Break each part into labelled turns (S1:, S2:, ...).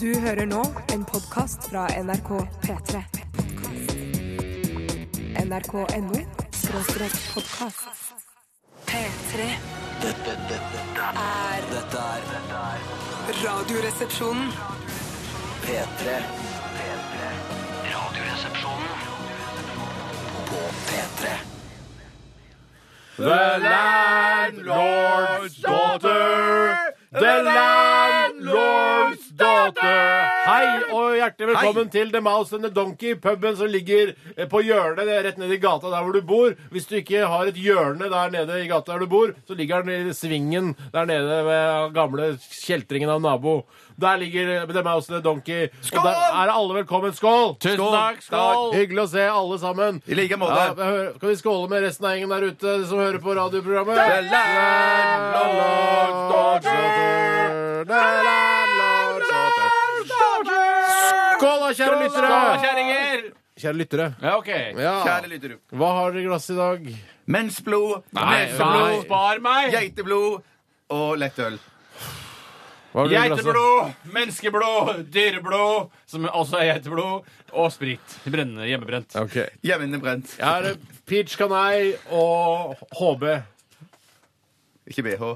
S1: Du hører nå en podkast fra NRK P3. NRK.no skråstrek podkast. P3
S2: Dette, dette, dette,
S1: er
S2: dette er dette er
S1: Radioresepsjonen.
S2: P3. P3. Radioresepsjonen på P3.
S3: The landlord's daughter. The landlord's daughter. Hei og hjertelig velkommen til The Mouse and the Donkey, puben som ligger eh, på hjørnet det er rett nede i gata der hvor du bor. Hvis du ikke har et hjørne der nede i gata der du bor, så ligger den i svingen der nede ved gamle kjeltringen av nabo. Der ligger eh, The Mouse and the Donkey. Skål! Og der er alle velkommen. Skål!
S4: Tusen takk, skål!
S3: Hyggelig å se alle sammen.
S4: I like måte.
S3: Ja, jeg hører- skal vi skåle med resten av gjengen der ute de som hører på radioprogrammet?
S4: The landlord's daughter.
S3: The landlord's daughter. Skål da, kjære lyttere!
S4: Kjerringer!
S3: Kjære lyttere.
S4: Ja, OK.
S3: Ja.
S5: Kjære lyttere.
S3: Hva har dere i glasset i dag?
S5: Mensblod,
S3: nei.
S5: neseblod,
S4: Spar meg!
S5: geiteblod og lettøl.
S3: Hva har
S4: altså.
S3: dere i glasset?
S4: Geiteblod, menneskeblod, dyreblod, som også er geiteblod, og sprit. Brennende hjemmebrent.
S3: Ok.
S5: Hjemmebrent.
S3: Jeg har eh, peach canai og HB.
S5: Ikke BH.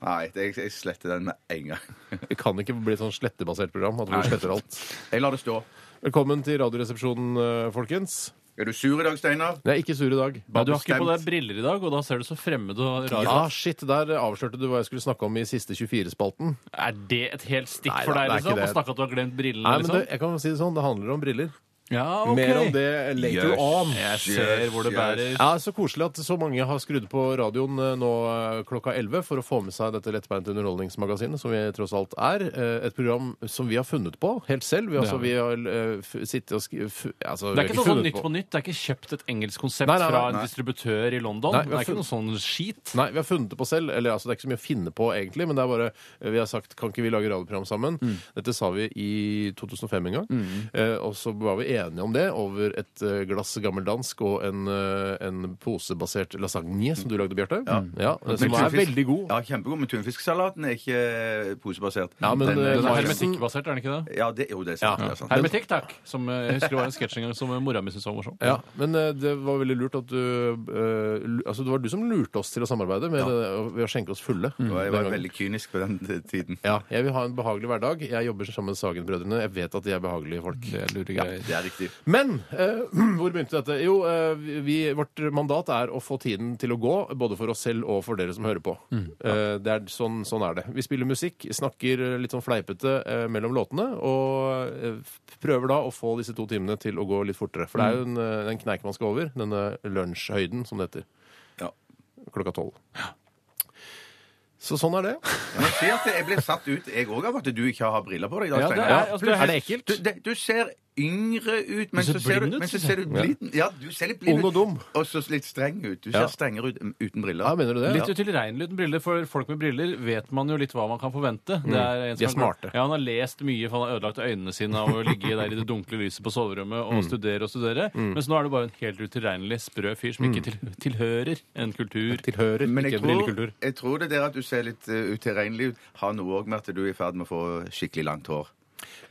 S5: Nei, det, jeg, jeg sletter den med en gang.
S3: Det kan ikke bli et sånn slettebasert program. at vi sletter alt.
S5: Jeg lar det stå.
S3: Velkommen til Radioresepsjonen, eh, folkens.
S5: Er du sur i dag, Steinar?
S3: Jeg er ikke sur i dag.
S4: Men du har ikke på
S5: bestemt.
S4: deg briller i dag, og da ser du så fremmed og rar ut.
S3: Ja, shit, Der avslørte du hva jeg skulle snakke om i siste 24-spalten.
S4: Er det et helt stikk
S3: Nei,
S4: for
S3: da,
S4: deg,
S3: det er ikke
S4: liksom?
S3: det.
S4: Å snakke at du har glemt brillene,
S3: Nei, men det,
S4: liksom?
S3: jeg kan si det sånn, det handler om briller.
S4: Ja, ok.
S3: Mer om det later
S5: Jøss.
S3: on.
S4: Jeg ser hvor det
S5: Yes,
S4: bærer.
S3: Ja, Så koselig at så mange har skrudd på radioen eh, nå eh, klokka 11 for å få med seg dette lettbeinte underholdningsmagasinet, som vi tross alt er. Eh, Et program som vi har funnet på helt selv. Vi, altså,
S4: Ja.
S3: vi har eh, f- sittet og skri... f- Altså,
S4: Det er ikke noe sånn Nytt på
S3: nytt.
S4: nytt. Det er ikke kjøpt et engelsk konsept
S3: Nei, nei, nei,
S4: fra en
S3: nei.
S4: distributør i London.
S3: Nei, vi
S4: det
S3: har
S4: er ikke
S3: funnet-
S4: noe sånn skit.
S3: Nei, vi har funnet det på selv. Eller altså, det er ikke så mye å finne på, egentlig, men det er bare eh, Vi har sagt kan ikke vi lage radioprogram sammen? Dette sa vi i 2005 en gang. Eh, og så var vi enige om det over et eh, glass gammeldansk og en, eh, en posebasert lasagne som du lagde, Bjarte. Ja. eh, som
S5: Med
S3: er
S5: tunfisk-
S3: veldig god.
S5: Ja, kjempegod. Men tunfisksalaten er ikke eh, posebasert.
S3: Ja, men,
S5: den,
S3: eh, Nei,
S4: Den er
S3: liksom-
S4: hermetikkbasert, er den ikke det?
S5: ja, det, jo, det er sant.
S3: Ja.
S5: Det er sant.
S4: Hermetikk, takk. Som eh, jeg husker det var en sketsj en gang som eh, mora mi syntes var morsom.
S3: Ja, men eh, det var veldig lurt at du eh, lu- Altså, det var du som lurte oss til å samarbeide med, Mm. det- ved å skjenke oss fulle.
S5: Og jeg
S3: Den
S5: var
S3: gangen.
S5: veldig kynisk på den t- tiden.
S3: Ja, jeg vil ha en behagelig hverdag. Jeg jobber sammen med Sagen-brødrene. Jeg vet at de er behagelige folk.
S4: Det er lure greier.
S5: Det er riktig.
S3: Men eh, hvor begynte dette? Jo, eh, vi, vårt mandat er å få tiden til å gå, både for oss selv og for dere som hører på. Eh, det er, sånn, sånn er det. Vi spiller musikk, snakker litt sånn fleipete eh, mellom låtene, og eh, prøver da å få disse to timene til å gå litt fortere. For det er jo en, eh, en kneik man skal over, denne lunsjhøyden, som det heter.
S5: Ja.
S3: Klokka tolv. Så sånn er det.
S5: Men jeg ser at jeg blir satt ut, jeg òg, av at du ikke har briller på deg i dag,
S4: Ja, det
S5: Steinar.
S4: er- altså, du er
S3: er, det
S5: Du,
S3: ekkelt?
S5: det, du ser yngre ut, men
S4: ser
S5: så ser
S4: blind
S5: du,
S4: ut,
S5: men så
S4: synes
S5: ser du
S3: jeg.
S5: blind Ja, du ser litt blind
S3: Ung og
S5: ut.
S3: dum.
S5: Og så litt streng ut. Du
S3: Ja.
S5: ser strengere ut mm, uten briller.
S3: Ja, mener du det?
S4: Litt utilregnelig uten briller, for folk med briller vet man jo litt hva man kan forvente. Det er en
S3: Mm.
S4: som
S3: De er
S4: har-
S3: smarte.
S4: Ja, Han har lest mye, for han har ødelagt øynene sine av å ligge der i det dunkle lyset på soverommet
S3: Mm.
S4: og studere og studere. Mens nå er du bare en helt utilregnelig sprø fyr som
S3: Mm.
S4: ikke til, tilhører en kultur.
S3: Tilhører
S5: Men
S3: ikke en
S5: jeg tror,
S3: brillekultur.
S5: jeg tror det der at du ser litt eh, utilregnelig ut, har noe òg med at du er i ferd med å få skikkelig langt hår.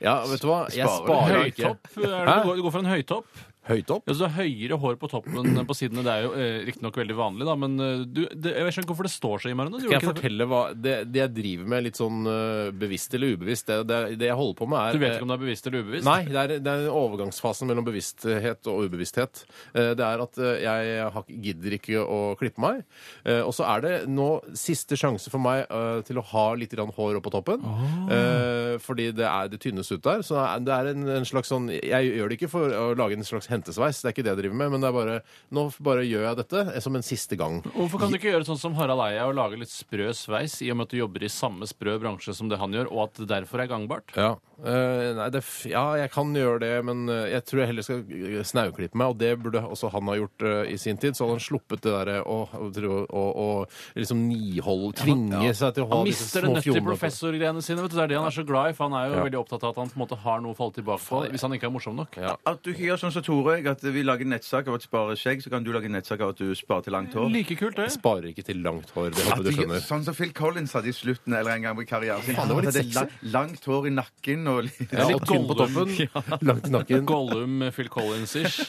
S3: Ja, vet du hva? Jeg
S5: Sparer.
S3: sparer ikke.
S4: Høytopp. eh, Er det, du, går, du går for en høytopp.
S3: Høyt opp?
S4: Ja, så du har høyere hår på toppen enn på sidene. Det er jo eh, riktignok veldig vanlig, da, men eh, du, det, jeg skjønner ikke hvorfor det står seg i meg.
S3: Skal jeg fortelle hva det, det jeg driver med, litt sånn øh, bevisst eller ubevisst Det, det, det jeg holder på med, er
S4: Du vet ikke om det er bevisst eller ubevisst?
S3: Eh, Nei, det er, det er overgangsfasen mellom bevissthet og ubevissthet. Eh, Det er at eh, jeg har, ikke- gidder ikke å klippe meg. Eh, Og så er det nå siste sjanse for meg eh, til å ha litt grann hår opp på toppen.
S4: Ah.
S3: Eh, Fordi det er det tynnes ut der. Så det er en, en slags sånn Jeg gjør det ikke for å lage en slags hentesveis, det er ikke det jeg driver med, men det er bare Nå bare gjør jeg dette eh, som en siste gang.
S4: Hvorfor kan du ikke gjøre sånn som Harald Eia og lage litt sprø sveis, i og med at du jobber i samme sprø bransje som det han gjør, og at det derfor er gangbart?
S3: Ja. Eh, nei, det, f- ja, jeg kan gjøre det, men eh, jeg tror jeg heller skal eh, snauklippe meg. Og det burde også han ha gjort eh, i sin tid. Så hadde han sluppet det derre å, å, tro- å, å liksom niholde, tvinge seg til å ha
S4: Han
S3: disse
S4: mister det
S3: små
S4: nødt i
S3: fjonene. på-
S4: professorgreiene sine. vet du, Det er det han er så glad i, for han er jo
S3: Ja.
S4: veldig opptatt av at han på en måte har noe å falle tilbake på hvis han ikke er morsom nok.
S3: Ja.
S5: At du ikke gjør sånn som Tore Tore og jeg at vi lager nettsak av at spare skjegg, så kan du lage nettsak av at du sparer til langt hår.
S4: Like kult, det.
S3: Sparer ikke til langt hår. Det
S5: At
S3: håper jeg du
S5: de,
S3: skjønner.
S5: sånn som Phil Collins hadde i slutten eller en gang i karrieren sin.
S3: det var litt
S5: At det er
S3: sexy.
S5: la- langt hår i nakken og litt
S4: Ja,
S3: Ja,
S4: litt
S3: og tynn på toppen,
S4: Gollum.
S3: langt i nakken.
S4: Gollum eh, Phil Collins-ish.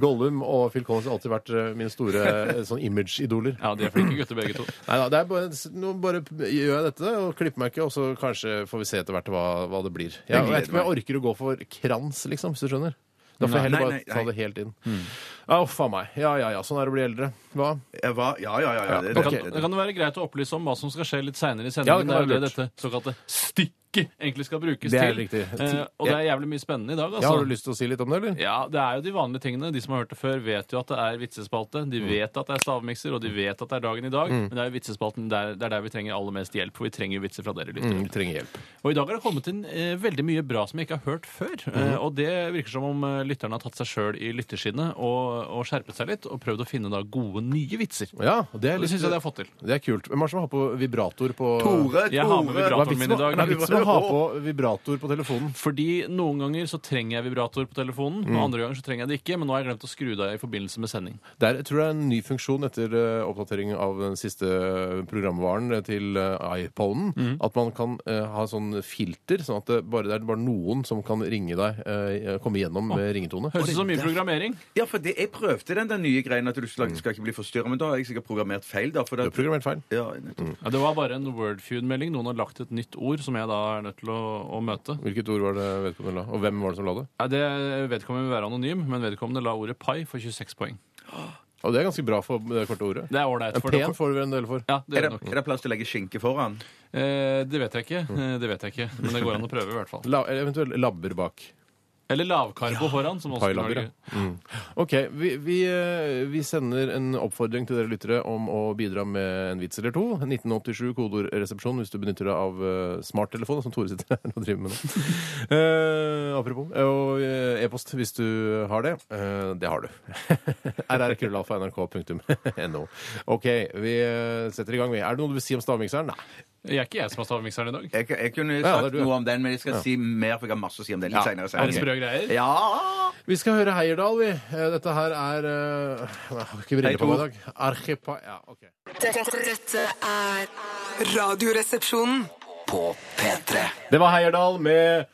S3: Gollum og Phil Collins har alltid vært eh, mine store eh, sånn image-idoler.
S4: Ja, de er flinke gutter, begge to.
S3: Nei da, det er bare, nå bare gjør jeg dette og klipper meg ikke, og så kanskje får vi se etter hvert hva, hva det blir. Jeg,
S5: gleder
S3: vet ikke om jeg orker å gå for krans, liksom, hvis du skjønner. Da får jeg heller
S5: Nei,
S3: bare
S5: nei, nei.
S3: ta det helt inn. Ja, Uff a meg. Ja, ja, ja. Sånn er det å bli eldre. Hva?
S5: Jeg var- Ja, ja, ja. ja, det,
S4: Da
S5: det,
S4: kan,
S5: det,
S4: da
S5: det.
S4: kan det være greit å opplyse om hva som skal skje litt seinere i
S3: Ja, det
S4: sendingen. det
S3: kan
S4: er jo det
S3: være
S4: dette såkalte stikket egentlig skal brukes
S3: Det er
S4: til.
S3: riktig.
S4: Eh, og det er jævlig mye spennende i dag,
S3: Ja,
S4: altså.
S3: har du lyst til å si litt om det, eller?
S4: Ja, det er jo de vanlige tingene. De som har hørt det før, vet jo at det er vitsespalte.
S3: Mm.
S4: De vet at det er stavmikser, og de vet at det er dagen i dag. Men det er jo vitsespalten der, det er der vi trenger aller mest hjelp, for vi trenger jo vitser fra dere lyttere.
S3: Mm, vi trenger hjelp.
S4: Og i dag har det kommet inn eh, veldig mye bra som jeg ikke har hørt før.
S3: Mm.
S4: Eh, og det virker som om eh, lytterne har tatt seg sjøl i lytterskinnet og, og skjerpet seg litt, og prøvd å finne da gode, nye vitser.
S3: Ja, det er,
S4: Og det
S3: litt,
S4: syns jeg de har fått til.
S3: det er kult. Hvem er det som har på vibrator på
S5: Tore,
S4: Jeg har med
S5: Tore!
S3: Hva er
S4: vibratoren min i dag.
S3: vitsen med- vitsen med å ha på vibrator på telefonen?
S4: Fordi noen ganger så trenger jeg vibrator på telefonen,
S3: Mm.
S4: og andre ganger så trenger jeg det ikke. Men nå har jeg glemt å skru det av i forbindelse med sending.
S3: Der, jeg tror det er en ny funksjon etter eh, oppdatering av den siste programvaren til eh, iPhonen.
S4: Mhm.
S3: At man kan eh, ha sånn filter, sånn at det, bare, det er bare noen som kan ringe deg, eh, komme gjennom med ringetone.
S4: Høres ut som mye programmering.
S5: Ja, for det, jeg prøvde den der nye greien at du skal, skal ikke bli forstyrra, men da har jeg sikkert programmert feil. da, for
S3: Du
S5: det,
S3: har programmert feil.
S5: ja, nettopp.
S3: Mm.
S4: Ja, det var bare en Wordfeud-melding. Noen har lagt et nytt ord som jeg da er nødt til å, å møte.
S3: Hvilket ord var det vedkommende la? Og hvem var det som la det?
S4: Nei, det Vedkommende vil være anonym, men vedkommende la ordet pai for 26 poeng.
S3: Og det er ganske bra for det korte ordet.
S4: Det er ålreit.
S3: En
S4: for det-
S3: pen får du en del for.
S4: Ja, det,
S5: er,
S4: gjør det,
S5: det,
S4: nok.
S5: er det plass til å legge skinke foran?
S4: Eh, det vet jeg ikke.
S3: Mm.
S4: Eh, Det vet jeg ikke. Men det går an å prøve, i hvert fall.
S3: La, eller eventuelt labber bak.
S4: Eller lavkarbo foran. Som også
S3: Pailabber,
S4: lager-
S3: Ok, vi, vi, eh, vi sender en oppfordring til dere lyttere om å bidra med en vits eller to. 1987 kodeordresepsjon hvis du benytter deg av eh, smarttelefon, som Tore sitter her og driver med nå. Eh, apropos. eh, Og eh, e-post hvis du har det. Eh, det har du. rrkrøllalfa.nrk.no. Ok, vi eh, setter i gang. vi. Er det noe du vil si om stavmikseren? Nei.
S4: Jeg er ikke jeg som har stavmikseren i dag.
S5: Jeg, jeg kunne
S3: det er
S5: sagt
S3: du, ja.
S5: noe om den, men jeg skal si mer, for jeg har masse å si om den litt senere.
S4: Er det
S5: senere.
S4: sprø greier?
S5: Ja!
S3: Vi skal høre Heierdal, vi. Eh, Dette her er eh, Jeg har ikke briller på meg i dag. Archipa... Ja, ok.
S1: Dette, dette er Radioresepsjonen.
S2: På P3.
S3: Det var Heierdal med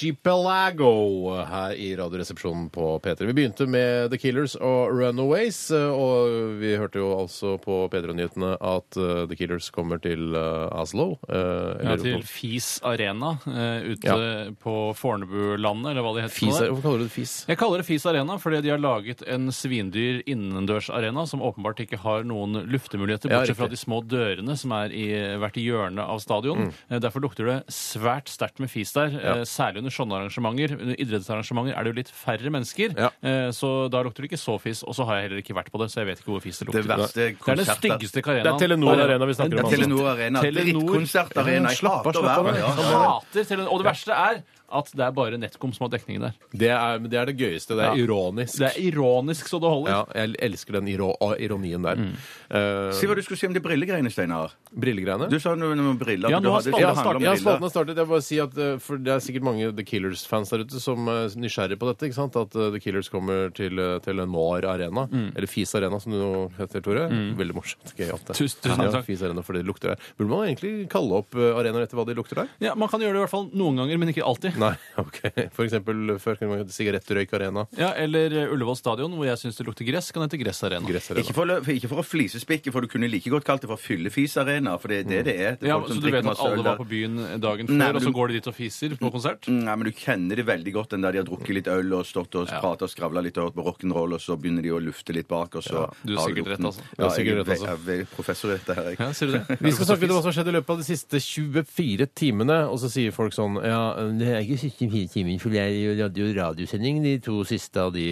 S3: Archipelago her i Radioresepsjonen på P3. Vi begynte med The Killers og Runaways, og vi hørte jo altså på P3-nyhetene at eh, The Killers kommer til eh, Oslo. eh,
S4: Ja,
S3: eller
S4: til
S3: på-
S4: Fis Arena eh, ute
S3: Ja.
S4: på Fornebulandet, eller hva det heter. nå
S3: Fis
S4: der.
S3: Hvorfor kaller du det fis?
S4: Jeg kaller det Fis Arena fordi de har laget en svindyr innendørsarena som åpenbart ikke har noen luftemuligheter,
S3: Ja, riktig.
S4: bortsett fra de små dørene som er i hvert hjørne av
S5: Mm.
S4: stadion. Eh, Derfor lukter det svært sterkt med fis der, eh, særlig under sånne arrangementer. Under idrettsarrangementer er det jo litt færre mennesker,
S3: Ja.
S4: eh, så da lukter det ikke så fis. Og så har jeg heller ikke vært på det, så jeg vet ikke hvor fis det
S5: Det
S4: lukter.
S5: verste
S4: Det er den
S5: konsertet.
S4: styggeste
S3: Det
S4: arenaen.
S3: er Telenor
S4: Og det-
S3: Arena vi snakker om,
S4: Det er
S3: altså.
S5: Telenor Arena.
S4: Telenor-
S5: Drittkonsertarena. Jeg
S3: Slapp av,
S5: hater å
S3: slapp av.
S5: være med.
S4: Jeg
S5: Ja,
S4: hater Telenor. Og det verste er at det er bare NetCom som har dekningen der.
S3: Det er, men det er det gøyeste. Det er
S4: Ja.
S3: ironisk.
S4: Det er ironisk så det holder.
S3: ja, jeg elsker den iro ironien der.
S4: Mm.
S3: Eh,
S5: Si hva du skulle si om de brillegreiene, Steinar.
S3: Brillegreiene.
S5: Du sa noe om briller.
S4: Ja,
S5: men du
S4: nå har
S5: hadde-
S4: spalten
S5: det handler om
S3: Ja,
S5: briller.
S3: spalten har startet. Jeg vil bare si at eh, for Det er sikkert mange The Killers-fans der ute som er nysgjerrig på dette. ikke sant? At eh, The Killers kommer til eh, Telenor Arena, eller Fis Arena som du nå heter, Tore. Veldig morsomt. Gøy at det
S4: Tusen- tusen takk.
S3: Fis Arena for det lukter der. Burde man egentlig kalle opp eh, arenaer etter hva de lukter der?
S4: Ja, Man kan gjøre det i hvert fall noen ganger, men ikke alltid.
S3: Nei, ok. For eksempel før kunne man hete Sigarettrøyk Arena.
S4: Ja, Eller eh, Ullevål stadion, hvor jeg syns det lukter gress, kan hete Gressarena.
S3: Gress Arena.
S5: Ikke for, å- for- ikke for å flisespikke, for du kunne like godt kalt det for fyllefisarena. For det er det det er. Det er
S4: Mm. Ja,
S5: folk som
S4: Så du
S5: drikker
S4: vet at
S5: masse øl
S4: alle var
S5: der.
S4: på byen eh, dagen før,
S5: Nei, men
S4: og så
S5: du-
S4: går de dit og fiser på
S3: Mm.
S4: konsert?
S5: Nei, men Du kjenner det veldig godt, den der de har drukket litt øl og stått og pratet og skravla litt hørt på rock'n'roll, og så begynner de å lufte litt bak, og så
S4: du er
S5: har
S4: sikkert rett,
S5: lukten.
S4: altså.
S3: Du er
S5: Ja, jeg
S3: sikkert
S5: er,
S3: rett, altså.
S5: ve- er ve- professor i dette her, jeg.
S4: Ja, sier du det?
S3: Vi skal snakke litt om hva som har skjedd i løpet av de siste 24 timene, og så sier folk sånn Ja, det er ikke siste fire timen, for jeg hadde jo radiosending de to siste av de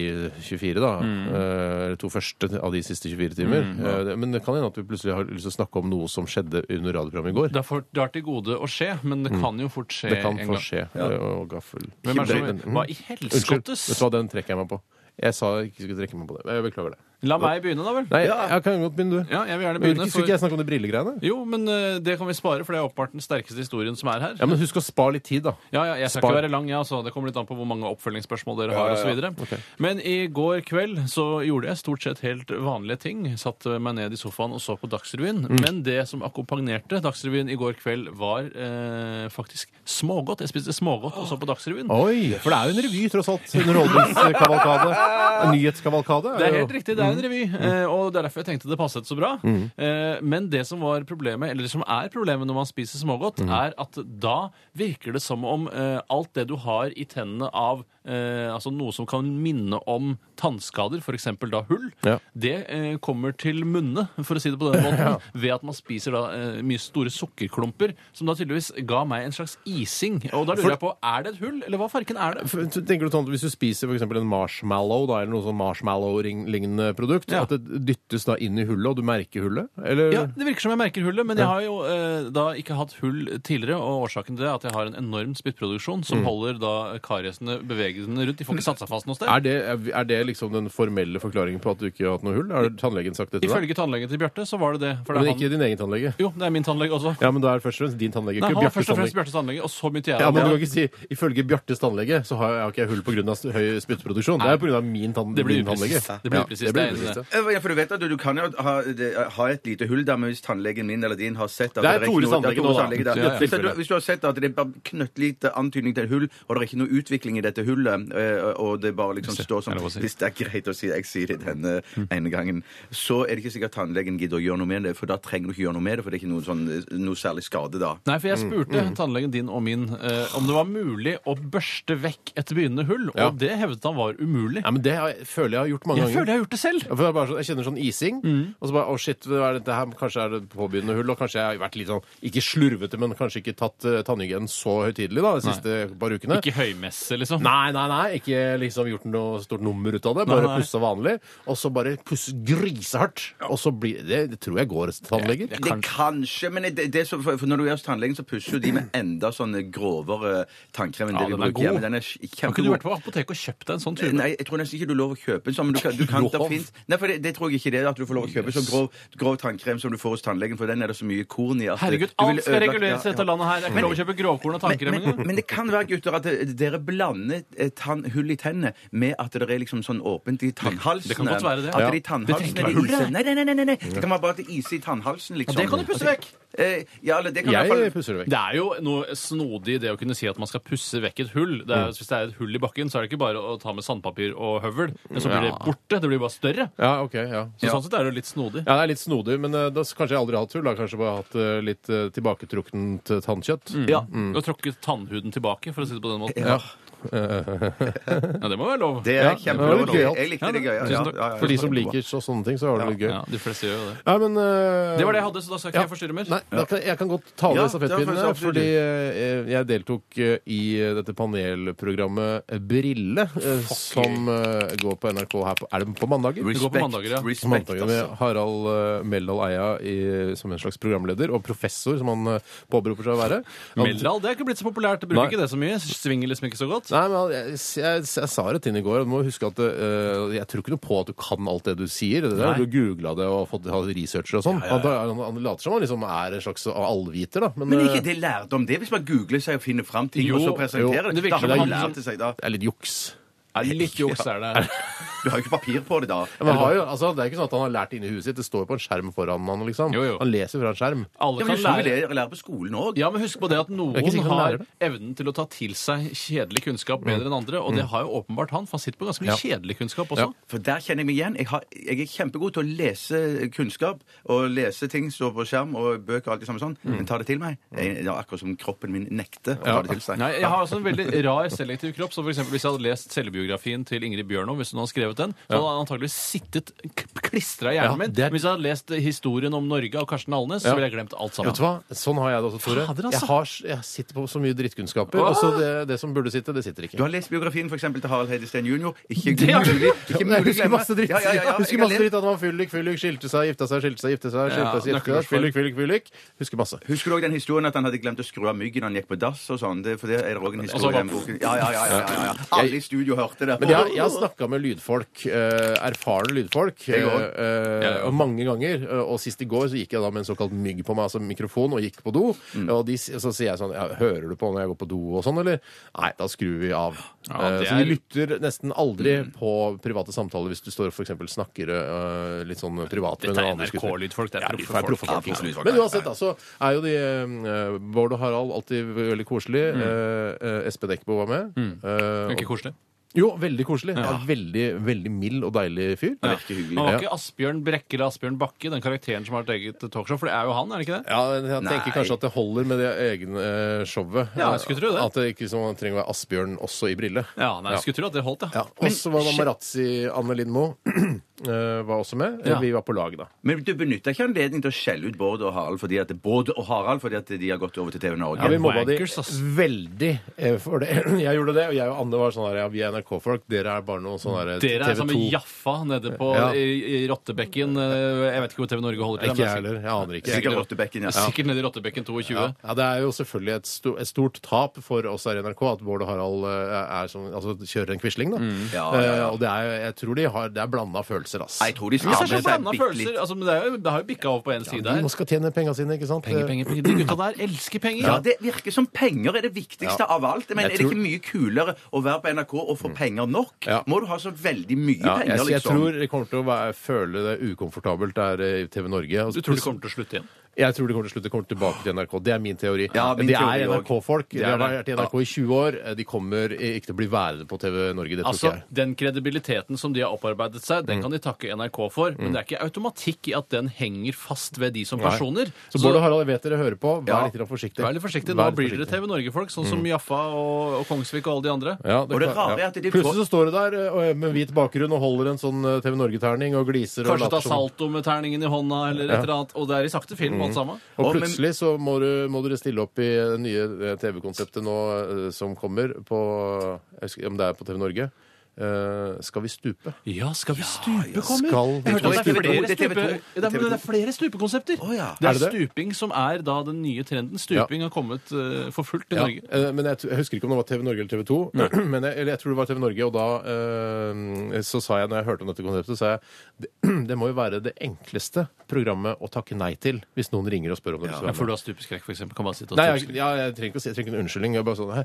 S3: 24, da.
S4: Mm.
S3: Eh, Eller to første av de siste 24 timer. Eh, det- Men det kan hende at vi plutselig har lyst til å snakke om noe som skjedde under radioprogrammet i går.
S4: Det har for- det har til gode å skje, men det kan jo fort skje
S3: Mm. Det kan
S4: en
S3: få
S4: gang.
S3: skje. Eh, Og gaffel.
S4: Hvem er det som-
S3: Den-
S4: Hva i
S3: Unnskyld, vet
S4: helskottes?
S3: du hva, den trekker jeg meg på. Jeg sa jeg ikke skulle trekke meg på det. Jeg beklager det.
S4: La meg begynne, da vel.
S3: Nei, jeg kan godt begynne, du.
S4: Ja, jeg vil gjerne
S3: Men vil ikke,
S4: begynne.
S3: skulle
S4: For...
S3: ikke jeg snakke om de brillegreiene?
S4: Jo, men eh, det kan vi spare, for det er åpenbart den sterkeste historien som er her.
S3: Ja, men husk å spare litt tid, da.
S4: Ja, ja, jeg skal
S3: Spar.
S4: ikke være lang, jeg, altså. Det kommer litt an på hvor mange oppfølgingsspørsmål dere har. og så videre. Men i går kveld så gjorde jeg stort sett helt vanlige ting. Satt meg ned i sofaen og så på Dagsrevyen. Men det som akkompagnerte Dagsrevyen i går kveld, var eh, faktisk smågodt. Jeg spiste smågodt og så på Dagsrevyen.
S3: Oi, for det er jo en revy, tross alt. Underholdningskavalkade. En nyhetskavalkade.
S4: Det er
S3: jo-
S4: helt riktig. Det er
S3: Mm.
S4: en revy. eh, Og det er derfor jeg tenkte det passet så bra. Eh, Men det som var problemet, eller det som er problemet når man spiser smågodt,
S3: Mm.
S4: er at da virker det som om eh, alt det du har i tennene av eh, altså noe som kan minne om tannskader, f.eks. da hull,
S3: Ja.
S4: det eh, kommer til munne, for å si det på den måten, ved at man spiser da eh, mye store sukkerklumper, som da tydeligvis ga meg en slags ising. Og da
S3: For-
S4: lurer jeg på, er det et hull, eller hva farken er det?
S3: For- Tenker du sånn at Hvis du spiser for eksempel en marshmallow da, eller noe sånn marshmallow-lignende produkt,
S4: Ja.
S3: at det dyttes da inn i hullet, og du merker hullet? Eller?
S4: Ja, Det virker som jeg merker hullet, men jeg har jo eh, da ikke hatt hull tidligere. Og årsaken til det er at jeg har en enorm spyttproduksjon som
S3: Mm.
S4: holder da kariesene bevegelsene rundt. De får ikke satt seg fast noe sted.
S3: Er, det, er det liksom den formelle forklaringen på at du ikke har hatt noe hull? Har tannlegen sagt det til deg?
S4: Ifølge tannlegen til Bjarte så var det det. For det
S3: Men
S4: er
S3: ikke
S4: han,
S3: din egen tannlege?
S4: jo, det er min tannlege også.
S3: Ja, men da er det først og fremst din tannlege,
S4: Nei,
S3: ikke
S4: han var
S3: Bjartes
S4: først og fremst
S3: tannlege.
S4: Bjartes tannlege, og så begynte jeg.
S3: Ja,
S4: å-
S3: men du kan ikke si ifølge Bjartes tannlege så har jeg, har ikke jeg hull pga. høy spyttproduksjon. Det er pga. min, tann,
S4: Det blir
S3: min tannlege.
S4: upresist. Det blir
S3: Ja,
S4: upresist, det er enig i
S3: upresist,
S4: det.
S3: ja.
S5: Eh, Ja, for du vet at du, du kan jo ha, det- ha et lite hull der, men hvis tannlegen min eller din har sett at
S3: Det er
S5: ikke
S3: Tores
S5: noe- det
S3: tannlege nå,
S5: Tores
S3: da.
S5: tannlege der.
S4: Ja, ja.
S5: Hvis, det- hvis du har sett at det er bare knøttlite antydning til et hull, og det er ikke noe utvikling i dette hullet, eh, og det bare liksom står
S4: er det lov
S5: sånn
S4: å si?
S5: Hvis det er greit å si, jeg sier det denne ene gangen, så er det ikke sikkert tannlegen gidder å gjøre noe med det, for da trenger du ikke gjøre noe med det, for det er ikke noe, sånn, noe særlig skade da.
S4: Nei, for jeg
S3: Mm.
S4: spurte tannlegen din og min eh, om det var mulig å børste vekk et begynnende hull,
S3: Ja.
S4: og det hevdet han var umulig.
S3: Ja, men det har jeg, føler jeg har gjort mange
S4: Jeg
S3: ganger.
S4: føler jeg Mm. har gjort det selv.
S3: Ja, For det er bare sånn, jeg kjenner sånn ising, og så bare Å, shit, hva er dette her? Kanskje er det påbegynnende hull? Og kanskje jeg har vært litt sånn Ikke slurvete, men kanskje ikke tatt uh, tannhygienen så høytidelig da, de siste par ukene.
S4: Ikke høymesse, liksom.
S3: Nei, nei, nei. Ikke liksom gjort noe stort nummer ut av det. Bare
S4: nei.
S3: pussa vanlig. Og så bare pusse grisehardt. Og så blir det Det tror jeg går hos tannleger.
S5: Det kanskje, men det, det som- for, for når du er hos tannlegen, så pusser jo de med enda sånne grovere tannkrem enn
S4: Ja,
S5: det vi
S4: den er
S5: bruker. Ja,
S4: god.
S5: men den er
S4: Har ikke du
S5: kjempegod.
S4: vært på apoteket og kjøpt deg en sånn tube?
S5: Nei, jeg tror nesten ikke du har lov å kjøpe en sånn. Men du kan, du kan, det,
S4: Lov?
S5: finnes, nei, for det, det tror jeg ikke det er at du får lov å kjøpe sånn grov, grov tannkrem som du får hos tannlegen, for den er det så mye korn i. At
S4: Herregud,
S5: du vil
S4: alt skal
S5: ødelegge-
S4: reguleres i
S5: ja, ja.
S4: dette landet her. Det er ikke lov å kjøpe grovkorn og tannkrem
S5: Men, men,
S4: engang.
S5: men det kan være, gutter, at det- dere blander eh, tann, hull i tennene med at det er liksom sånn åpent i tannhalsene.
S4: Det kan godt være det.
S5: At
S4: Ja.
S5: de
S4: Det trenger ikke
S5: tannhalsene
S4: være
S5: de
S4: hull, det.
S5: iser. Nei, nei, nei, nei, nei, nei. Det kan være bare at det iser i tannhalsen, liksom.
S4: det kan du pusse vekk.
S5: Eh, ja, eller det kan i
S3: Jeg
S5: hvert fall...
S3: pusser det vekk.
S4: Det er jo noe snodig i det å kunne si at man skal pusse vekk et hull. Det er, hvis det er et hull i bakken, så er det ikke bare å ta med sandpapir og høvel. Men så blir det borte. Det blir bare større.
S3: Ja, OK. Ja.
S4: Så sånn sett er det jo litt snodig.
S3: Ja, det er litt snodig, men eh, da s- kanskje jeg aldri har hatt hull. Da. Kanskje bare hatt eh, litt eh, tilbaketruktent eh, tannkjøtt.
S4: Ja. Du har tråkket Mm. tannhuden tilbake, for å si det på den måten.
S5: Ja.
S4: Ja, det må være lov.
S5: Det
S3: Ja,
S5: er
S3: det var
S5: kjempebra.
S3: litt
S5: Jeg
S3: gøyalt.
S5: jeg likte det
S4: Ja,
S5: gøy.
S4: tusen takk.
S3: For de som liker så, sånne ting, så er det litt gøy.
S4: Ja, de fleste gjør jo det.
S3: Nei, men eh,
S4: Det var det jeg hadde, så da skal ikke
S3: ja.
S4: jeg forstyrre mer.
S3: Nei, da kan, jeg kan godt ta over
S5: Ja,
S3: stafettpinnen,
S5: det var faktisk
S3: fordi eh, jeg deltok eh, i dette panelprogrammet Brille, eh, som eh, går på NRK her på Er det på mandager?
S4: går på mandager, ja.
S3: På
S5: Respect,
S3: mandager med
S5: altså.
S3: Harald eh, Meldal Eia i, som en slags programleder, og professor, som han eh, påberoper seg å være. Han-
S4: Meldal, det er ikke blitt så populært. Det bruker
S3: Nei.
S4: ikke det så mye. Svinger liksom ikke så godt.
S3: Nei, men jeg, jeg, jeg sa det til henne i går. og Du må huske at eh, Jeg tror ikke noe på at du kan alt det du sier. Det der,
S4: Nei.
S3: du googla det og fått hatt researcher og sånn. Han, han, han later som han liksom er en slags allviter, da. Men,
S5: Men er
S3: eh,
S5: ikke det lærdom? Det er hvis man googler seg og finner fram ting,
S4: Jo,
S5: og så
S3: jo.
S5: presenterer
S4: Men det
S5: det.
S4: virker
S5: Da
S4: som
S5: har man
S4: det er
S5: lært det seg, da.
S3: det er litt juks.
S4: Nei, Litt juks er det.
S5: Du har jo ikke papir på det, da.
S3: Men han har jo, altså, det er ikke sånn at han har lært det inni huet sitt. Det står jo på en skjerm foran han, liksom.
S4: Jo, jo.
S3: Han leser fra en skjerm.
S5: Ja,
S4: Alle
S5: men
S4: kan
S5: det er sånn vi
S4: lære
S5: lærer- lærer på skolen òg.
S4: Ja, men husk på det
S3: er
S4: at
S3: ikke
S4: noen
S3: sikkert han
S4: har
S3: lærer det. Mm.
S4: evnen til å ta til seg kjedelig kunnskap bedre enn andre, og det har jo åpenbart han, for han sitter på ganske mye kjedelig kunnskap også.
S5: For der kjenner jeg meg igjen. Jeg, har, jeg er kjempegod til å lese kunnskap. Og lese ting står på skjerm og bøker og alt det samme
S4: Mm.
S5: sånn. Men ta det til meg. Jeg, det er akkurat som kroppen min nekter å ta det til seg.
S4: Nei, jeg har også en veldig rar selektiv kropp. Så for eksempel, Hvis jeg hadde lest selvbiografien til Ingrid Bjørnov, hvis hun hadde skrevet den, så hadde han antakeligvis sittet klistra i hjernen
S3: Ja,
S4: min.
S3: det er-
S4: Hvis jeg hadde lest eh, historien om Norge av Karsten Alnes,
S3: Ja.
S4: så ville jeg glemt alt sammen.
S3: Vet du hva? Sånn har jeg det også, Tore.
S4: Fader, altså.
S3: jeg, har, jeg sitter på så mye drittkunnskaper. Og så det, det som burde sitte, det sitter
S5: Du
S3: ikke.
S5: har lest biografien for eksempel, til Harald Heide Steen jr. Ikke
S4: Det har du.
S5: mulig ikke mulig å
S3: Jeg husker
S5: glemme.
S3: masse dritt.
S5: Ja, ja, ja, ja.
S3: Jeg
S5: Jeg
S3: husker
S5: har
S3: masse
S5: lest-
S3: dritt at han var fyllik, fyllik, skilte seg, gifta seg, skilte seg, gifte seg,
S4: Ja,
S3: skilte seg, gifte seg,
S4: nøkkelordsform.
S3: fyllik, fyllik, fyllik. Husker masse.
S5: Husker du også den historien at han hadde glemt å skru av myggen når han gikk på dass? og sånn? Det, for det er det også en
S4: Og så
S5: historie i
S4: bare-
S5: den boken. Ja, ja, ja, ja, ja, ja. Alle i studio hørte det.
S3: Men jeg, jeg har snakka med lydfolk lydfolk, eh, erfarne lydfolk,
S5: Jeg også.
S3: eh,
S4: Jeg også.
S3: og mange ganger. eh, Og sist i går så gikk jeg da med en såkalt mygg på meg, altså mikrofon, og gikk på do.
S4: Mm.
S3: Og de, s- så sier jeg sånn ja, Hører du på når jeg går på do og sånn, eller? Nei, da skrur vi av.
S4: Ja,
S3: Eh,
S4: det
S3: Så de
S4: er- Mm.
S3: lytter nesten aldri på private samtaler hvis du står og for eksempel snakker eh, litt sånn privat med
S4: Dette er
S3: noen andre skuespillere.
S4: NRK-lydfolk. Det
S3: Ja,
S4: er
S3: vi får være
S4: proffe
S3: proffe
S4: folk.
S3: folk. Men uansett, da, så er jo de eh, Bård og Harald alltid veldig koselig.
S4: Mm.
S3: Eh, eh, Espen Eckbo var med. Eh,
S4: Ikke
S3: og,
S4: koselig.
S3: jo, veldig koselig. Ja. Veldig, veldig mild og deilig fyr.
S4: Ja.
S3: Ja.
S5: virker hyggelig.
S4: Han var
S3: Ja.
S4: ikke Asbjørn Brekke eller Asbjørn Bakke, den karakteren som har et eget talkshow, for det er jo han, er det ikke det?
S3: men jeg tenker
S5: Nei.
S3: kanskje at det holder med det egne eh, showet.
S4: Ja, jeg skulle tro det.
S3: At det ikke som man trenger å være Asbjørn også i brille.
S4: Ja, nei, jeg skulle tro at det holdt, ja.
S3: Ja. Og så var det Marazzi Anne Lindmo eh, var også med.
S4: Ja.
S3: Vi var på lag, da.
S5: Men du benytter ikke anledningen til å skjelle ut Bård og Harald fordi at, Bård og Harald fordi at de har gått over til TV Norge?
S3: Ja, vi mobba de
S4: wankers, ass.
S3: veldig eh, for det. Jeg gjorde det, og jeg og Anne var sånn her Ja, vi er NRK-folk, dere er bare noen sånn her
S4: Dere er
S3: TV2.
S4: sammen med Jaffa nede på
S3: Ja.
S4: i, i Rottebekken. eh, Jeg vet ikke hvor TV Norge holder til.
S3: Ikke
S4: men
S3: jeg
S4: sikkert-
S3: heller. Jeg aner ikke.
S5: Sikkert Rottebekken, ja.
S4: Sikkert nede i Rottebekken 22.
S3: Ja. ja, Det er jo selvfølgelig et, sto, et stort tap for oss her i NRK at Bård og Harald eh, er som, altså, kjører en Quisling. da.
S5: Ja, ja, ja.
S3: Eh, og det er, jeg tror de har, det er blanda følelser, ass.
S5: Jeg tror de
S4: Ja, det
S5: skammer
S4: er så
S5: seg
S4: blanda
S5: bitte litt.
S4: følelser. Altså, men det, er jo, det har jo bikka over på en side
S3: de
S4: her.
S3: nå skal tjene penga sine, ikke sant?
S4: Penger, penger, penger. De gutta der elsker penger.
S5: Ja, det virker som penger er det viktigste
S3: Ja.
S5: av alt. Men
S3: Jeg
S5: er det
S3: tror-
S5: ikke mye kulere å være på NRK og få penger nok?
S3: Ja.
S5: Må du ha så veldig mye
S3: Ja, Eh, jeg,
S5: penger,
S3: jeg
S5: liksom?
S3: tror de kommer til å være, føle det ukomfortabelt der eh, i TV Norge. Og-
S4: Du tror det kommer til å slutte igjen?
S3: Jeg tror de kommer til slutt de kommer tilbake til NRK. Det er min teori.
S5: Ja, min
S3: de
S5: teori
S3: er
S5: også.
S3: NRK-folk. De
S4: er
S3: har
S4: det.
S3: vært i NRK i 20 år. Eh, De kommer ikke til å bli værende på TV Norge. Det tror
S4: Altså,
S3: ikke jeg. Mm.
S4: Den kredibiliteten som de har opparbeidet seg, den kan de takke NRK for. Men det er ikke automatikk i at den henger fast ved de som personer.
S3: Så Bård og Harald, jeg vet dere hører på. Vær
S5: Ja.
S3: litt grann forsiktig.
S4: Vær litt forsiktig. Nå
S3: Vær litt
S4: blir dere
S3: forsiktig. Mm.
S4: TV Norge-folk, sånn som Jaffa og, og Kongsvik og alle de andre.
S3: Ja,
S5: Og det
S3: kan-
S5: rare er
S3: ja.
S5: at de får-
S3: Plutselig så står du der eh, og- med hvit bakgrunn og holder en sånn eh, TV Norge-terning og gliser og
S4: Kanskje ta
S3: later som-
S4: salto med terningen i hånda, eller et eller annet. Og det er i sakte film, alt sammen.
S3: Og
S5: Å, men-
S3: plutselig så må, du, må dere stille opp i det nye eh, TV-konseptet nå eh, som kommer på jeg husker, Om det er på TV Norge. Eh, skal vi stupe?
S4: Ja, skal vi stupe,
S3: kommer? Jeg hørte at
S4: det er flere,
S5: Det er TV2.
S4: stupe,
S5: Det er
S4: det er, men det er
S5: TV2.
S4: flere stupekonsepter.
S5: Å, ja.
S4: Det
S3: Er
S4: er
S3: det det?
S4: stuping som er da den nye trenden. Stuping har kommet eh, for fullt til
S3: Ja,
S4: Norge.
S3: eh, men jeg, t- jeg husker ikke om det var TV Norge eller TV 2. Men jeg, eller jeg tror det var TV Norge, og da eh, så sa jeg, når jeg hørte om dette konseptet, sa jeg det, det må jo være det enkleste programmet å takke nei til hvis noen ringer og spør om det.
S4: Ja, for du har stupeskrekk, for eksempel. Kan bare sitte og
S3: Nei, jeg,
S4: stupeskrekk.
S3: ja, jeg trenger ikke å si jeg trenger ikke en unnskyldning. Jeg er bare sånn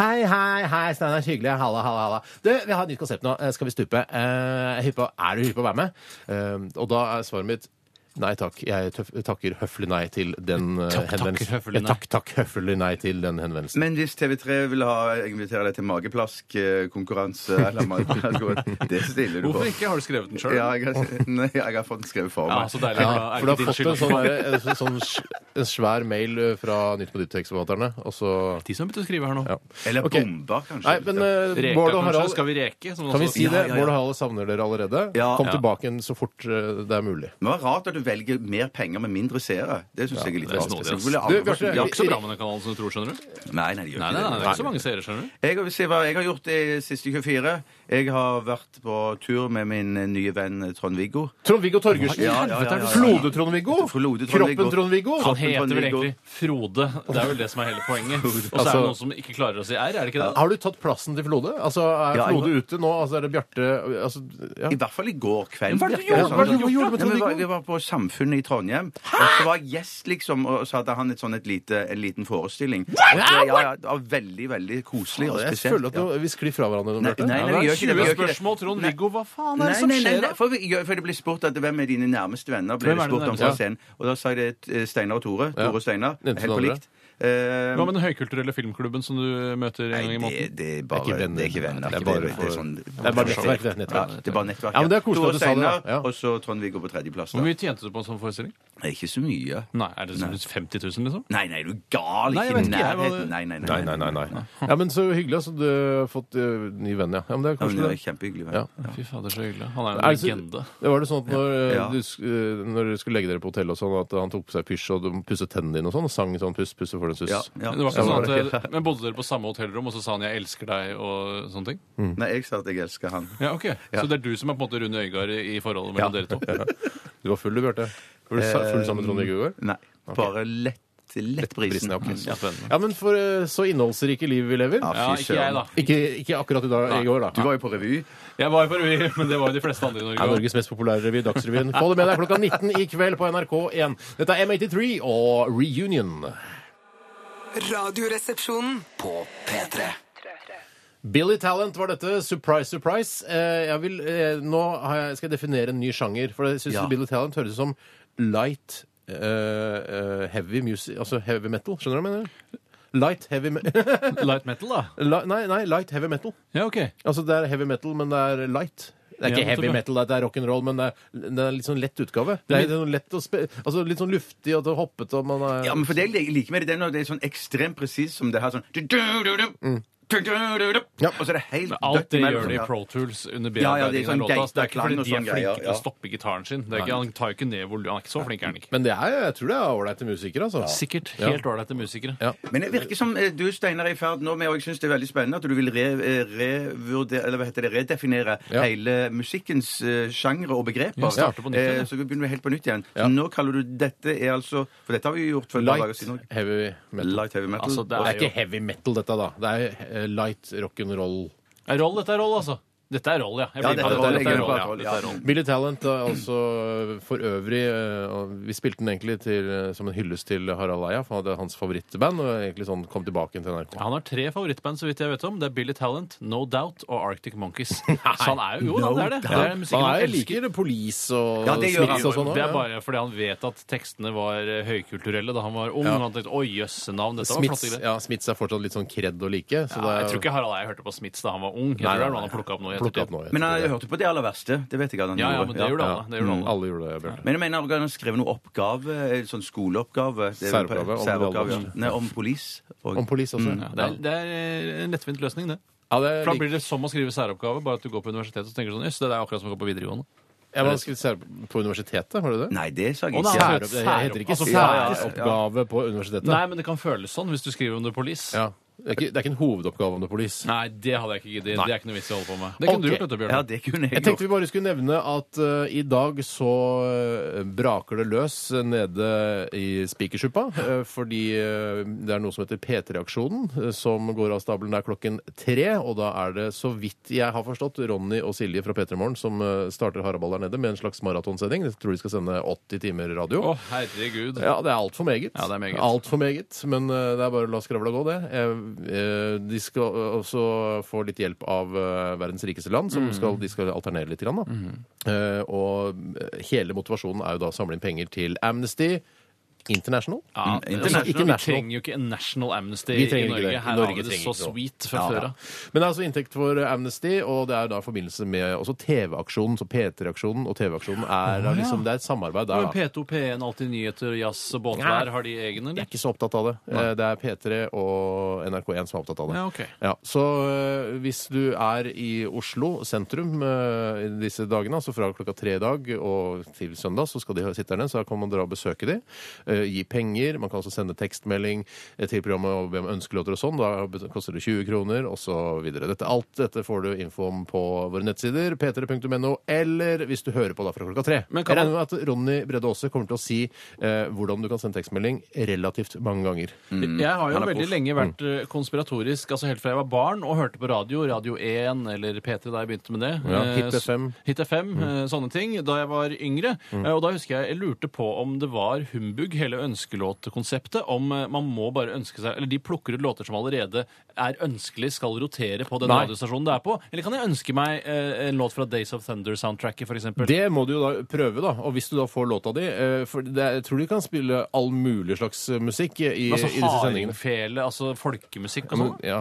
S3: Hei, hei, hei, Steinar. Hyggelig. Halla, halla, halla. Du, vi har et nytt konsept nå. Eh, Skal vi stupe? Eh, hypp på- er du hypp på å være med? Eh, og da er svaret mitt Nei takk, jeg tøff, takker høflig nei til den eh,
S4: Takk, takker
S3: henvendelsen.
S4: høflig
S3: Ja,
S4: nei.
S3: Takk, takk, høflig nei til den henvendelsen.
S5: Men hvis TV3 vil ha invitere deg til mageplask-konkurranse eller mageplask, Det stiller du på.
S4: Hvorfor ikke? Har du skrevet den sjøl?
S5: Ja, jeg har, nei, jeg har fått den skrevet for
S4: Ja, altså, så
S5: meg.
S4: deilig.
S3: Ja,
S4: Er
S3: for du har
S4: ikke din
S3: fått en
S4: skyld.
S3: sånn, der, en sånn, sj- en svær mail eh, fra Nytt på Nytt-tekstforfatterne, og så
S4: De som har begynt å skrive her nå.
S3: ja.
S5: Eller
S3: Ok.
S5: bomber, kanskje.
S3: Nei, men eh,
S4: Reka,
S3: Bård og
S4: kanskje?
S3: Harald
S4: Skal vi reke? Som
S3: Kan vi
S4: også-
S3: si det?
S5: ja, ja.
S3: Bård og Harald savner dere allerede.
S5: Ja.
S3: Kom
S5: Ja.
S3: tilbake igjen så fort eh, det er mulig.
S5: det var rart at du velger mer penger med mindre seere. Det syns jeg er litt
S4: det er
S5: rart.
S4: snodig,
S5: Så
S4: ass.
S5: ville alle
S3: Du,
S5: vært
S3: Bjarte,
S5: som-
S4: Det er ikke så bra med den kanalen som du tror, skjønner du.
S5: Nei, nei, det gjør
S4: Nei,
S5: ikke
S4: nei, nei, det er ikke så
S5: Nei.
S4: mange seere, skjønner du.
S5: Jeg vil si hva jeg har gjort de siste 24. Jeg har vært på tur med min eh, nye venn Trond-Viggo.
S3: Trond-Viggo Torgersen.
S5: Ja, ja, ja, ja, ja.
S3: Flode-Trond-Viggo.
S5: Flode Trond-Viggo. Sånn
S3: Kroppen Trond-Viggo.
S4: Han heter vel
S5: Trond-Viggo.
S4: egentlig Frode. Det er vel det som er hele poenget. Og så er
S3: Altså-
S4: det noen som ikke klarer å si R, er det ikke det?
S3: Har du tatt plassen til Flode? Altså, Er
S5: Ja, jeg-
S3: Flode ute nå? Altså, Er det Bjarte altså, ja.
S5: I hvert fall i går
S4: Men
S5: kveld.
S4: hva er det du
S5: virker
S4: gjorde? Hva er det du
S5: sånn.
S4: gjorde med
S5: Ja, men vi
S4: Trond-Viggo?
S5: var- Vi var på Samfunnet i Trondheim. Og så var jeg gjest, liksom, og så hadde han et sånn et lite, en liten forestilling. Og så- Ja, ja, det var veldig, veldig koselig og
S3: Jeg
S5: spesielt.
S3: føler at
S5: ja.
S3: nå- vi sklir fra hverandre. nå,
S5: Nei,
S3: Bjarte.
S5: nei,
S4: Ja,
S5: nei,
S4: det
S5: vi
S4: er
S5: gjør ikke det. Vi
S4: 20
S5: gjør ikke det.
S4: spørsmål, Trond Viggo. Hva faen er det
S5: Nei,
S4: som
S5: nei, nei,
S4: skjer
S5: nei.
S4: da?
S5: For, vi- for det ble spurt at hvem er dine nærmeste venner, ble
S4: Hvem
S5: det
S4: er dine
S5: spurt om
S4: nærmeste?
S5: fra scenen. Og da sa jeg det eh, Steinar og Tore.
S3: Ja.
S5: Tore og Steinar.
S3: Nevnte
S5: Helt
S3: du
S5: på
S3: andre?
S5: likt. Eh,
S4: Hva med den høykulturelle filmklubben som du møter en gang i
S5: Nei,
S4: måneden?
S5: det, det er bare
S3: ikke venner.
S5: Det er ikke venner.
S3: Det er
S5: ikke
S3: bare
S5: venner, det er
S3: for-
S5: sånn-
S3: det er bare nettverk, det er nettverk.
S5: Ja, det er bare nettverk.
S3: Ja, men det er koselig
S5: Tore
S3: at du sa det, da.
S5: Steinar,
S3: Ja.
S5: Og så Trond-Viggo på tredjeplass. da.
S4: Hvor mye tjente du på en sånn forestilling?
S5: Det er ikke så mye.
S4: Nei, Er det sånn 50 000, liksom?
S5: Nei, nei, du er gal.
S4: Nei, jeg
S5: Ikke
S4: vet
S5: i
S4: ikke, jeg var-
S5: nærheten. Nei, nei, nei. nei,
S3: Ja, men Så hyggelig. Altså, du har fått eh, ny venn, ja. ja men det er
S5: Ja, men
S3: koselig.
S5: det
S3: det.
S5: er kjempehyggelig.
S3: Ja.
S5: Ja.
S4: Fy fader, så hyggelig. Han er jo
S3: Er
S4: en
S3: det så-
S4: legende.
S3: Det var det sånn at når, eh,
S5: Ja.
S3: Du, sk- eh, når dere skulle legge dere på hotellet, og sånn, at han tok på seg pysj og du pusset tennene dine og sånn, og sang sånn puss, pusse for den suss.
S5: Ja, ja.
S4: Men, det var ikke
S3: Ja,
S4: sånn
S3: det
S4: at, eh, men bodde dere på samme hotellrom, og så sa han 'jeg elsker deg' og sånne ting?
S5: Nei, jeg sa at jeg elsker han.
S4: Ja, ok. Så det er du som er på en måte Rune Øygard i i forholdet mellom dere to?
S3: Du var full, du, Bjarte. Var du sa- full sammen med Trond-Viggo i går?
S5: Nei, bare lett lett, lett prisen.
S3: Prisen er opp.
S5: Mm.
S4: Ja, spennende.
S3: Ja, men for eh, så innholdsrike liv vi lever.
S5: Ja,
S4: Ja,
S5: fy
S4: ikke jeg, da.
S5: søren.
S3: Ikke, ikke akkurat i, dag, i går, da.
S5: Du var jo på revy.
S4: Jeg var på revy, men det var jo de fleste andre
S3: Det
S4: i
S3: er
S4: Norge. også.
S3: Norges mest populære revy, Dagsrevyen. Få det med deg klokka 19 i kveld på NRK1. Dette er M83 og Reunion.
S1: Radioresepsjonen.
S2: På P3.
S3: Billy Talent var dette. Surprise, surprise. Eh, jeg vil, eh, nå har jeg, skal jeg definere en ny sjanger. For jeg syns
S5: Ja.
S3: Billy Talent høres ut som light eh, eh, heavy music Altså heavy metal. Skjønner du hva jeg mener? Light heavy me
S4: Light metal, da?
S3: Li nei, nei, light heavy metal.
S4: Ja, OK.
S3: Altså det er heavy metal, men det er light. Det er
S4: Ja,
S3: ikke heavy
S4: nettopp, ja.
S3: metal, det er rock'n'roll, men det er, det er litt sånn lett utgave. Det
S4: Det
S3: er
S4: er
S3: litt sånn, lett å spe altså, litt sånn luftig og hoppete og man er
S5: Ja, men for det jeg liker med det, det er når det er sånn ekstremt presist som det her sånn
S3: Mm. Ja.
S5: Og så er det helt
S4: Alt
S5: dødt
S4: det
S5: imellom,
S4: gjør de i
S5: ja.
S4: Pro Tools under
S5: Ja, ja, det
S4: bearbeidingen
S5: er
S4: av
S5: sånn
S4: låta. Det er ikke
S5: geisterklang
S4: fordi
S5: og
S4: de er
S5: sånn
S4: flinke
S5: greier,
S4: til å
S5: ja.
S4: stoppe gitaren sin. Det er ikke, han tar jo ikke ned volum. Han er ikke så flink, er han ikke.
S3: Men det er, jeg tror det er ålreite musikere, altså.
S4: Sikkert
S3: Ja.
S4: helt ålreite musikere.
S3: Ja.
S5: Men det virker som eh, du, Steinar, er i ferd nå med, og jeg syns det er veldig spennende, at du vil re, eh, revurdere, eller hva heter det, redefinere
S3: Ja.
S5: hele musikkens eh, sjangre og begreper.
S4: Ja, starte på nytt igjen,
S5: Eh,
S4: ja.
S5: Så vi begynner helt på nytt igjen.
S3: Ja.
S5: Nå kaller du dette er altså For dette har vi jo gjort for et par dager
S3: Light
S5: siden. også.
S3: heavy metal.
S5: Light heavy metal.
S4: Altså, det
S3: Det
S4: er
S3: er ikke heavy metal, dette, da. Det er eh, light rock'n'roll.
S4: Er Roll, dette er roll, altså. Dette er roll, ja. Jeg
S5: Ja,
S4: blir
S5: dette
S4: med.
S5: er roll, jeg
S4: Dette
S5: glemmer
S4: roll,
S5: på
S4: ja.
S5: roll,
S4: Dette
S5: ja.
S4: er roll.
S3: Billy Talent er altså for øvrig eh, og Vi spilte den egentlig til, eh, som en hyllest til Harald Eia, for han hadde hans favorittband, og egentlig sånn kom tilbake til NRK.
S4: Han har tre favorittband, så vidt jeg vet om. Det er Billy Talent, No Doubt og Arctic Monkeys. Så han er jo jo, da, det er det. Det er musikken
S3: Han
S4: han
S3: er,
S4: elsker.
S3: liker police og
S5: Ja, det gjør han.
S3: Smiths og sånn
S4: Det er
S3: også, ja.
S4: bare fordi han vet at tekstene var eh, høykulturelle da han var ung.
S3: Ja.
S4: Og han tenkte, oi, jøsse navn, dette var flotte
S3: Smiths,
S4: greier.
S3: ja, Smiths er fortsatt litt sånn kred å like. Så
S4: Ja,
S3: det er,
S4: jeg tror ikke Harald Eia hørte på Smiths da han var ung.
S3: Nei,
S4: Jeg tror det
S3: nei,
S4: er noe han
S3: nei.
S4: har plukket opp nå i
S3: Plukket opp
S4: ettertid.
S3: nå, jeg
S5: Men
S3: tror
S5: han
S3: det.
S5: hørte på det aller verste. Det vet jeg at han
S4: Ja, ja,
S5: gjorde.
S4: men det gjorde
S3: Ja.
S4: alle. Det gjorde
S3: Mm,
S4: alle.
S3: alle gjorde det, Bjarte.
S5: Men jeg mener han har skrevet noe oppgave, eh, sånn skoleoppgave det er vel-
S3: Særoppgave, om
S5: Særoppgave,
S3: det
S5: ja.
S3: aller
S5: Nei, om police. og-
S3: Om police også.
S4: Mm, Ja, det, er, det er en lettvint løsning, det.
S3: Ja, det er
S4: For Da blir det som å skrive særoppgave, bare at du går på universitetet og tenker sånn Jøss, det er akkurat som å gå på videregående.
S3: Jeg var skrevet sær- på universitetet, var det det?
S5: Nei, det sa jeg
S4: Å,
S5: ikke.
S4: nei,
S5: Ja.
S4: han
S3: Særopp- Det heter ikke
S4: Altså,
S3: særoppgave på universitetet.
S4: Nei, men det kan føles sånn hvis du skriver om det på LIS.
S3: Ja. Det, er ikke, det er ikke en hovedoppgave om det er police.
S4: Nei, det hadde jeg ikke giddet. Det er ikke noe vits i å holde på med. Det
S3: Ok.
S4: kunne du gjort, vet du, Bjørn.
S5: Ja, det kunne jeg
S3: Jeg
S5: gjort.
S3: tenkte vi bare skulle nevne at eh, i dag så eh, braker det løs nede i Spikersuppa, eh, fordi eh, det er noe som heter P3-aksjonen, eh, som går av stabelen der klokken tre. Og da er det, så vidt jeg har forstått, Ronny og Silje fra P3 Morgen som eh, starter haraball der nede med en slags maratonsending. Jeg tror de skal sende 80 timer radio.
S4: Å, herregud.
S3: Ja, det er altfor meget.
S4: Ja, det er meget.
S3: Alt for meget. Men eh, det er bare å la skravla gå, det. Eh, eh, de skal eh, også få litt hjelp av eh, verdens rikeste land, som
S4: Mm.
S3: skal, de skal alternere litt. Grann, da. Eh, og eh, hele motivasjonen er jo da å samle inn penger til Amnesty International.
S4: Ja,
S5: International.
S4: altså, vi trenger jo ikke en national amnesty i
S3: trenger ikke
S4: Norge.
S3: det.
S4: Her
S3: Norge
S4: har vi det
S3: trenger
S4: så
S3: ikke noe.
S4: sweet fra før av.
S3: Men det er altså inntekt for Amnesty, og det er da i forbindelse med også TV-aksjonen. Så P3-aksjonen og TV-aksjonen er da liksom, det er et samarbeid der.
S4: Og
S3: da.
S4: P2, P1, Alltid nyheter, jazz og båtvær, har de egne,
S3: Jeg
S4: eller?
S3: er ikke så opptatt av det. Eh, Det er P3 og NRK1 som er opptatt av det.
S4: Ja, ok.
S3: Ja, så eh, hvis du er i Oslo sentrum eh, i disse dagene, altså fra klokka tre i dag og til søndag, så skal de ha- sitte der nede, så da kan man dra og besøke de. eh, Gi penger. Man kan også sende tekstmelding eh, til programmet og be om ønskelåter og sånn. Da bet- koster det 20 kroner, og så videre. Dette, alt dette får du info om på våre nettsider, p3.no, eller hvis du hører på da fra klokka tre.
S4: Men
S3: Jeg
S4: kan
S3: regner med at Ronny Bredde Aase kommer til å si eh, hvordan du kan sende tekstmelding relativt mange ganger.
S4: Jeg har jo
S5: Han er
S4: veldig
S5: proff.
S3: Mm.
S4: lenge vært eh, konspiratorisk, altså helt fra jeg var barn og hørte på radio, Radio 1 eller P3 da jeg begynte med det.
S3: Ja,
S4: Eh,
S3: Hit Mm.
S4: s-
S3: FM.
S4: Hit FM, eh, sånne ting, da jeg var yngre.
S3: Mm.
S4: Eh, Og da husker jeg jeg lurte på om det var humbug, hele ønskelåtkonseptet, om eh, man må bare ønske seg Eller de plukker ut låter som allerede er ønskelig, skal rotere på den
S3: Nei.
S4: radiostasjonen det er på. Eller kan jeg ønske meg eh, en låt fra Days of Thunder-soundtracket, for eksempel?
S3: Det må du jo da prøve, da. Og hvis du da får låta di eh, For det, er- jeg tror de kan spille all mulig slags eh, musikk i,
S4: altså
S3: i disse sendingene.
S4: hardingfele, altså folkemusikk og
S3: Men,
S4: sånn?
S3: ja.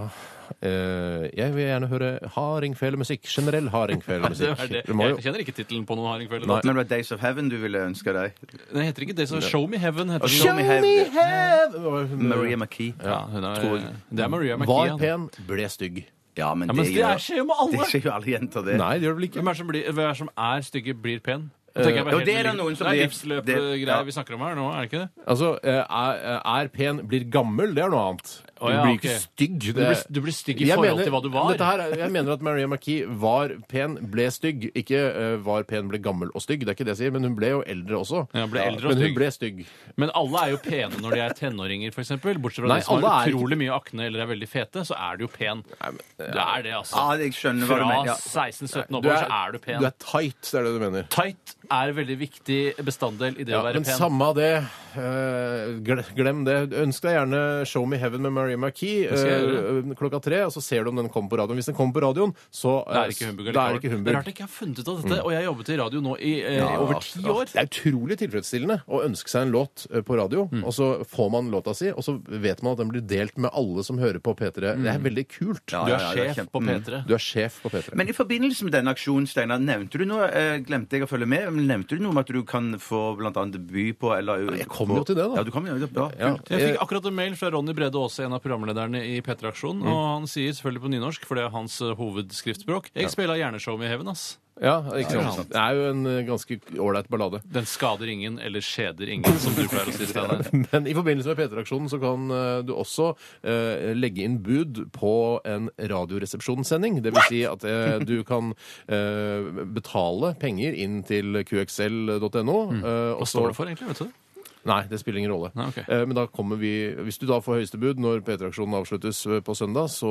S3: eh, jeg vil gjerne høre hardingfelemusikk. Generell
S4: Det
S3: hardingfelemusikk.
S4: er det.
S3: Du må
S4: Jeg
S3: jo-
S4: kjenner ikke tittelen på noen hardingfele.
S3: Nei.
S4: låt.
S5: Men det var Days of Heaven du ville ønske deg.
S4: Den heter ikke det, så Show Me Heaven heter
S5: Show
S4: den.
S5: Me Heaven. Maria
S3: Maria
S5: McKee.
S4: Ja, hun er,
S5: Tror jeg.
S4: det er Maria
S3: Var
S4: McKeon.
S3: pen, ble stygg.
S5: Ja, men
S4: Ja, men
S5: det
S4: det
S5: gjør-
S4: er- skjer jo med alle!
S5: Det skjer jo alle jenter, det.
S3: Nei, det gjør det vel ikke.
S4: Hvem er det som, blir, hvem er, det som er stygge, blir pen? tenker jeg på
S5: Jo,
S4: helt
S5: det er det
S4: liv-
S5: noen som
S4: Det er
S5: blir- det- ja.
S4: livsløpgreier vi snakker om her nå, er det ikke det?
S3: Altså, eh, er, er pen, blir gammel, det er noe annet. Du
S4: Å, ja,
S3: blir
S4: ok.
S3: ikke stygg.
S4: Du blir, du blir stygg i
S3: Jeg
S4: forhold
S3: mener-
S4: til hva du var.
S3: Dette her, er- jeg mener at Maria Marquis var pen, ble stygg. Ikke eh, var pen, ble gammel og stygg. Det er ikke det jeg sier, men hun ble jo eldre også.
S4: Ja, ble eldre og
S3: men
S4: stygg.
S3: hun ble stygg.
S4: Men alle er jo pene når de er tenåringer, f.eks. Bortsett fra
S3: Nei,
S4: de som
S3: alle
S4: har
S3: er ikke-
S4: utrolig mye akne eller er veldig fete, så er du jo pen. Du er det, altså.
S5: Ja, jeg skjønner hva du mener.
S4: Fra
S5: Ja.
S4: 16-17 oppover så er du
S3: Du
S4: pen.
S3: er tight, det er det du mener.
S4: Tight er en veldig viktig bestanddel i det
S3: Ja,
S4: å være
S3: men
S4: pen.
S3: samme av det. eh, gle- glem det. Ønsk deg gjerne Show Me Heaven med Maria Marquis
S4: skal jeg
S3: eh,
S4: gjøre.
S3: klokka tre, og så ser du om den kommer på radioen. Hvis den kommer på radioen, så eh,
S4: Det er ikke
S3: da
S4: humbug.
S3: er det ikke
S4: likevel.
S3: humbug. Mm.
S4: Rart jeg ikke har funnet ut av dette, og jeg har jobbet i radio nå i eh, over ti
S3: Ja,
S4: år.
S3: Det er utrolig tilfredsstillende å ønske seg en låt eh, på radio,
S5: Mm.
S3: og så får man låta si, og så vet man at den blir delt med alle som hører på P3. Det er veldig kult.
S5: Mm. Ja,
S4: Du
S5: ja,
S4: er
S5: ja, det
S4: sjef
S5: kjempe-
S4: på
S5: Mm.
S4: P3.
S3: Du er sjef på P3.
S5: Men i forbindelse med denne aksjonen, Steinar, nevnte du noe eh, Glemte jeg å følge med? men Nevnte du noe om at du kan få blant annet by på eller
S3: jeg kom jo til det, da.
S5: Ja, du kom jo, ja,
S3: ja.
S5: kult.
S4: Jeg fikk akkurat en mail fra Ronny Brede Aase, en av programlederne i P3-aksjonen.
S3: Mm.
S4: Og han sier selvfølgelig på nynorsk, for det er hans eh, hovedskriftspråk Jeg spiller gjerne show med heaven, ass.
S3: Ja, ikke
S5: Ja,
S3: sant. Det er jo en eh, ganske ålreit ballade.
S4: Den skader ingen, eller skjeder ingen, som du pleier å si, Steinar.
S3: Men i forbindelse med P3-aksjonen så kan eh, du også eh, legge inn bud på en Radioresepsjonssending. Det vil si at eh, du kan eh, betale penger inn til qxl.no.
S5: Mm.
S3: eh, og
S4: Hva
S3: så-
S4: står det for, egentlig? vet du? det?
S3: Nei, det spiller ingen rolle.
S4: Nei, ok.
S3: Eh, Men da kommer vi Hvis du da får høyeste bud når P3-aksjonen avsluttes eh, på søndag, så,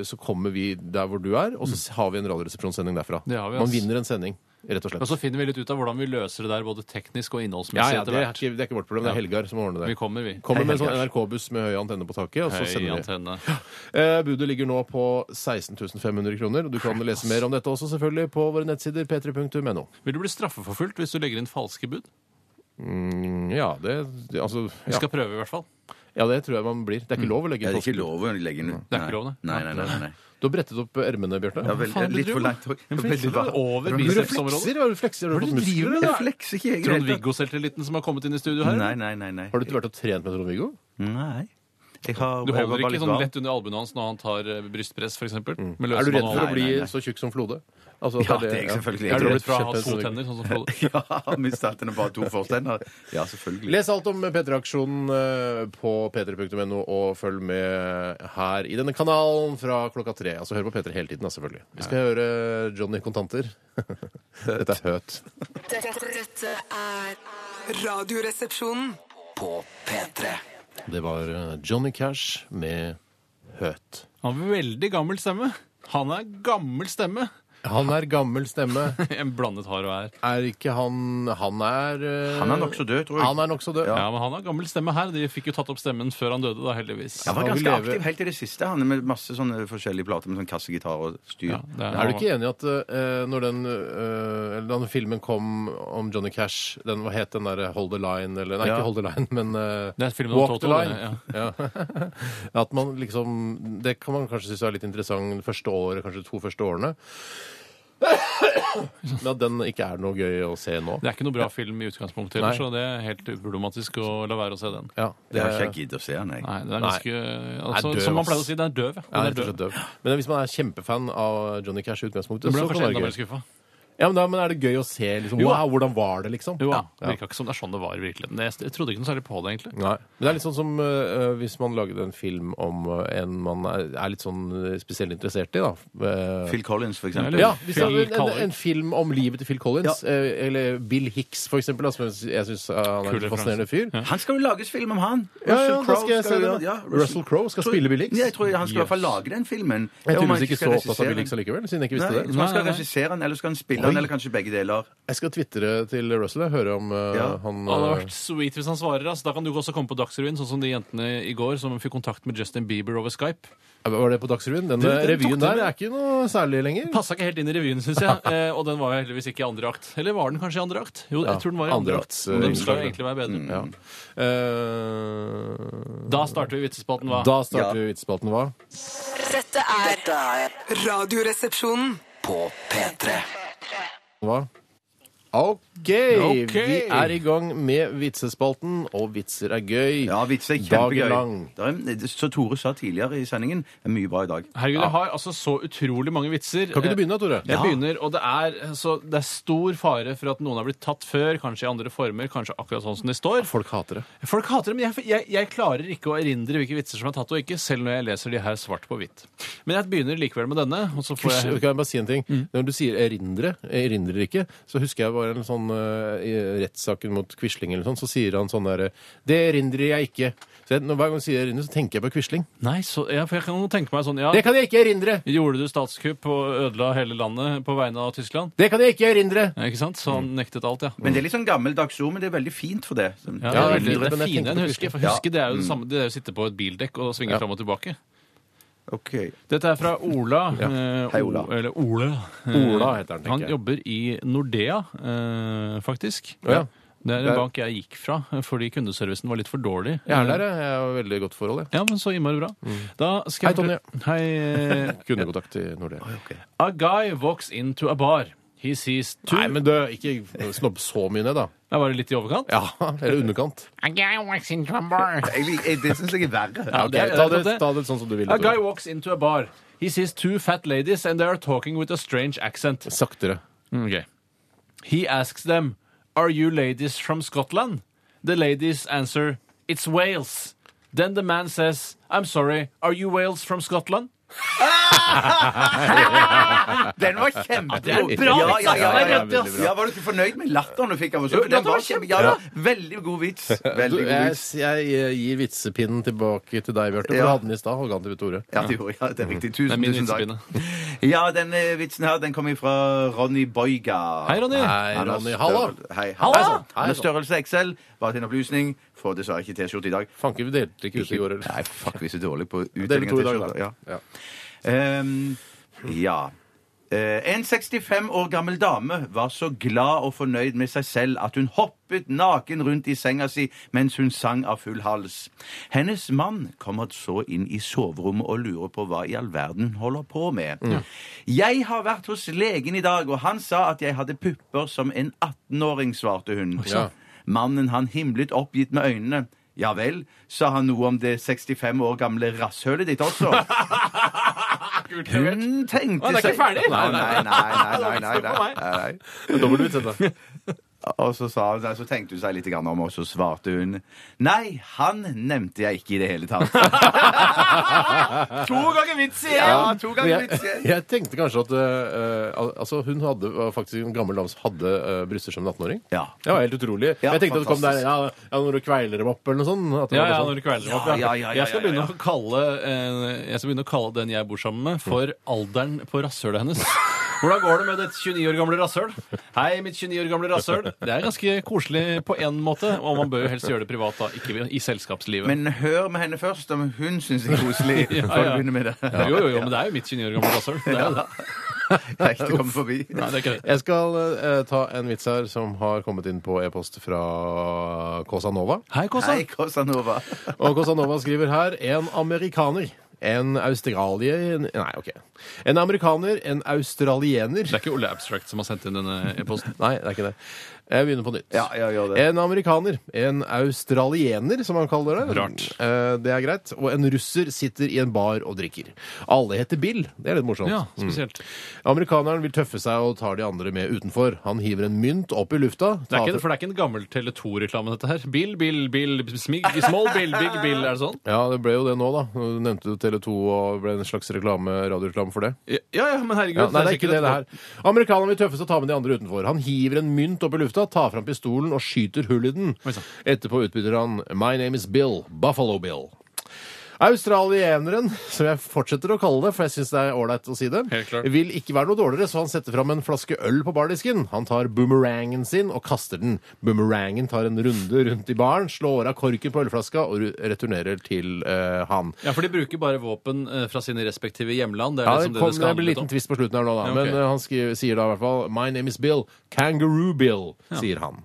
S3: så kommer vi der hvor du er, og så s- har vi en radioresepsjonssending derfra.
S4: Mm. Det har vi,
S3: Man
S4: ass.
S3: vinner en sending, rett og slett.
S4: Og så finner vi litt ut av hvordan vi løser det der, både teknisk og innholdsmessig.
S3: ja, ja,
S4: etter
S3: det, er
S4: hvert.
S3: ikke, det er ikke vårt problem. Det er Helgar som ordner det.
S4: Vi kommer, vi.
S3: Kommer med en sånn NRK-buss med høy antenne på taket, og så
S4: Høy
S3: sender vi.
S4: antenne.
S3: Eh, budet ligger nå på 16 500 kroner, og du kan lese mer om dette også selvfølgelig på våre nettsider p3.no.
S4: Vil du bli straffeforfulgt hvis du legger inn falske bud?
S3: Mm, Ja, det det- altså
S4: Vi
S3: ja.
S4: skal Mm. prøve, i hvert fall.
S3: ja, det tror jeg man blir. Det er ikke lov å legge
S5: Ja,
S3: inn
S5: det er ikke
S3: påskudd.
S5: lov å legge inn
S4: Det er ikke lov, det.
S5: Nei, nei, nei. nei, nei.
S3: Du har brettet opp ermene, Bjarte.
S5: Ja, vel,
S4: faen,
S5: litt
S4: du driver
S5: for langt. og-
S4: Men
S5: veldig
S4: flekser
S5: langt.
S4: du over
S3: Men du flekser,
S4: biceps-området?
S3: ja, du flekser. Har du fått muskler? eller?
S5: Jeg flekser ikke, jeg. i det hele tatt.
S4: Trond-Viggo selvtilliten som har kommet inn i studio her?
S5: Nei, nei, nei. nei.
S3: Har du ikke vært og trent med Trond-Viggo?
S5: Nei. Jeg har,
S4: Du
S5: jeg var
S4: holder
S5: bare
S4: ikke
S5: litt
S4: sånn
S5: varm.
S4: lett under albuene hans når han tar eh, brystpress, f.eks.? Mm.
S3: Er du redd for
S5: Nei,
S3: å bli
S5: nei, nei.
S3: så tjukk som Flode? Altså, at
S5: Ja, det er jeg selvfølgelig.
S3: Ja.
S4: Er du redd for å
S3: blitt
S4: ha
S3: kjent
S4: to
S3: med Trond-Viggo?
S4: tenner? Sånn som Frode?
S5: Ja, mista alt bare to fortenner. Ja, selvfølgelig.
S3: Les alt om P3-aksjonen eh, på p3.no, og følg med her i denne kanalen fra klokka tre. Altså, hør på P3 hele tiden, da, selvfølgelig. Vi skal høre Johnny Kontanter. Dette er høt.
S6: Dette, dette er Radioresepsjonen.
S2: På P3.
S3: Det var eh, Johnny Cash med Høt.
S4: Han har veldig gammel stemme. Han er gammel stemme.
S3: Han er gammel stemme.
S4: En blandet har og er.
S3: Er ikke han Han er eh,
S5: Han er nokså død, tror jeg.
S3: Han er nokså død.
S4: Ja, men han har gammel stemme her. De fikk jo tatt opp stemmen før han døde, da, heldigvis.
S5: Han var
S3: Han vil
S5: ganske
S3: leve-
S5: aktiv helt til det siste, han, med masse sånne forskjellige plater med sånn kassegitar og styr.
S4: Ja, det
S3: Er du ikke enig i at eh, når den, eh, eller den filmen kom om Johnny Cash den, Hva het den der eh, Hold the Line? Eller, nei,
S5: Ja.
S3: ikke Hold the Line, men eh,
S4: Det er filmen om
S3: Walk the
S4: Toto,
S3: Line. Ja. At man liksom Det kan man kanskje synes er litt interessant det første året, kanskje de to første årene. Men at den ikke er noe gøy å se nå.
S4: Det er ikke noe bra film i utgangspunktet heller,
S3: Nei.
S4: så det er helt uproblematisk å la være å se den.
S3: Ja, det
S5: Jeg har
S3: er-
S5: ikke giddet å se han, jeg.
S4: Nei, det er
S3: Eh, Nei.
S4: ganske altså,
S3: døv,
S4: Som man
S3: ass.
S4: pleier å si, den er døv. Ja.
S3: Ja,
S4: Den er
S3: rett og slett
S4: døv.
S3: døv. Men hvis man er kjempefan av Johnny Cash i utgangspunktet,
S4: Da blir
S3: så
S4: man
S3: kan
S4: kanskje
S3: det
S4: enda
S3: være
S4: mer
S3: gøy.
S4: skuffa.
S3: Ja, men, da, men er det gøy å se liksom
S4: Jo.
S3: Wow, hvordan var det, liksom?
S4: Jo, ja.
S3: Ja.
S4: Virka ikke som det er sånn det var i virkeligheten. Jeg, jeg trodde ikke noe særlig på det, egentlig.
S3: Nei. Men det er litt sånn som øh, hvis man lagde en film om øh, en man er, er litt sånn øh, spesielt interessert i, da. Eh,
S5: Phil Collins, for eksempel.
S3: ja,
S4: Eller-
S3: hvis det
S4: Phil
S3: er en,
S4: Collins.
S3: en film om livet til Phil Collins, eh, eller Bill Hicks for eksempel, da, som jeg sy- jeg syns eh, han er
S4: Kul
S3: en fascinerende fyr. Ja.
S5: Han skal jo lages film om han!
S3: Ja, da
S5: Russell Crowe
S3: skal jeg se
S5: jo-
S3: den.
S5: ja,
S3: Russell Crowe skal
S5: Tror-
S3: spille Bill Hicks.
S5: Ja, jeg tror han skal i hvert fall lage den filmen.
S3: Jeg
S5: Ja, om han
S3: tydeligvis ikke
S5: skal
S3: så opptatt av
S5: regissere
S3: Bill Hicks
S5: den.
S3: allikevel, siden jeg ikke
S5: Nei,
S3: visste
S5: jeg
S3: det.
S5: tror han skal
S4: Nei, nei, nei.
S5: regissere den, eller skal han spille den, eller kanskje begge deler.
S3: Jeg skal tvitre til Russell og høre om øh,
S5: Ja.
S3: han
S4: Det hadde
S3: øh,
S4: vært sweet hvis han svarer. ass. Da kan du også komme på Dagsrevyen, sånn som de jentene i går som fikk kontakt med Justin Bieber over Skype.
S3: Var det på Dagsrevyen? Den, eh,
S4: den tok
S3: revyen
S4: det
S3: der
S4: med.
S3: er ikke noe særlig lenger.
S4: Passa ikke helt inn i revyen, syns jeg. Eh, og den var jo heldigvis ikke i andre akt. Eller var den kanskje i andre akt? Jo,
S3: Ja,
S4: jeg tror den var i andre,
S3: andre
S4: akt.
S3: akts, eh,
S4: Den skal
S3: innslag,
S4: jo egentlig være bedre.
S3: Ja. Eh,
S4: Da starter vi vitsespalten, hva?
S3: da starter vi vitsespalten, hva?
S6: Dette er
S2: Dette er
S6: Radioresepsjonen.
S2: på P3.
S3: hva? OK.
S4: Ok.
S3: Vi er i gang med vitsespalten, og vitser er gøy.
S5: Ja, vitser er
S3: Dagen lang.
S5: kjempegøy. Det er- Så Tore sa tidligere i sendingen, det er mye bra i dag.
S4: Herregud, jeg har altså så utrolig mange vitser. Eh,
S3: Kan ikke du begynne, Tore?
S4: Jeg begynner, og det er, så det er stor fare for at noen har blitt tatt før, kanskje i andre former, kanskje akkurat sånn som de står.
S3: Folk hater det.
S4: Folk hater det, men jeg, jeg, jeg klarer ikke å erindre hvilke vitser som er tatt og ikke, selv når jeg leser de her svart på hvitt. Men jeg begynner likevel med denne, og så får jeg
S3: Kan jeg bare si en ting? Når du sier 'erindre', jeg erindrer ikke, så husker jeg bare en sånn eh, i rettssaken mot Quisling eller sånn, så sier han sånn derre 'Det erindrer jeg ikke'. Så jeg, når hver gang jeg sier 'erindre', så tenker jeg på Quisling.
S4: Nei, så, ja, for jeg kan jo tenke meg sånn, ja,
S3: Det kan jeg ikke erindre!
S4: gjorde du statskupp og ødela hele landet på vegne av Tyskland?
S3: Det kan jeg ikke erindre!
S4: Ja, ikke sant? Så han
S3: Mm.
S4: nektet alt, ja. Mm.
S5: Men det er litt sånn gammeldags ord, men det er veldig fint for det.
S4: Ja,
S3: Ja,
S4: det, er veldig,
S3: men
S4: det er
S3: jeg
S4: fine
S3: tenkte
S4: en
S3: på Mm.
S4: husker.
S3: Quisling.
S4: For husker, det er jo det samme Det er jo å sitte på et bildekk og svinge fram og tilbake.
S5: Ok.
S4: Dette er fra Ola. eh,
S5: Hei, Ola.
S4: O- Eller Ole. Eh,
S3: Ola heter han, tenker
S4: Han
S3: jeg.
S4: jobber i Nordea, eh, faktisk.
S3: Å, ja.
S4: Det er
S5: Der.
S4: en bank jeg gikk fra eh, fordi kundeservicen var litt for dårlig. Eh,
S3: Jeg er der, jeg. Jeg har veldig godt forhold, jeg.
S4: Ja, men så innmari bra. Da skal jeg
S3: Hei,
S4: fortelle- Hei, eh,
S3: Kundekontakt i Nordea.
S4: A guy walks into a bar. He sees two
S3: Nei, men du, ikke snobb så mye ned, da.
S4: Ja, Var det litt i overkant?
S3: Ja, Eller underkant.
S4: A guy walks into a bar.
S5: Jeg, lik- jeg, det syns jeg er verre.
S4: Ja,
S3: Ok,
S4: det er-
S3: ta,
S4: det er
S3: det,
S4: sant,
S3: ta det sånn som du vil.
S4: A guy
S3: Tore.
S4: walks into a bar. He sees two fat ladies and they are talking with a strange accent.
S3: Saktere.
S4: Okay. Mm, He asks them, Are you ladies from Scotland? The ladies answer, It's Wales. Then the man says, I'm sorry, are you Wales from Scotland?
S5: Den var kjempegod!
S4: Det er bra,
S5: ja, ja, ja, ja,
S4: det
S5: ja,
S4: er rett, ass.
S5: ja, Var du ikke fornøyd med latteren du fikk av oss? Den var kjempe, ja, ja, veldig god vits.
S3: Du,
S5: Veldig god
S3: jeg,
S5: vits.
S3: jeg eh, gir vitsepinnen tilbake til deg, Bjarte. For
S5: Ja.
S3: du hadde den i stad og ga den til Tore.
S5: Ja, det gjorde jeg. Ja, det er
S4: Det
S5: riktig.
S4: er
S5: Tusen,
S4: min
S5: tusen
S4: vitsepinne.
S5: takk. Ja, den eh, vitsen her den kommer fra Ronny Boiga.
S4: Hei, Ronny.
S3: Nei,
S5: Han har
S3: Ronny,
S5: større-
S3: halla!
S5: altså, Hei,
S4: Halla!
S5: halla! Han har størrelse XL. Bare til en opplysning. Får dessverre ikke T-skjorte i dag.
S3: Fanken, vi delte ikke ut i går, eller?
S5: Nei, fuck, vi er så dårlige på
S3: Dere
S5: utdeling
S3: to
S5: av
S3: i dag,
S5: T-skjorter.
S3: da.
S5: Ja. Ehm, ja. Eh, en 65 år gammel dame var så glad og fornøyd med seg selv at hun hoppet naken rundt i senga si mens hun sang av full hals. Hennes mann kommer så inn i soverommet og lurer på hva i all verden hun holder på med. Jeg har vært hos legen i dag, og han sa at jeg hadde pupper som en 18-åring, svarte hun.
S3: sann.
S5: Mannen han himlet oppgitt med øynene. Ja vel, sa han noe om det 65 år gamle rasshølet ditt også? Hun tenkte
S4: Å, det er ikke ferdig? Sånn
S5: Nei, nei, nei. nei, nei, nei,
S4: Det var
S5: nei,
S4: ikke
S5: nei, nei.
S3: Dobbeltvits, dette.
S5: Og så, sa, hun- så tenkte hun seg litt grann om, og så svarte hun Nei, han nevnte jeg ikke i det hele tatt.
S4: To ganger vits igjen!
S5: Ja, to
S3: Men
S5: ganger
S3: jeg,
S5: vits igjen.
S3: jeg tenkte kanskje at eh, al- altså hun hadde var faktisk en gammel dame som hadde eh, bryster som en 18-åring.
S5: Ja.
S3: Det var helt utrolig.
S5: Ja,
S3: jeg tenkte at det kom der
S5: fantastisk.
S3: ja, ja, når du kveiler dem opp, eller noe sånt. At det
S4: Ja,
S3: var
S4: ja,
S3: sånn.
S4: når du kvelder opp.
S5: Ja, ja, ja, ja,
S4: jeg, skal
S5: ja, ja.
S4: begynne å kalle, eh, jeg skal begynne å kalle den jeg bor sammen med, for alderen på rasshølet hennes. Hvordan går det med ditt 29 år gamle rasshøl? Hei, mitt 29 år gamle rasshøl. Det er ganske koselig på én måte, og man bør jo helst gjøre det privat, da, ikke i selskapslivet.
S5: Men hør med henne først om hun syns det er koselig.
S4: Ja,
S5: For å
S4: ja.
S5: begynne med det.
S4: jo, jo, jo, men det er jo mitt 29 år gamle rasshøl. Det er jo det.
S5: Rekte å komme forbi.
S4: Nei, det er ikke det.
S3: Jeg skal eh, ta en vits her som har kommet inn på e-post fra Cosa Nova.
S4: Hei, Kåsa.
S5: Hei, Kosanova.
S3: Og Kosanova skriver her en amerikaner, en australier Nei, OK. En amerikaner, en australiener
S4: Det er ikke Ole Abstract som har sendt inn denne e-posten.
S3: Nei, det er ikke det. Jeg begynner på nytt.
S5: Ja, ja, gjør det.
S3: En amerikaner, en australiener, som han kaller det.
S4: Rart.
S3: Eh, Det er greit. Og en russer sitter i en bar og drikker. Alle heter Bill. Det er litt morsomt. Mm.
S4: Ja, spesielt.
S3: Amerikaneren vil tøffe seg og tar de andre med utenfor. Han hiver en mynt opp i lufta.
S4: Det er
S3: tar
S4: ikke, for det er ikke en gammel Tele2-reklame, dette her. Bill, Bill, Bill, smig, small, Bill, Bill, Bill. Er det sånn?
S3: Ja, det ble jo det nå, da. Nå nevnte du Tele2 og ble en slags reklame, radioreklame for det.
S4: Ja, ja, men herregud.
S3: Ja, nei, det er ikke
S4: sikkert
S3: det det
S4: et-
S3: her. Amerikaneren vil tøffe seg og ta med de andre utenfor. Han hiver en mynt opp i lufta, tar fram pistolen og skyter hull i den.
S4: Oi, sann.
S3: Etterpå utbytter han My name is Bill. Buffalo Bill. Australieneren, som jeg fortsetter å kalle det, for jeg syns det er ålreit å si det,
S4: Helt klart.
S3: vil ikke være noe dårligere, så han setter fram en flaske øl på bardisken. Han tar boomerangen sin og kaster den. Boomerangen tar en runde rundt i baren, slår av korken på ølflaska og ru- returnerer til eh, han.
S4: Ja, for de bruker bare våpen eh, fra sine respektive hjemland. Det er
S3: Ja, det,
S4: liksom
S3: kom,
S4: det det
S3: det
S4: skal
S3: blir
S4: handle
S3: liten
S4: om.
S3: tvist på slutten her nå, da.
S4: Ja, ok.
S3: Men eh, han skriver, sier da i hvert fall My name is Bill. Kangaroo Bill, sier han.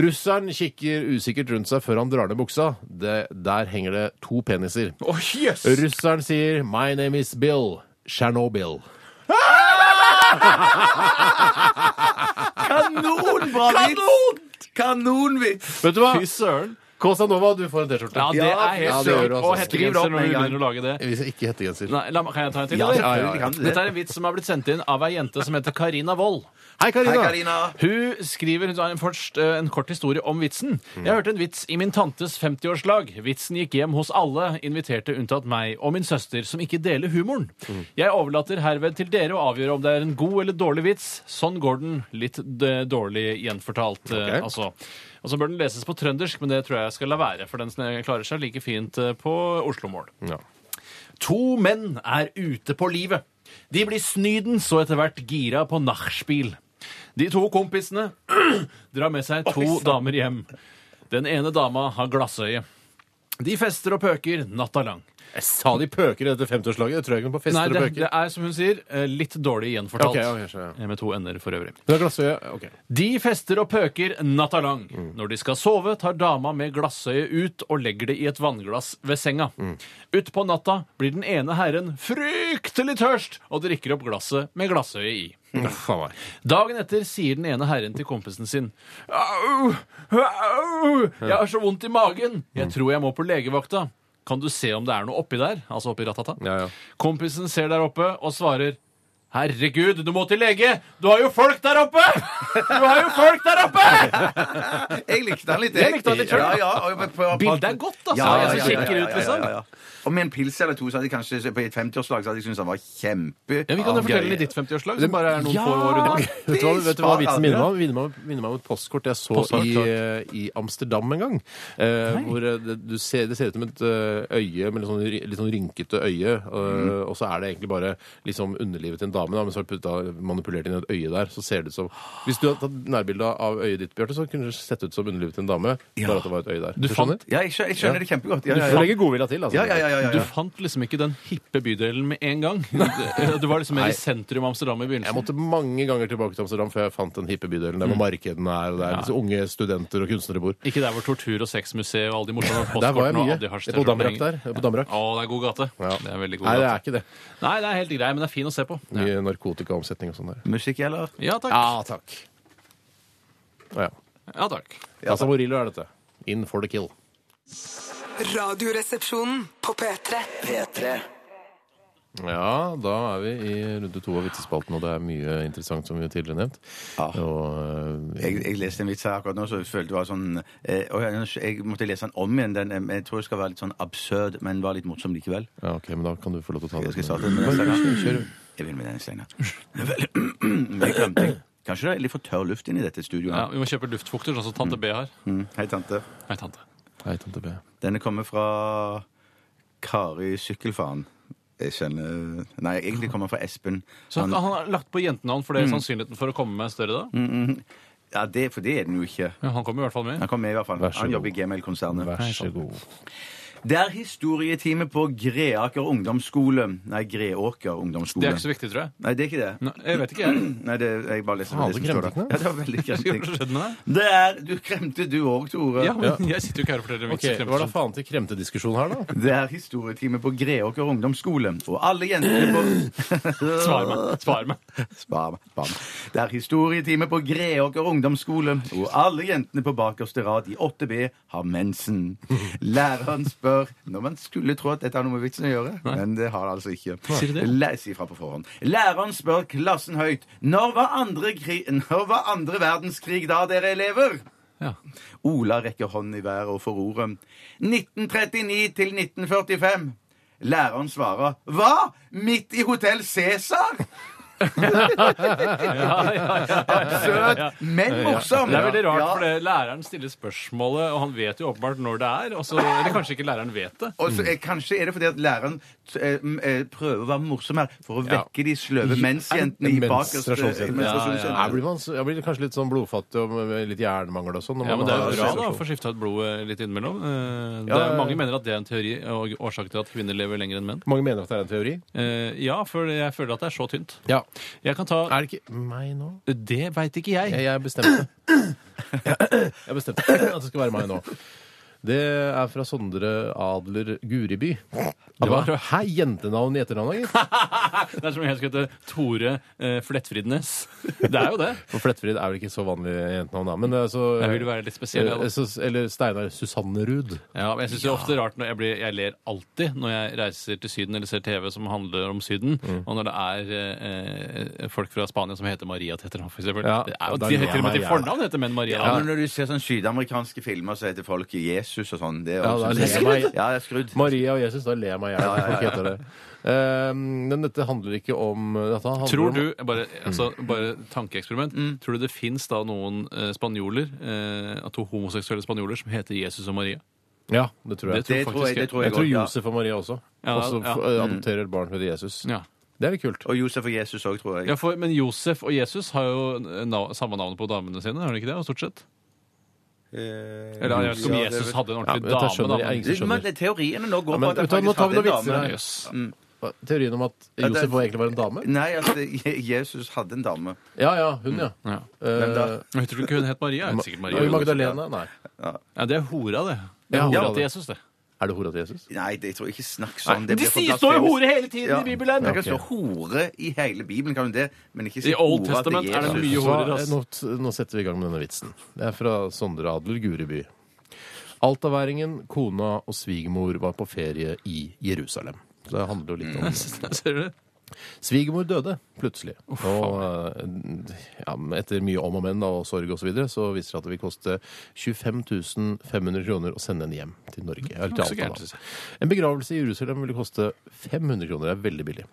S3: Russeren kikker usikkert rundt seg før han drar ned buksa. Det, der henger det to peniser.
S4: Å, jøss!
S3: Russeren sier My name is Bill. Tsjernobyl.
S5: Kanonbra vits! Kanonvits!
S3: Vet du hva?
S4: Fy søren.
S3: Kåsa Nova, du får en T-skjorte.
S4: Ja, det
S5: Ja,
S4: er helt
S5: ja, det gjør
S4: søren.
S5: du, altså.
S4: Og
S5: Skriv det opp
S4: hettegenser når
S5: med
S4: du
S5: en gang.
S4: begynner å lage det.
S3: Vi skal ikke hettegenser.
S4: Nei, la, meg- kan jeg ta en til?
S5: Ja,
S4: eller?
S5: selvfølgelig kan du det.
S4: Dette er en vits som er blitt sendt inn av ei jente som heter Karina Wold.
S3: Hei,
S5: Hei,
S3: Karina.
S5: Karina.
S4: Hun skriver hun har først eh, en kort historie om vitsen. Jeg hørte en vits i min tantes 50-årslag. Vitsen gikk hjem hos alle, inviterte unntatt meg og min søster, som ikke deler humoren. Jeg overlater herved til dere å avgjøre om det er en god eller dårlig vits. Sånn går den. Litt d- dårlig gjenfortalt, eh,
S3: Ok.
S4: altså. Og så bør den leses på trøndersk, men det tror jeg jeg skal la være, for den sn- klarer seg like fint eh, på Oslo-mål.
S3: Ja.
S4: To menn er ute på livet. De blir snydens og etter hvert gira på nachspiel. De to kompisene drar med seg to damer hjem. Den ene dama har glassøye. De fester og pøker natta lang.
S3: Jeg sa de pøker i dette 50-årslaget. Det tror jeg ikke på
S4: Nei,
S3: fester
S4: det,
S3: og pøker.
S4: det er som hun sier, eh, litt dårlig gjenfortalt. Eh,
S3: Ok, ok, skjønner
S4: Med to ender for øvrig.
S3: Du har glassøye. Ok.
S4: De fester og pøker natta lang. Når de skal sove, tar dama med glassøyet ut og legger det i et vannglass ved senga. Utpå natta blir den ene herren fryktelig tørst og drikker opp glasset med glassøyet i.
S3: Faen meg.
S4: Dagen etter sier den ene herren til kompisen sin Au! Au! Jeg har så vondt i magen! Jeg tror jeg må på legevakta. Kan du se om det er noe oppi der? Altså oppi ratata.
S3: Ja, ja.
S4: Kompisen ser der oppe og svarer Herregud, du må til lege! Du har jo folk der oppe! Du har jo folk der oppe!
S5: Jeg likte den litt.
S4: Jeg likte den litt selv.
S5: ja, ja, og jeg- på- på-
S4: Bildet er godt, altså.
S5: Ja, ja,
S4: Jeg
S5: ja,
S4: ser
S5: ja,
S4: kjekker
S5: ja,
S4: ut,
S5: ja,
S4: liksom.
S5: ja, ja. Og med en pils eller to så hadde jeg kanskje på et 50-årslag så hadde jeg syntes han var kjempe
S4: Ja, vi kan jo fortelle litt ditt 50-årslag, som bare er noen
S3: Ja!
S4: få år unna.
S3: Vet du hva, vet du hva
S5: Sparer
S3: vitsen
S5: dere?
S3: minner meg om? Minner meg om- Minner meg om et postkort jeg så
S4: Postkort,
S3: i,
S4: klart.
S3: eh, i Amsterdam en gang. Eh, hvor eh, det, du ser, det ser ut som et eh, øye med litt sånn, ry- litt sånn rynkete øye. eh, Og så er det egentlig bare liksom underlivet til en dame, da, men så har du putta- manipulert inn et øye der. Så ser det ut som Hvis du hadde tatt nærbilde av øyet ditt, Bjarte, så kunne det sett ut som underlivet til en dame. Bare at det var et øye der.
S4: Du fant-
S3: skjønner?
S5: Ja, jeg skjønner, jeg skjønner det kjempegodt. Ja,
S3: Du
S5: ja,
S3: får
S5: ja.
S3: legge godvilja til, altså.
S5: Ja, ja, ja, ja, ja.
S4: Du fant liksom ikke den hippe bydelen med en gang. Det- Du var liksom mer i sentrum av Amsterdam i
S3: Jeg
S4: begynnelsen.
S3: måtte mange ganger tilbake til Amsterdam før jeg fant den hippe bydelen der hvor markedene er, og der disse unge studenter og kunstnere bor.
S4: Ikke der hvor tortur- og sexmuseet og alle de morsomme
S3: Der var jeg
S4: postkortene og
S3: mye.
S4: Adi Hasj-
S3: På Damrak der. På Damrak.
S4: Å, det er god gate.
S3: Ja.
S4: Det er veldig god
S3: Nei, det
S4: gate.
S3: er ikke det.
S4: Nei, det er helt grei, men det er fin å se på.
S3: Mye narkotikaomsetning og sånn der.
S5: Musikk, eller?
S4: Ja takk.
S3: takk. Å ja.
S4: Ja, takk.
S3: Casa Morillo er dette. In for the kill.
S6: Radioresepsjonen på P3.
S2: P3
S3: Ja, da er vi i runde to av vitsespalten, og det er mye interessant som vi tidligere nevnt.
S5: Ja.
S3: Og, eh,
S5: Jeg, jeg leste en vits her akkurat nå, så jeg følte det var sånn eh, og jeg, jeg måtte lese den om igjen. Den, eh, jeg tror det skal være litt sånn absurd, men var litt morsom likevel.
S3: ja, ok, men da kan du få lov til å ta det.
S5: Jeg skal
S3: som-
S5: starte med den steinen. Jeg begynner med den steinen. Men jeg glemte- Kanskje det er litt for tørr luft inni dette studioet.
S4: Ja, vi må kjøpe luftfukter, sånn som tante B har.
S5: Mm. Hei, tante.
S4: Nei, tante.
S3: Hei, tante B.
S5: Denne kommer fra Kari Sykkelfaren. Jeg kjenner Nei, egentlig kommer den fra Espen.
S4: Så han, han har lagt på jentenavn fordi
S3: Mm.
S4: sannsynligheten for å komme med er større da?
S5: Ja, det, for det er den jo ikke.
S4: Ja, han kommer i hvert fall med.
S5: Han kommer med, i hvert fall.
S3: Vær så
S5: Han
S3: god.
S5: jobber i Gmail-konsernet.
S3: Vær så god.
S5: Det er historietime på Greaker ungdomsskole. Nei, Greåker ungdomsskole.
S4: Det er ikke så viktig, tror jeg.
S5: Nei, det er ikke det.
S4: Nei, jeg vet ikke, jeg.
S5: Nei, det, jeg bare leser
S3: Faen,
S5: det
S3: så
S5: som
S3: kremte
S5: står der.
S3: den,
S5: Ja, det var veldig
S4: Hva
S5: kremting.
S4: skjedde med deg?
S5: Det er Du kremte, du òg, Tore.
S4: Ja, men jeg sitter jo ikke her og forteller en
S3: Ok,
S4: vits.
S3: Hva
S4: jeg
S3: er
S4: kremter
S3: da faen til kremtediskusjon her, da?
S5: Det er historietime på Greåker ungdomsskole, og alle jentene på
S4: sånn. Svar meg. Svar meg.
S5: Spar meg. Spar meg. Det er historietime på Greåker ungdomsskole, og alle jentene på bakerste rad i 8B har mensen. Læreren spør Når man skulle tro at dette har noe med vitsen å gjøre, men det har det altså ikke.
S4: Sier du det?
S5: Les ifra på forhånd. Læreren spør klassen høyt Når var andre, kri når var andre verdenskrig da, dere elever?
S4: Ja.
S5: Ola rekker hånden i været og får ordet. 1939 til 1945. Læreren svarer Hva? Midt i Hotell Cæsar? Absurd, men morsom.
S4: Det er veldig rart,
S5: Ja,
S4: for det- læreren stiller spørsmålet, og han vet jo åpenbart når det er. Og så, eller kanskje ikke læreren vet det.
S5: Og så, eh, kanskje er det fordi at læreren eh, m, eh, prøver å være morsom her for å
S3: Ja.
S5: vekke de sløve mensjentene i bakerste
S3: Menstruasjonsjentene.
S5: menstruasjonsjentene.
S3: Her blir man, så- jeg blir kanskje litt sånn blodfattig og med litt jernmangel og sånn. når
S4: Ja,
S3: man
S4: men Det er
S3: har
S4: jo bra da, å
S3: menstruasjon.
S4: få skifta ut blodet litt innimellom. Eh, Det
S3: Ja,
S4: er,
S3: ja,
S4: mange
S3: ja.
S4: mener at det er en teori og årsak til at kvinner lever lenger enn menn.
S3: Mange mener at det er en teori.
S4: Eh, Ja, for jeg føler at det er så tynt.
S3: Ja.
S4: Jeg kan ta
S3: Er det ikke meg nå?
S4: Det veit ikke
S3: Jeg,
S4: jeg.
S3: jeg bestemte. Jeg bestemte at det skal være meg nå. Det er fra Sondre Adler Guriby. Det var Hei, jentenavn i etternavnet, gitt.
S4: Det er som om jeg skulle hete Tore eh, Flettfridnes. Det er jo det.
S3: For Flettfrid er vel ikke så vanlig jentenavn, da. Men det er så,
S4: Jeg vil være litt spesiell, jeg, da.
S3: Eh, så- Eller Steinar Susannerud.
S4: Ja, men jeg synes det er ofte rart når jeg, blir, jeg ler alltid når jeg reiser til Syden eller ser TV som handler om Syden,
S3: Mm.
S4: og når det er eh, eh, folk fra Spania som heter Maria til etternavn, for eksempel.
S3: Ja,
S4: Det er jo,
S3: da
S4: de
S3: ler
S4: heter til og med
S3: jeg,
S4: til
S3: ja.
S4: fornavn heter menn Maria.
S5: Ja, men når du ser sånn sydamerikanske filmer, så heter folk Jesus og sånn. Det er
S3: Ja,
S5: også-
S3: da ler jeg meg.
S5: Ja, jeg er skrudd.
S3: Maria og Jesus, da ler jeg meg i hjel. når folk heter det. Eh, Men dette handler ikke om eh, dette handler
S4: Tror
S3: om-
S4: du, bare, altså,
S3: Mm.
S4: bare tankeeksperiment, tror du det finnes da noen eh, spanjoler, eh, to homoseksuelle spanjoler, som heter Jesus og Maria?
S3: Ja, det tror jeg.
S4: Det
S5: Det tror jeg, det tror jeg,
S3: Jeg tror
S5: godt, ja.
S3: Josef og Maria også.
S4: Ja,
S3: også
S4: ja.
S3: f- eh, adopterer et barn som heter Jesus.
S4: Ja.
S3: Det er litt kult.
S5: Og Josef og Jesus òg, tror jeg.
S4: Ja, for, men Josef og Jesus har jo eh, nav samme navn på damene sine, har de ikke det? Stort sett. Eller jeg vet ikke om
S5: Ja, det er
S4: Jesus
S5: vel-
S4: hadde en
S3: Ja, men
S4: ordentlig
S3: dette
S4: dame.
S3: skjønner
S4: da,
S3: jeg
S4: men-
S3: ikke.
S5: Eh, Men det- teoriene nå går
S3: men
S5: på at han
S3: vet du hva, nå
S5: faktisk
S3: tar vi
S5: hadde en
S3: noen vitser
S5: dame. Mm.
S3: her.
S4: Jøss.
S3: Teorien om at
S5: Ja, det-
S3: Josef var egentlig var en dame?
S5: Nei, at eh, Jesus hadde en dame.
S3: Ja ja, hun, ja.
S4: Ja.
S5: Hvem da?
S3: Eh,
S4: Jeg tror ikke hun het Maria. Hun het Mm. sikkert Maria.
S3: Oi, Magdalena? Nei.
S4: Ja, det er hora, det. Det er
S3: Ja,
S4: hora
S3: ja.
S4: til Jesus, det.
S3: Er det hora til Jesus?
S5: Nei, det jeg tror jeg ikke snakk sånn.
S4: Nei,
S5: Det blir for blasfemisk.
S4: hele tiden
S5: Ja. Det kan
S3: Ja,
S5: stå
S3: ok.
S5: hore i hele Bibelen, kan du det? Men ikke si
S4: I Old
S5: hora til
S4: Testament er det
S5: Jesus.
S4: mye
S3: Så,
S4: horer, ass.
S3: eh, nå, t- nå setter vi i gang med denne vitsen. Det er fra Sondre Adler Gureby. Altaværingen, kona og svigermor var på ferie i Jerusalem. Så det handler jo litt om
S4: Ser du det?
S3: Svigermor døde plutselig. Og eh, ja, etter mye om og men da, og sorg osv. Så, videre, så viser det at det vil koste 25 500 kroner å sende henne hjem til Norge. Eller
S4: ikke
S3: til
S4: så
S3: Alta,
S4: gærent, synes
S3: da. En begravelse i Jerusalem ville koste 500 kroner. Det er veldig billig.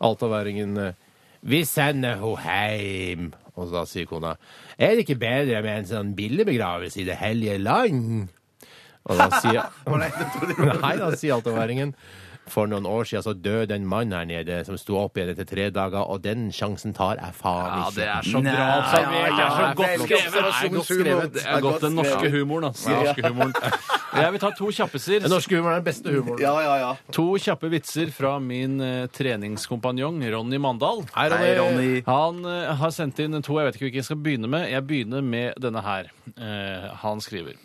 S3: Altaværingen eh, Vi sender henne hjem. Og da sier kona Er det ikke bedre med en sånn billig begravelse i det hellige land? Og da sier
S5: Å, nei, jeg trodde det var-
S3: Nei, da sier altoværingen. For noen år siden så døde en mann her nede som sto opp igjen etter tre dager, og den sjansen tar jeg faen
S4: Ja,
S3: ikke.
S4: det er så bra
S5: Nei,
S4: observert! Det er så
S5: ja,
S4: godt
S5: veldig
S4: skrevet! Det er godt
S5: observasjonshumor.
S4: skrevet. Det er godt den norske humoren, ass. Den norske humoren. Jeg vil ta to kjappiser.
S3: Den norske humoren er den beste humoren.
S5: Ja, ja, ja.
S4: To kjappe vitser fra min eh, treningskompanjong Ronny Mandal.
S3: Hei, Ronny.
S5: Hei, Ronny.
S4: Han eh, har sendt inn to jeg vet ikke hvilken jeg skal begynne med. Jeg begynner med denne her. Eh, han skriver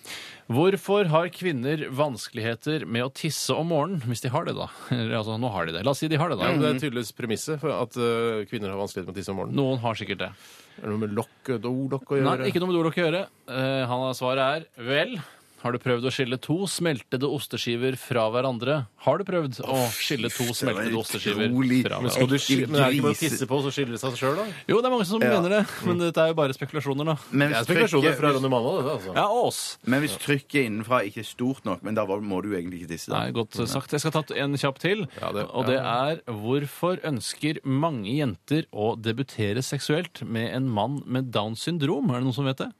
S4: Hvorfor har kvinner vanskeligheter med å tisse om morgenen? Hvis de har det, da. Eller, altså, nå har de det. La oss si de har det, da.
S3: Ja, men Det er tydeligvis premisset for at øh, kvinner har vanskeligheter med å tisse om morgenen.
S4: Noen har sikkert det.
S3: Er det noe med lokk, dolokk å
S4: Nei,
S3: gjøre?
S4: ikke noe med Dolok å gjøre. Eh, han har svaret er vel. Har du prøvd å skille to smeltede osteskiver fra hverandre? Har du prøvd å skille to smeltede osteskiver
S5: utrolig.
S4: fra
S3: Men, skal du,
S4: hverandre?
S3: sk- men er det ikke bare å
S5: Grise.
S3: tisse på, så skiller det seg sjøl, da?
S4: Jo, det er mange som
S5: Ja.
S4: mener det,
S3: Mm.
S4: men dette er jo bare spekulasjoner, da.
S5: Men
S3: Det er
S5: hvis
S3: spekulasjoner fra
S5: trykket,
S3: Ronny Mandal, dette, altså.
S4: Ja, og oss.
S5: men hvis trykket innenfra ikke er stort nok, men da må du egentlig ikke tisse. da.
S4: Nei, godt sagt. Jeg skal ta en kjapp til.
S3: Ja, det-
S4: og det er hvorfor ønsker mange jenter å debutere seksuelt med en mann med Downs syndrom? Er det noen som vet det?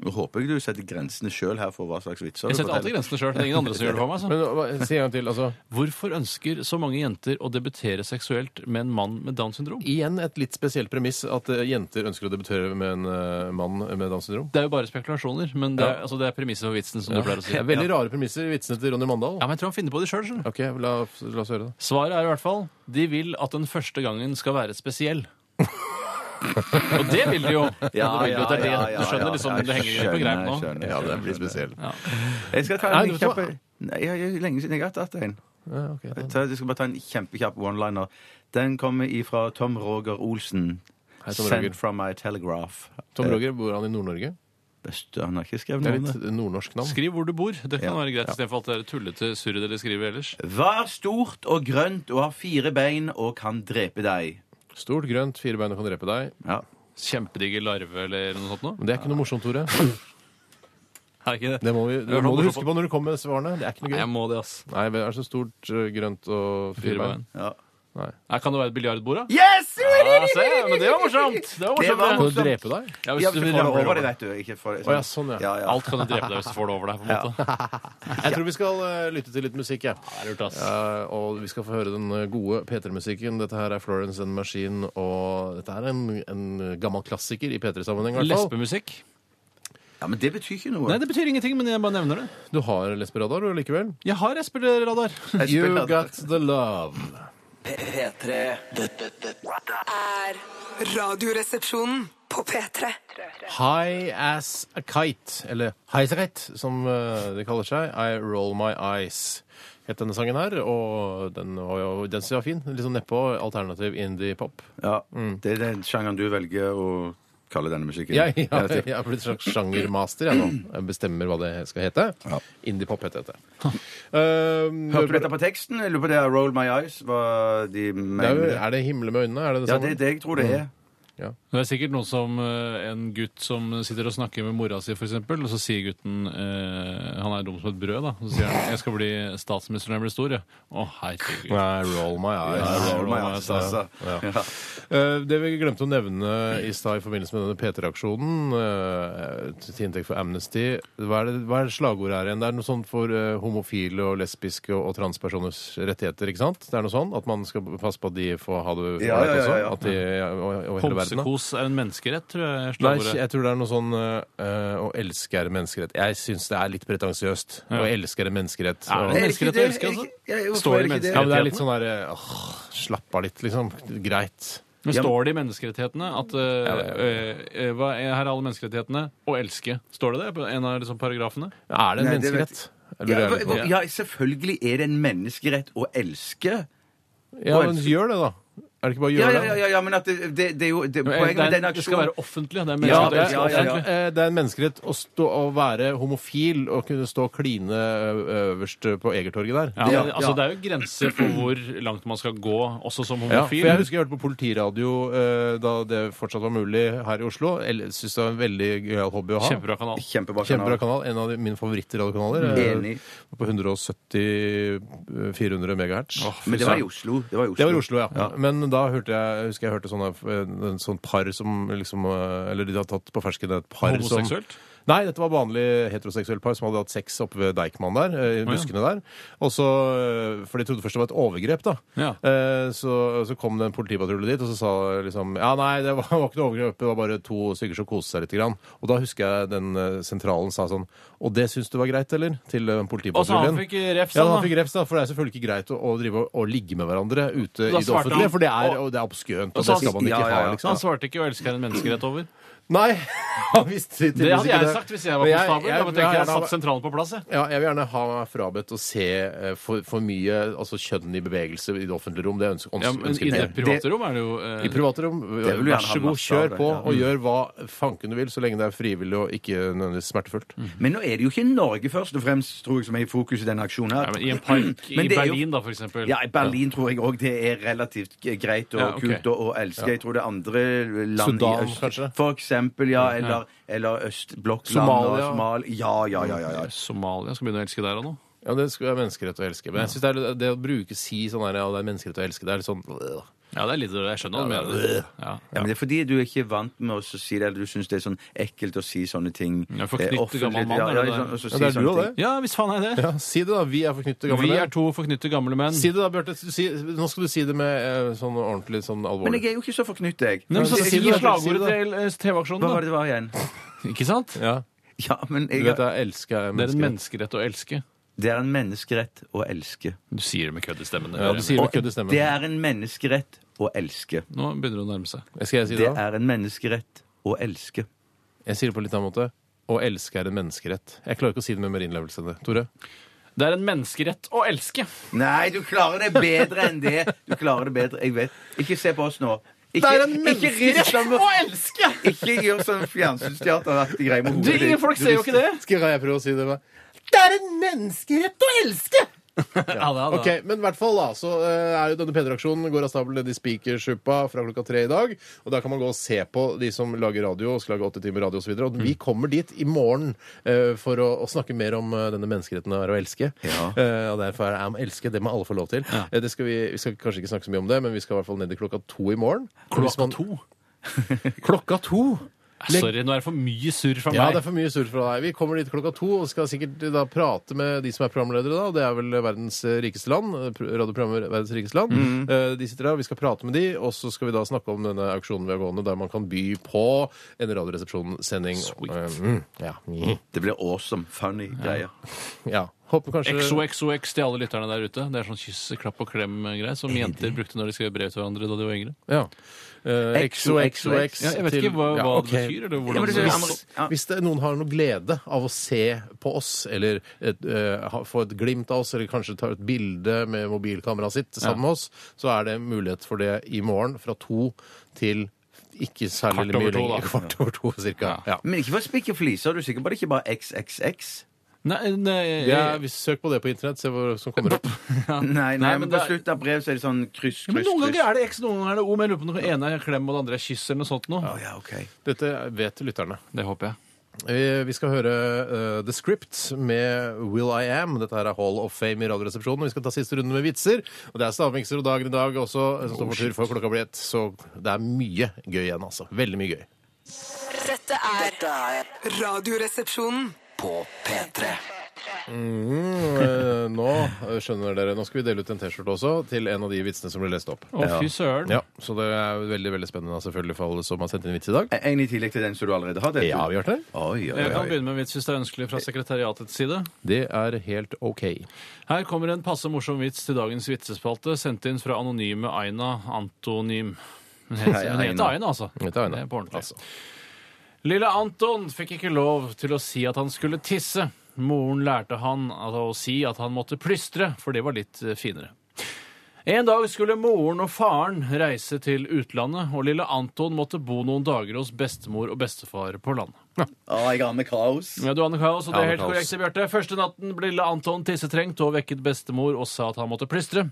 S5: Nå håper jeg du setter grensene sjøl her for hva slags vitser
S4: Jeg
S5: du
S4: setter alltid grensene sjøl. Det er ingen andre som gjør det for meg.
S3: Men eh, hva- Si en gang til. altså.
S4: Så. Hvorfor ønsker så mange jenter å debutere seksuelt med en mann med Downs syndrom?
S3: Igjen et litt spesielt premiss at øh, jenter ønsker å debutere med en øh, mann med Downs syndrom.
S4: Det er jo bare spekulasjoner, men det er, altså, det er premisset for vitsen, som du pleier å si.
S3: Det er
S4: Ja,
S3: veldig rare premisser i vitsene til Ronny Mandal.
S4: men jeg tror han finner på det sjøl.
S3: Ok, la, la oss høre det.
S4: Svaret er i hvert fall de vil at den første gangen skal være spesiell. Og det vil de jo.
S5: Ja,
S4: det vil de jo. Det er det.
S5: ja, ja,
S4: Du skjønner
S5: ja,
S4: liksom,
S5: jeg
S4: det henger greit på greip nå.
S5: skjønner, jeg skjønner.
S3: spesielt.
S5: Jeg skal ta
S3: Nei,
S5: en
S3: du
S5: kjapp
S3: får-
S5: Nei, jeg- jeg- lenge siden jeg har tatt en.
S3: Ja, ok, da-
S5: Så Jeg skal bare ta en kjempekjapp one-liner. Den kommer ifra Tom Roger Olsen.
S3: Hei, Tom Roger.
S5: Sent from my telegraph.
S3: Tom Roger, bor han i Nord-Norge?
S5: Best, han har ikke skrevet
S3: Det
S5: noe
S3: er
S5: om det.
S3: litt nordnorsk navn.
S4: Skriv hvor du bor. Det kan
S5: Ja.
S4: være greit istedenfor alt det der tullete surret dere skriver ellers.
S5: Vær stort og grønt og har fire bein og kan drepe deg.
S3: Stort, grønt, fire bein og kan drepe deg.
S5: Ja.
S4: Kjempedigge larve eller noe sånt noe.
S3: Men det er ikke noe morsomt, Tore.
S4: Er ikke det?
S3: Det må, vi, det må du huske på når du kommer med svarene. Det er ikke noe
S4: Jeg
S3: gøy.
S4: må det, ass.
S3: Nei, det er så stort, øh, grønt og fire bein.
S5: ja.
S3: Nei.
S4: Nei, kan det være et biljardbord, da?
S5: Yes!
S4: Ja, se, men det var morsomt! Det var
S5: Det
S4: morsomt.
S5: var
S4: det.
S3: Kan du drepe deg?
S4: Ja,
S5: Ja,
S4: hvis
S5: hvis
S4: du
S5: du får det
S4: ramler
S5: over det,
S4: over.
S5: vet du. Ikke for,
S3: Å ja, sånn, ja.
S5: ja, ja.
S4: Alt kan jo drepe deg hvis du får det over deg. på en måte.
S3: Jeg tror vi skal øh, lytte til litt musikk, jeg.
S4: Det er lurt, ass.
S3: Eh, og vi skal få høre den eh, gode P3-musikken. Dette her er Florence and the Machine, og dette er en, en gammel klassiker i P3-sammenheng, i hvert fall.
S4: Lesbemusikk?
S5: ja, men det betyr ikke noe.
S4: Nei, det betyr ingenting, men jeg bare nevner det.
S3: Du har lesberadar du, likevel?
S4: Jeg har SPL-radar.
S3: You got the love.
S2: P- P3 Dette, dette
S6: er Radioresepsjonen. på P3.
S3: High as a kite, eller high as a kite, som eh, det kaller seg. I roll my eyes. Het denne sangen her, og den, var jo- den synes jeg var fin. Litt sånn nedpå alternativ indie-pop.
S5: Ja, Det er den sjangeren du velger å kalle denne musikken.
S3: Jeg, jeg,
S5: Ja, det-
S3: jeg er blitt slags sjangermaster jeg nå. Jeg bestemmer hva det skal hete.
S5: Ja.
S3: Indie-pop heter det. Um,
S5: Hørte du dette på teksten? Jeg lurer på det er Roll My Eyes. Hva de
S3: det sånn? er,
S5: mener.
S3: jo, er det 'Himle med øynene'? Er det det
S5: ja,
S3: samme?
S5: det er det jeg tror det er.
S4: Det er sikkert noen som, eh, en gutt som sitter og snakker med mora si, for eksempel, og så sier gutten eh, Han er dum som et brød, da. Så sier han 'Jeg skal bli statsminister når jeg blir stor', ja. Å, herregud.
S3: Nei, roll my eyes.
S5: Ja, Roll My
S4: Roll My Eyes,
S5: Eyes, altså. Ja.
S3: Eh, Det vi glemte å nevne i stad i forbindelse med denne P3-aksjonen, eh, til inntekt for Amnesty Hva er, det, hva er slagordet her igjen? Det er noe sånt for eh, homofile og lesbiske og, og transpersoners rettigheter, ikke sant? Det er noe sånn at man skal passe på at de får ha det
S5: Ja, ja, ja,
S3: også?
S5: ja.
S3: At de, og, og hele verden, da.
S4: Homsekos er en menneskerett, tror jeg.
S3: Nei,
S4: slagordet.
S3: jeg tror det er noe sånn eh, å elske er en menneskerett. Jeg syns det er litt pretensiøst. Å elske er en menneskerett.
S4: Ja,
S3: Og-
S4: det er Menneskerett og elsker, altså. Står det menneskerett?
S3: Ja, men det er litt sånn der eh, åh, Slapp av litt, liksom. Greit.
S4: Men
S5: Ja, men-
S4: står det i menneskerettighetene at eh, eh, hva er, Her er alle menneskerettighetene. Å elske. Står det det på en av liksom paragrafene?
S3: Er det en
S5: Nei, det vet
S3: menneskerett?
S5: Ja,
S3: Lurer jeg litt på.
S5: hva- ja, selvfølgelig er det en menneskerett å elske.
S3: Ja, men gjør det, da. Er det ikke bare å
S5: Ja,
S3: gjøre
S5: ja, ja, ja, ja men at det, det, det er jo det, Poenget
S4: det,
S5: med
S4: er,
S5: den
S4: en- det skal
S5: aksjonen
S4: være offentlig. Det
S3: Ja,
S4: er
S5: Ja,
S3: det,
S4: menneskerettighet.
S5: ja, ja, ja.
S3: eh, det er en menneskerett å, stå, å være homofil og kunne stå og kline ø- øverst på Egertorget der.
S4: Ja, men,
S5: Ja, ja.
S4: Altså, det er jo grenser for hvor langt man skal gå, også som
S3: Ja, for
S4: homofil.
S3: jeg husker jeg hørte på politiradio eh, da det fortsatt var mulig her i Oslo. Jeg synes det var en veldig gøyal hobby å ha.
S4: Kjempebra kanal.
S5: Kjempebra.
S3: Kjempebra
S5: kanal.
S3: kanal. En av de- mine favorittradiokanaler. eh,
S5: Enig.
S3: På 170-400 megahertz.
S5: Men det var i Oslo. Det var i Oslo.
S3: Det var i Oslo, ja. Men da hørte jeg, husker jeg hørte sånne, en sånn par som liksom eh, Eller de hadde tatt på fersken et par som
S4: Homoseksuelt?
S3: Nei, dette var vanlig heteroseksuelt par som hadde hatt sex oppe ved Deichman der. eh, I buskene der. Og så, eh, For de trodde først det var et overgrep, da.
S4: Ja.
S3: Eh, Så, så kom det en politipatrulje dit og så sa liksom Ja, nei, det var, var ikke noe overgrep, det var bare to stykker som koste seg litt. Grann. Og da husker jeg den eh, sentralen sa sånn Og det syns du var greit, eller? Til den
S4: Og så han
S3: politipatruljen.
S4: fikk refs,
S3: Ja, han
S4: da.
S3: fikk refs, da, for det er selvfølgelig ikke greit å, å drive og, og ligge med hverandre ute i
S4: da
S3: det
S4: svarte
S3: offentlige,
S4: han,
S3: for det er,
S4: og-
S3: og det er obskønt, og
S4: så
S3: det
S4: han-
S3: skal man ikke
S5: ja, ja, ja.
S3: ha,
S4: Han
S3: liksom.
S4: svarte ikke 'å elske er en menneskerett' over.
S3: Nei, han visste tydeligvis
S4: Det
S3: ikke
S4: hadde jeg sagt hvis jeg var
S3: Men
S4: konstabel. Jeg,
S3: jeg,
S4: jeg, jeg,
S3: vil
S4: jeg
S3: gjerne ha-
S4: satt sentralen på plass, jeg.
S3: ja, jeg vil gjerne ha meg frabedt å se eh, for, for mye altså kjønn i bevegelse i det offentlige rom. Det ønsker,
S4: Ja, men
S3: ønsker
S4: I det
S3: jeg.
S4: private rom er det jo eh,
S3: I private rom,
S5: Det vil du
S3: vær
S5: gjerne ha
S3: så god,
S5: masse av
S3: kjør
S5: det,
S3: på
S5: ja.
S3: og gjør hva fanken du vil, så lenge det er frivillig og ikke nødvendigvis smertefullt.
S5: Men nå er det jo ikke Norge først og fremst tror jeg, som er i fokus i denne aksjonen.
S4: ja,
S5: her.
S4: men I en park i
S5: Men det er jo-
S4: Berlin, da, for eksempel.
S5: Ja, i Berlin tror jeg òg det er relativt g- greit og
S4: Ja, ok.
S5: kult å, å elske. Jeg tror det er andre land
S3: Sudan,
S5: i øst
S3: kanskje?
S5: For eksempel, ja. Eller, eller østblokkland
S3: Somalia.
S5: og Somalia. Ja, ja, ja. ja, ja.
S4: Somalia skal begynne å elske der og nå.
S3: Ja, det skal være menneskerett å elske. Men jeg synes det, er, det å bruke si sånn her, ja, det er menneskerett å elske, det er litt sånn øh.
S4: Ja, det er litt, jeg skjønner hva du mener. Ja.
S5: Ja, men Det er fordi du er ikke vant med å så si det, eller du syns det er sånn ekkelt å si sånne ting.
S4: Ja, forknyttet
S5: eh, offentlig.
S4: gammel mann,
S5: Ja,
S4: er
S5: ja,
S4: det det?
S5: sånn, og så
S3: Ja,
S5: si
S3: det er du
S5: sånne
S3: og
S5: ting.
S3: det.
S4: ja, hvis faen er det.
S3: Ja, si det, da. Vi er forknyttet gamle
S4: Vi
S3: menn.
S4: er to forknytte gamle menn.
S3: Si det da, Bjarte. Du si- Nå skal du si det med eh, sånn ordentlig sånn
S5: Men
S3: alvorlig.
S5: jeg er jo ikke så forknyttet, jeg.
S4: Nei, men så
S3: Ja,
S4: si
S3: si det da,
S4: slagordet
S3: si
S4: til eh,
S5: Hva var
S4: TV-aksjonen,
S5: det det var igjen?
S4: da. Ikke sant?
S3: Ja,
S5: Ja, men
S3: du
S5: jeg,
S3: vet jeg elsker
S4: Det er en
S3: mennesker.
S4: menneskerett å elske.
S5: det er en menneskerett å elske.
S4: Du sier det med kødd i stemmen.
S3: Ja, du sier
S5: Og
S3: med køddestemmen.
S5: Det er en menneskerett å elske.
S4: Nå begynner det å nærme seg.
S3: Skal jeg si
S5: Det
S3: det, da?
S5: er en menneskerett å elske.
S3: Jeg sier det på litt annen måte. Å elske er en menneskerett. Jeg klarer ikke å si det med mer innlevelse enn det. Tore?
S4: Det er en menneskerett å elske.
S5: Nei, du klarer det bedre enn det. Du klarer det bedre, jeg vet. Ikke se på oss nå. Ikke,
S3: Det er en
S5: ikke rist dem-
S4: Å elske!
S5: Ikke gjør sånn fjernsynsteateraktig greie med
S4: Du,
S5: hodet
S4: ingen folk ser jo ikke det.
S3: Skal jeg prøve å si det? Det er en menneskerett å elske!
S4: Ja, da, da.
S3: Ok, men i hvert fall da, så eh, er jo denne P3-aksjonen går av stabelen nede i Spikersuppa fra klokka tre i dag. Og der kan man gå og se på de som lager radio og skal lage åtte timer radio osv. Og, så videre. og vi kommer dit i morgen eh, for å, å snakke mer om eh, denne menneskeretten det er å elske.
S5: Ja.
S3: Eh, og derfor er jeg om elske. Det må alle få lov til. Eh, det skal vi, vi skal kanskje ikke snakke så mye om det, men vi skal i hvert fall ned i klokka to i morgen. Hvis man-
S4: to.
S3: Klokka to?
S4: Sorry, nå er det for mye surr fra
S3: Ja, det er
S4: meg.
S3: for mye surr fra deg. Vi kommer dit klokka to og skal sikkert eh, da prate med de som er programledere da. og Det er vel verdens eh, rikeste land. eh, pr- Radioprogrammet Verdens rikeste land. Eh, De sitter der, og vi skal prate med de, og så skal vi da snakke om denne auksjonen vi har gående, der man kan by på en Radioresepsjon-sending.
S4: Sweet.
S3: Eh, mm, Ja. Mm.
S5: Det blir awesome, funny greier.
S3: ja. Håper
S4: Eh,
S3: kanskje
S4: XOXOX til alle lytterne der ute. Det er sånn kyss, klapp og klem-greie som jenter brukte når de skrev brev til hverandre da de var yngre.
S3: Ja. Eh, XOXOX
S4: Ja, jeg vet
S3: til-
S4: ikke hva, hva
S3: Ja, ok.
S4: det betyr, eller
S5: Ja,
S4: hvordan
S5: men det
S4: det
S5: er-
S3: Hvis, hvis det, noen har noe glede av å se på oss, eller et, eh, ha- få et glimt av oss, eller kanskje ta et bilde med mobilkameraet sitt sammen med oss, så er det mulighet for det i morgen fra to til ikke særlig
S4: Kvart over
S3: mye
S4: to,
S3: lenger.
S4: da.
S3: Kvart over to, cirka. Ja.
S5: Men ikke for å spikke fliser, er du sikker på det ikke bare XXX?
S4: Nei, eh, nei,
S3: Ja, hvis- søk på det på internett, se hva som kommer opp.
S5: Nei,
S4: Nei,
S5: nei, men
S4: men
S5: på
S4: det er-
S5: slutten av brev så er det sånn kryss,
S4: Ja, men
S5: kryss,
S4: Noen
S5: kryss.
S4: ganger er det X, noen ganger er det O. Men jeg lurer på om det ene er klem, og det andre er kyss, eller noe sånt noe.
S5: Å, ja, ok.
S3: Dette vet lytterne.
S4: Det håper jeg.
S3: Eh, Vi skal høre eh, The Script med Will I Am. Dette her er Hall of Fame i Radioresepsjonen. og Vi skal ta siste runde med vitser. Og det er stavmikser og dagen i dag også eh, som står for tur før klokka blir ett. Så det er mye gøy igjen, altså. Veldig mye gøy.
S6: Dette er Radioresepsjonen.
S2: På P3
S3: Eh, Nå eh, skjønner dere. Nå skal vi dele ut en T-skjorte også til en av de vitsene som ble lest opp.
S4: Å, fy søren.
S3: Ja, Så det er veldig veldig spennende da, selvfølgelig for alle som har sendt inn vits i dag.
S5: En i tillegg til den som du allerede har.
S3: Ja,
S5: Oi,
S3: Bjarte.
S5: oi,
S4: Jeg kan
S5: oi.
S4: begynne med en vits hvis det er ønskelig fra sekretariatets side.
S3: Det er helt OK.
S4: Her kommer en passe morsom vits til dagens vitsespalte, sendt inn fra anonyme Aina Antonym. Hun
S5: Hei,
S4: heter, hun heter
S5: Aina.
S4: Aina, altså.
S3: Hun heter Aina.
S4: Det er på ordentlig.
S3: Altså.
S4: Lille Anton fikk ikke lov til å si at han skulle tisse. Moren lærte han at- å si at han måtte plystre, for det var litt eh, finere. En dag skulle moren og faren reise til utlandet, og lille Anton måtte bo noen dager hos bestemor og bestefar på landet.
S5: Å, jeg har med kaos.
S4: Ja, du Anne Kaos, og det er helt
S3: Anne Kaos.
S4: korrekt, Bjarte. Første natten ble lille Anton tissetrengt og vekket bestemor og sa at han måtte plystre.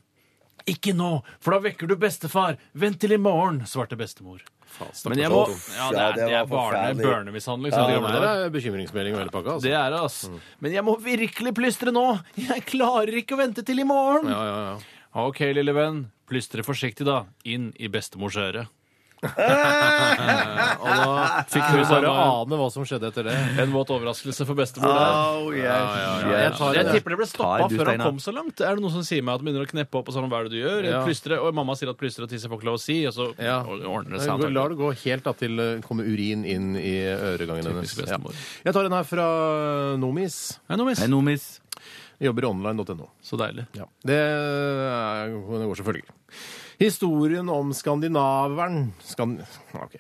S4: Ikke nå, for da vekker du bestefar. Vent til i morgen, svarte bestemor. Men jeg må Ja, det
S5: Ja,
S4: er,
S5: det
S4: det er
S5: var
S4: barne,
S5: forferdelig.
S4: børnemishandling. som liksom det
S3: Det
S4: gamle
S3: der
S4: der.
S3: er bekymringsmelding og hele pakka. altså.
S4: Det er det, ass. Men jeg må virkelig plystre nå! Jeg klarer ikke å vente til i morgen!
S3: Ja, ja, ja.
S4: OK, lille venn. Plystre forsiktig, da. Inn i bestemors øre.
S3: Og da fikk
S4: vi
S3: vi bare
S4: bare-
S3: ane hva som skjedde etter det.
S4: En våt overraskelse for bestemor. der.
S5: Oh, yes,
S3: Ah, Jeg
S5: yes.
S3: tar
S4: Jeg
S3: det.
S4: tipper det ble stoppa
S5: Ta en du,
S4: før han
S5: Steinar.
S4: kom så langt. Er det noen som sier meg at han begynner å kneppe opp og sånn, hva er det du gjør?
S3: Ja.
S4: Plystre, og mamma sier at plystre og tisse får ikke lov å si, og så
S3: Ja.
S4: ordner det seg.
S3: Jeg
S4: antakelig.
S3: lar det gå helt da til det kommer urin inn i øregangen hennes.
S4: Typisk bestemor.
S3: Jeg tar en her fra eh, Nomis.
S4: Nei, nå, miss.
S5: Hei, Nomis.
S3: Jobber i online.no.
S4: Så deilig.
S3: Det, er- det går selvfølgelig. Historien om skandinaveren Skan... Ok.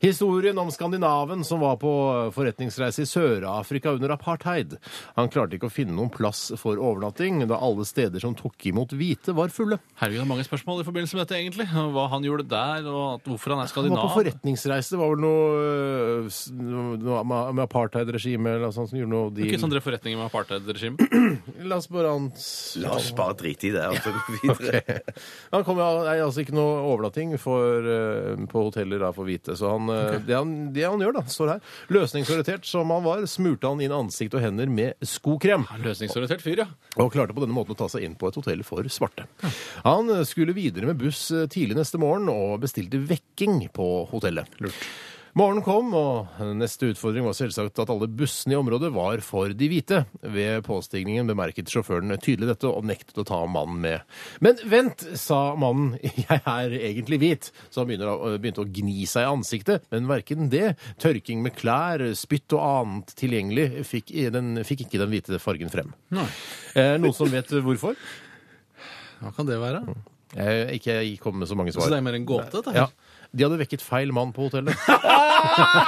S3: Historien om skandinaven som var på eh, forretningsreise i Sør-Afrika under apartheid. Han klarte ikke å finne noen plass for overnatting da alle steder som tok imot hvite, var fulle.
S4: Herregud, det er mange spørsmål i forbindelse med dette, egentlig. Og Hva han gjorde der, og at- hvorfor han er
S3: Han var på
S4: skandinav.
S3: forretningsreise. Det var vel noe, øh, s- noe med med apartheid-regimet eller noe sånt som gjorde noe deal.
S4: Ikke sånn dere forretninger med apartheid-regimet.
S3: La oss bare ans...
S5: La oss bare drite i det og så gå videre.
S3: Han kom jo, det er altså ikke noe overnatting for, eh, på hoteller da, for hvite. Så han, eh, det, han, det han gjør, da, står her. Løsningsorientert som han var, smurte han inn ansikt og hender med skokrem.
S4: Løsningsorientert fyr, ja.
S3: Og klarte på denne måten å ta seg inn på et hotell for svarte. Han eh, skulle videre med buss eh, tidlig neste morgen og bestilte vekking på hotellet. Morgenen kom, og neste utfordring var selvsagt at alle bussene i området var for de hvite. Ved påstigningen bemerket sjåføren tydelig dette og nektet å ta mannen med. Men vent, sa mannen, jeg er egentlig hvit. Så han begynner, å- eh, begynte å gni seg i ansiktet, men verken det, tørking med klær, spytt og annet tilgjengelig, fikk, i- den, fikk ikke den hvite fargen frem. Eh, noen som vet hvorfor?
S4: Hva kan det være?
S3: Eh, ikke kom med så mange
S4: Så
S3: svar.
S4: det er mer en gåte, dette
S3: Ja.
S4: her.
S3: De hadde vekket feil mann på hotellet.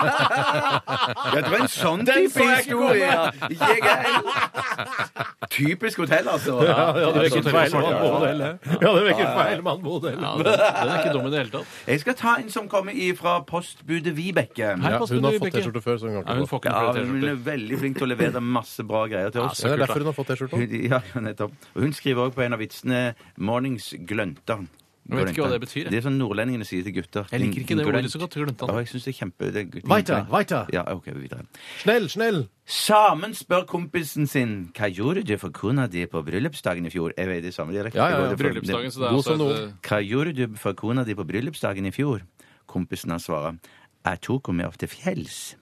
S5: Ja, det var en sånn
S3: Den
S5: type
S3: så jeg ikke
S5: historie. ja. Jeg er Typisk hotell, altså.
S3: Ja, det
S5: Altså,
S3: vekket feil
S5: sånn-
S3: mann på hotellet. Ja, det vekket feil mann på
S4: Ja,
S3: hotellet.
S4: den, den er ikke dum i det hele tatt.
S5: Jeg skal ta en som kommer fra postbudet Vibeke.
S4: Her
S3: Ja,
S4: passer
S3: hun har
S4: du,
S3: fått
S4: Bekke.
S3: T-skjorte før, så hun
S4: Nei,
S3: kan
S4: hun
S3: ikke få.
S4: får ikke
S5: Ja,
S4: noen flere
S5: hun
S4: T-skjorter.
S5: er veldig flink til å levere masse bra greier til oss.
S3: Det er derfor hun har fått T-skjorte.
S5: Hun- Ja, nettopp. Og hun skriver også på en av vitsene 'Mornings glønta'.
S4: Jeg vet ikke hva det betyr, jeg.
S5: Det er sånn nordlendingene sier til gutter.
S4: Jeg liker ikke det
S5: Glønt.
S4: ordet så godt, glønta.
S5: Ja, jeg synes det er kjempe... Det er gutt-
S3: Weiter, weiter.
S5: Ja, ok, videre.
S3: Snell, snell!
S5: Samen spør kompisen sin 'Hva gjorde du for kona di på bryllupsdagen i fjor?' Jeg vet det er samme dialekt.
S3: Ja, ja, ja.
S5: Det går- det-
S4: Bryllupsdagen, så det er
S3: God
S4: altså
S3: som
S4: et,
S3: noen.
S5: Hva gjorde du for kona di på bryllupsdagen i fjor? Kompisen hans svarer. Jeg tok henne med opp til fjells.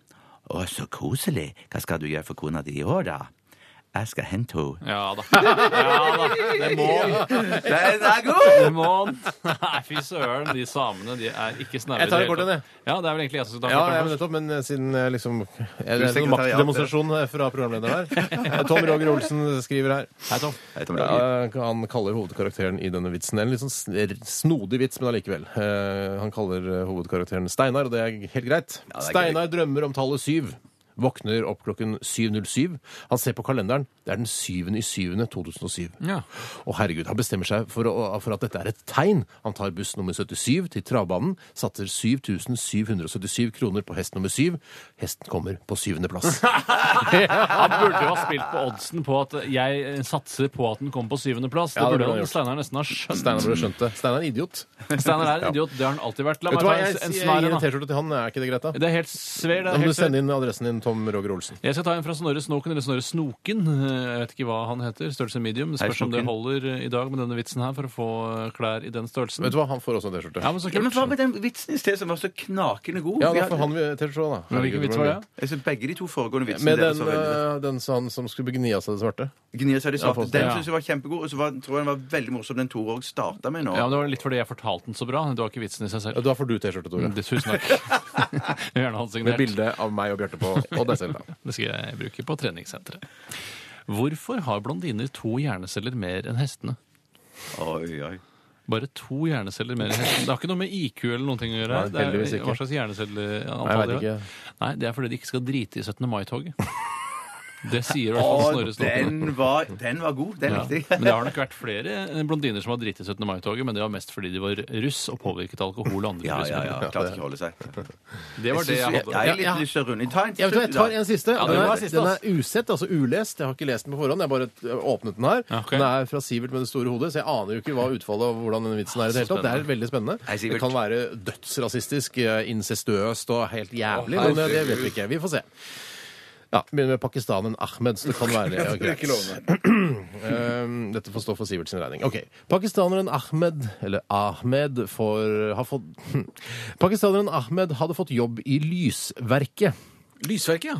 S5: Å, så koselig. Hva skal du gjøre for kona di i år, da? Jeg skal hente henne.
S4: Ja da. Ja da. Det må
S5: Den er god!
S4: Det må Nei, fy søren. De samene de er ikke snaue.
S3: Jeg tar
S4: i det hele
S3: kortene, jeg.
S4: tatt. Ja, det er vel egentlig jeg som skal ta
S3: Ja,
S4: kortene
S3: ja, men
S4: først.
S3: nettopp, men siden eh, liksom Er det noen
S5: sekretariatet.
S3: maktdemonstrasjon fra programlederen her? Tom Roger Olsen skriver her.
S4: Hei, Tom.
S5: Jeg tar med laget.
S3: Ja, han kaller hovedkarakteren i denne vitsen En litt sånn sn- snodig vits, men allikevel. Eh, han kaller eh, hovedkarakteren Steinar, og det er helt greit.
S5: Ja, det er
S3: Steinar drømmer om tallet syv. Våkner opp klokken 7.07. Han ser på kalenderen. Det er den 7. i 7. 2007.
S4: Ja.
S3: Å, herregud, Han bestemmer seg for, å, for at dette er et tegn. Han tar buss nummer 77 til travbanen, satser 7777 kroner på hest nummer 7. Hesten kommer på syvendeplass.
S4: Han burde jo ha spilt på oddsen på at jeg eh, satser på at den kommer på syvendeplass. Det
S3: Ja, det burde
S4: burde
S3: han
S4: jo
S3: gjort.
S4: Steinar nesten ha skjønt.
S3: Steinar burde skjønt det. Steinar er en idiot.
S4: Steinar er en idiot. Det har han alltid vært. La
S3: Vet
S4: meg
S3: du hva,
S4: ta en,
S3: Jeg
S4: en
S3: jeg
S4: snar
S3: gir
S4: en.
S3: en
S4: da.
S3: T-skjorte til han. Er ikke det greit, da?
S4: Det er helt sver. Det
S3: Da
S4: er
S3: må du
S4: helt sver.
S3: sende inn adressen din, Tom Roger Olsen.
S4: Jeg skal ta en fra Snorre Snoken, eller Snorre Snoken. Eh, Jeg vet ikke hva han heter. Størrelse medium. Det
S5: Hei,
S4: Spørs om det
S5: Snoken.
S4: holder eh, i dag med denne vitsen her for å få eh, klær i den størrelsen.
S3: Vet du hva, han får også en T-skjorte.
S4: Ja, men så
S5: Ja, men
S4: kult.
S5: Hva med den vitsen i sted som var så knakende god?
S3: Ja,
S5: Vi
S3: da
S5: hadde-
S3: får han T-skjorte, da.
S4: Men Hvilken
S3: Herregud,
S4: vits var det?
S5: Jeg synes Begge de to foregående vitsene
S3: Med
S5: deres
S3: den,
S5: var veldig
S3: eh, den sa han som skulle gni av seg det svarte.
S5: Gnir seg de
S3: Ja,
S5: svarte.
S3: forstår.
S5: Den
S4: Ja.
S5: synes jeg var kjempegod, og så var, tror jeg den var veldig morsom den Tore òg starta med nå.
S4: Ja, men Det var litt fordi jeg fortalte den så bra. Det var ikke vitsen i seg
S3: Ja,
S4: selv.
S3: Da får du T-skjorte, Tore.
S4: Mm, Det, tusen takk. Jeg vil gjerne ha den
S3: Med
S4: signert.
S3: bilde av meg og Bjarte på, og deg selv, da.
S4: Det skal jeg bruke på treningssenteret. Hvorfor har blondiner to hjerneceller mer enn hestene?
S5: Oi, oi.
S4: Bare to hjerneceller mer enn hestene. Det har ikke noe med IQ eller noen ting å gjøre.
S3: Nei, heldigvis
S4: det er,
S3: ikke.
S4: hva slags hjernecelleantall
S3: Jeg vet
S4: de har.
S3: ikke.
S4: Nei, det er fordi de ikke skal drite i 17. mai-toget. Det sier i hvert fall
S5: Å,
S4: Snorre Snoken.
S5: den, var, den var god. Den
S4: Ja.
S5: likte jeg.
S4: Men det har nok vært flere blondiner som har driti i 17. mai-toget, men det var mest fordi de var russ og påvirket av alkohol og andre
S5: Ja, ja,
S4: rusmidler.
S5: ja. Klarte ikke å holde seg.
S4: Det var det
S5: synes
S4: jeg
S5: jeg,
S4: hadde.
S5: jeg er litt lyst til å runde. Ta en til
S3: Jeg, vet, hva, jeg
S5: slutt,
S3: tar
S5: da.
S3: en siste.
S4: Ja, det
S3: den,
S4: var
S3: er,
S4: siste,
S3: den
S4: ass.
S3: er usett, altså ulest. Jeg har ikke lest den på forhånd. Jeg bare t- åpnet den her.
S4: Ja, ok.
S3: Den er fra Sivert med det store hodet, så jeg aner jo ikke hva utfallet av hvordan denne vitsen er. i Det hele tatt. Det er veldig spennende.
S5: Hei, Sivert.
S3: Det kan være dødsrasistisk, eh, incestøst og helt jævlig, men eh, det vet vi ikke. Vi får se. Ja, Begynner med pakistaneren Ahmed, så det kan være ja, greit. Um, Dette får stå for Sivert sin regning. Ok, Pakistaneren Ahmed eller Ahmed får, har fått Pakistaneren Ahmed hadde fått jobb i Lysverket.
S4: Lysverket, ja.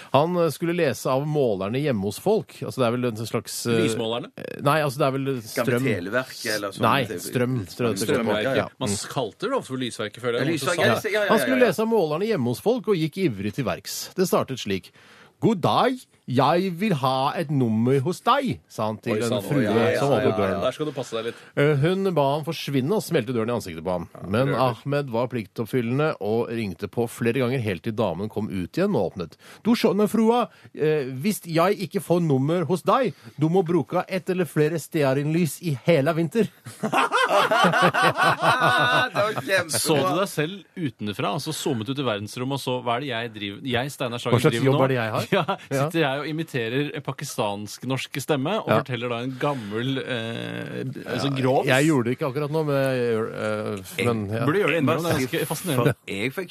S3: Han eh, skulle lese av målerne hjemme hos folk. Altså det er vel en slags eh,
S4: Lysmålerne?
S3: eh, Nei, altså det er vel
S5: Gamle
S3: strøm.
S5: Televerket eller sånn.
S3: Nei, strøm. strøm,
S4: Strømverket.
S3: Ja.
S4: Man kalte det ofte for Lysverket, føler jeg. Det
S5: Ja,
S4: var så
S3: Ja.
S4: sant.
S5: Lysverket. Ja, ja, ja, ja.
S3: Han skulle lese av målerne hjemme hos folk og gikk ivrig til verks. Det startet slik. God dag, jeg vil ha et nummer hos deg, sa han til en frue som åpnet døren.
S4: skal du passe deg litt.
S3: Eh, Hun ba han forsvinne og smelte døren i ansiktet på ham. Men Ahmed var pliktoppfyllende og ringte på flere ganger helt til damen kom ut igjen og åpnet. Du skjønner, frua, eh, hvis jeg ikke får nummer hos deg, du må bruke ett eller flere stearinlys i hele vinter.
S5: Ah, det var kjempebra.
S4: Så du deg selv utenfra, altså zoomet ut i verdensrommet og så hva er det jeg driver Jeg, Steinar Sagen,
S3: Hva slags
S4: driver nå?
S3: jobb er det jeg har?
S4: Ja, sitter jeg og imiterer en pakistansk-norsk stemme og
S3: Ja.
S4: forteller da en gammel eh, altså grov
S3: Jeg gjorde det ikke akkurat nå, men, jeg gjør- eh, men ja.
S4: Burde gjøre det innimellom. Det er
S5: Bare si-
S4: ganske fascinerende.
S5: For jeg fikk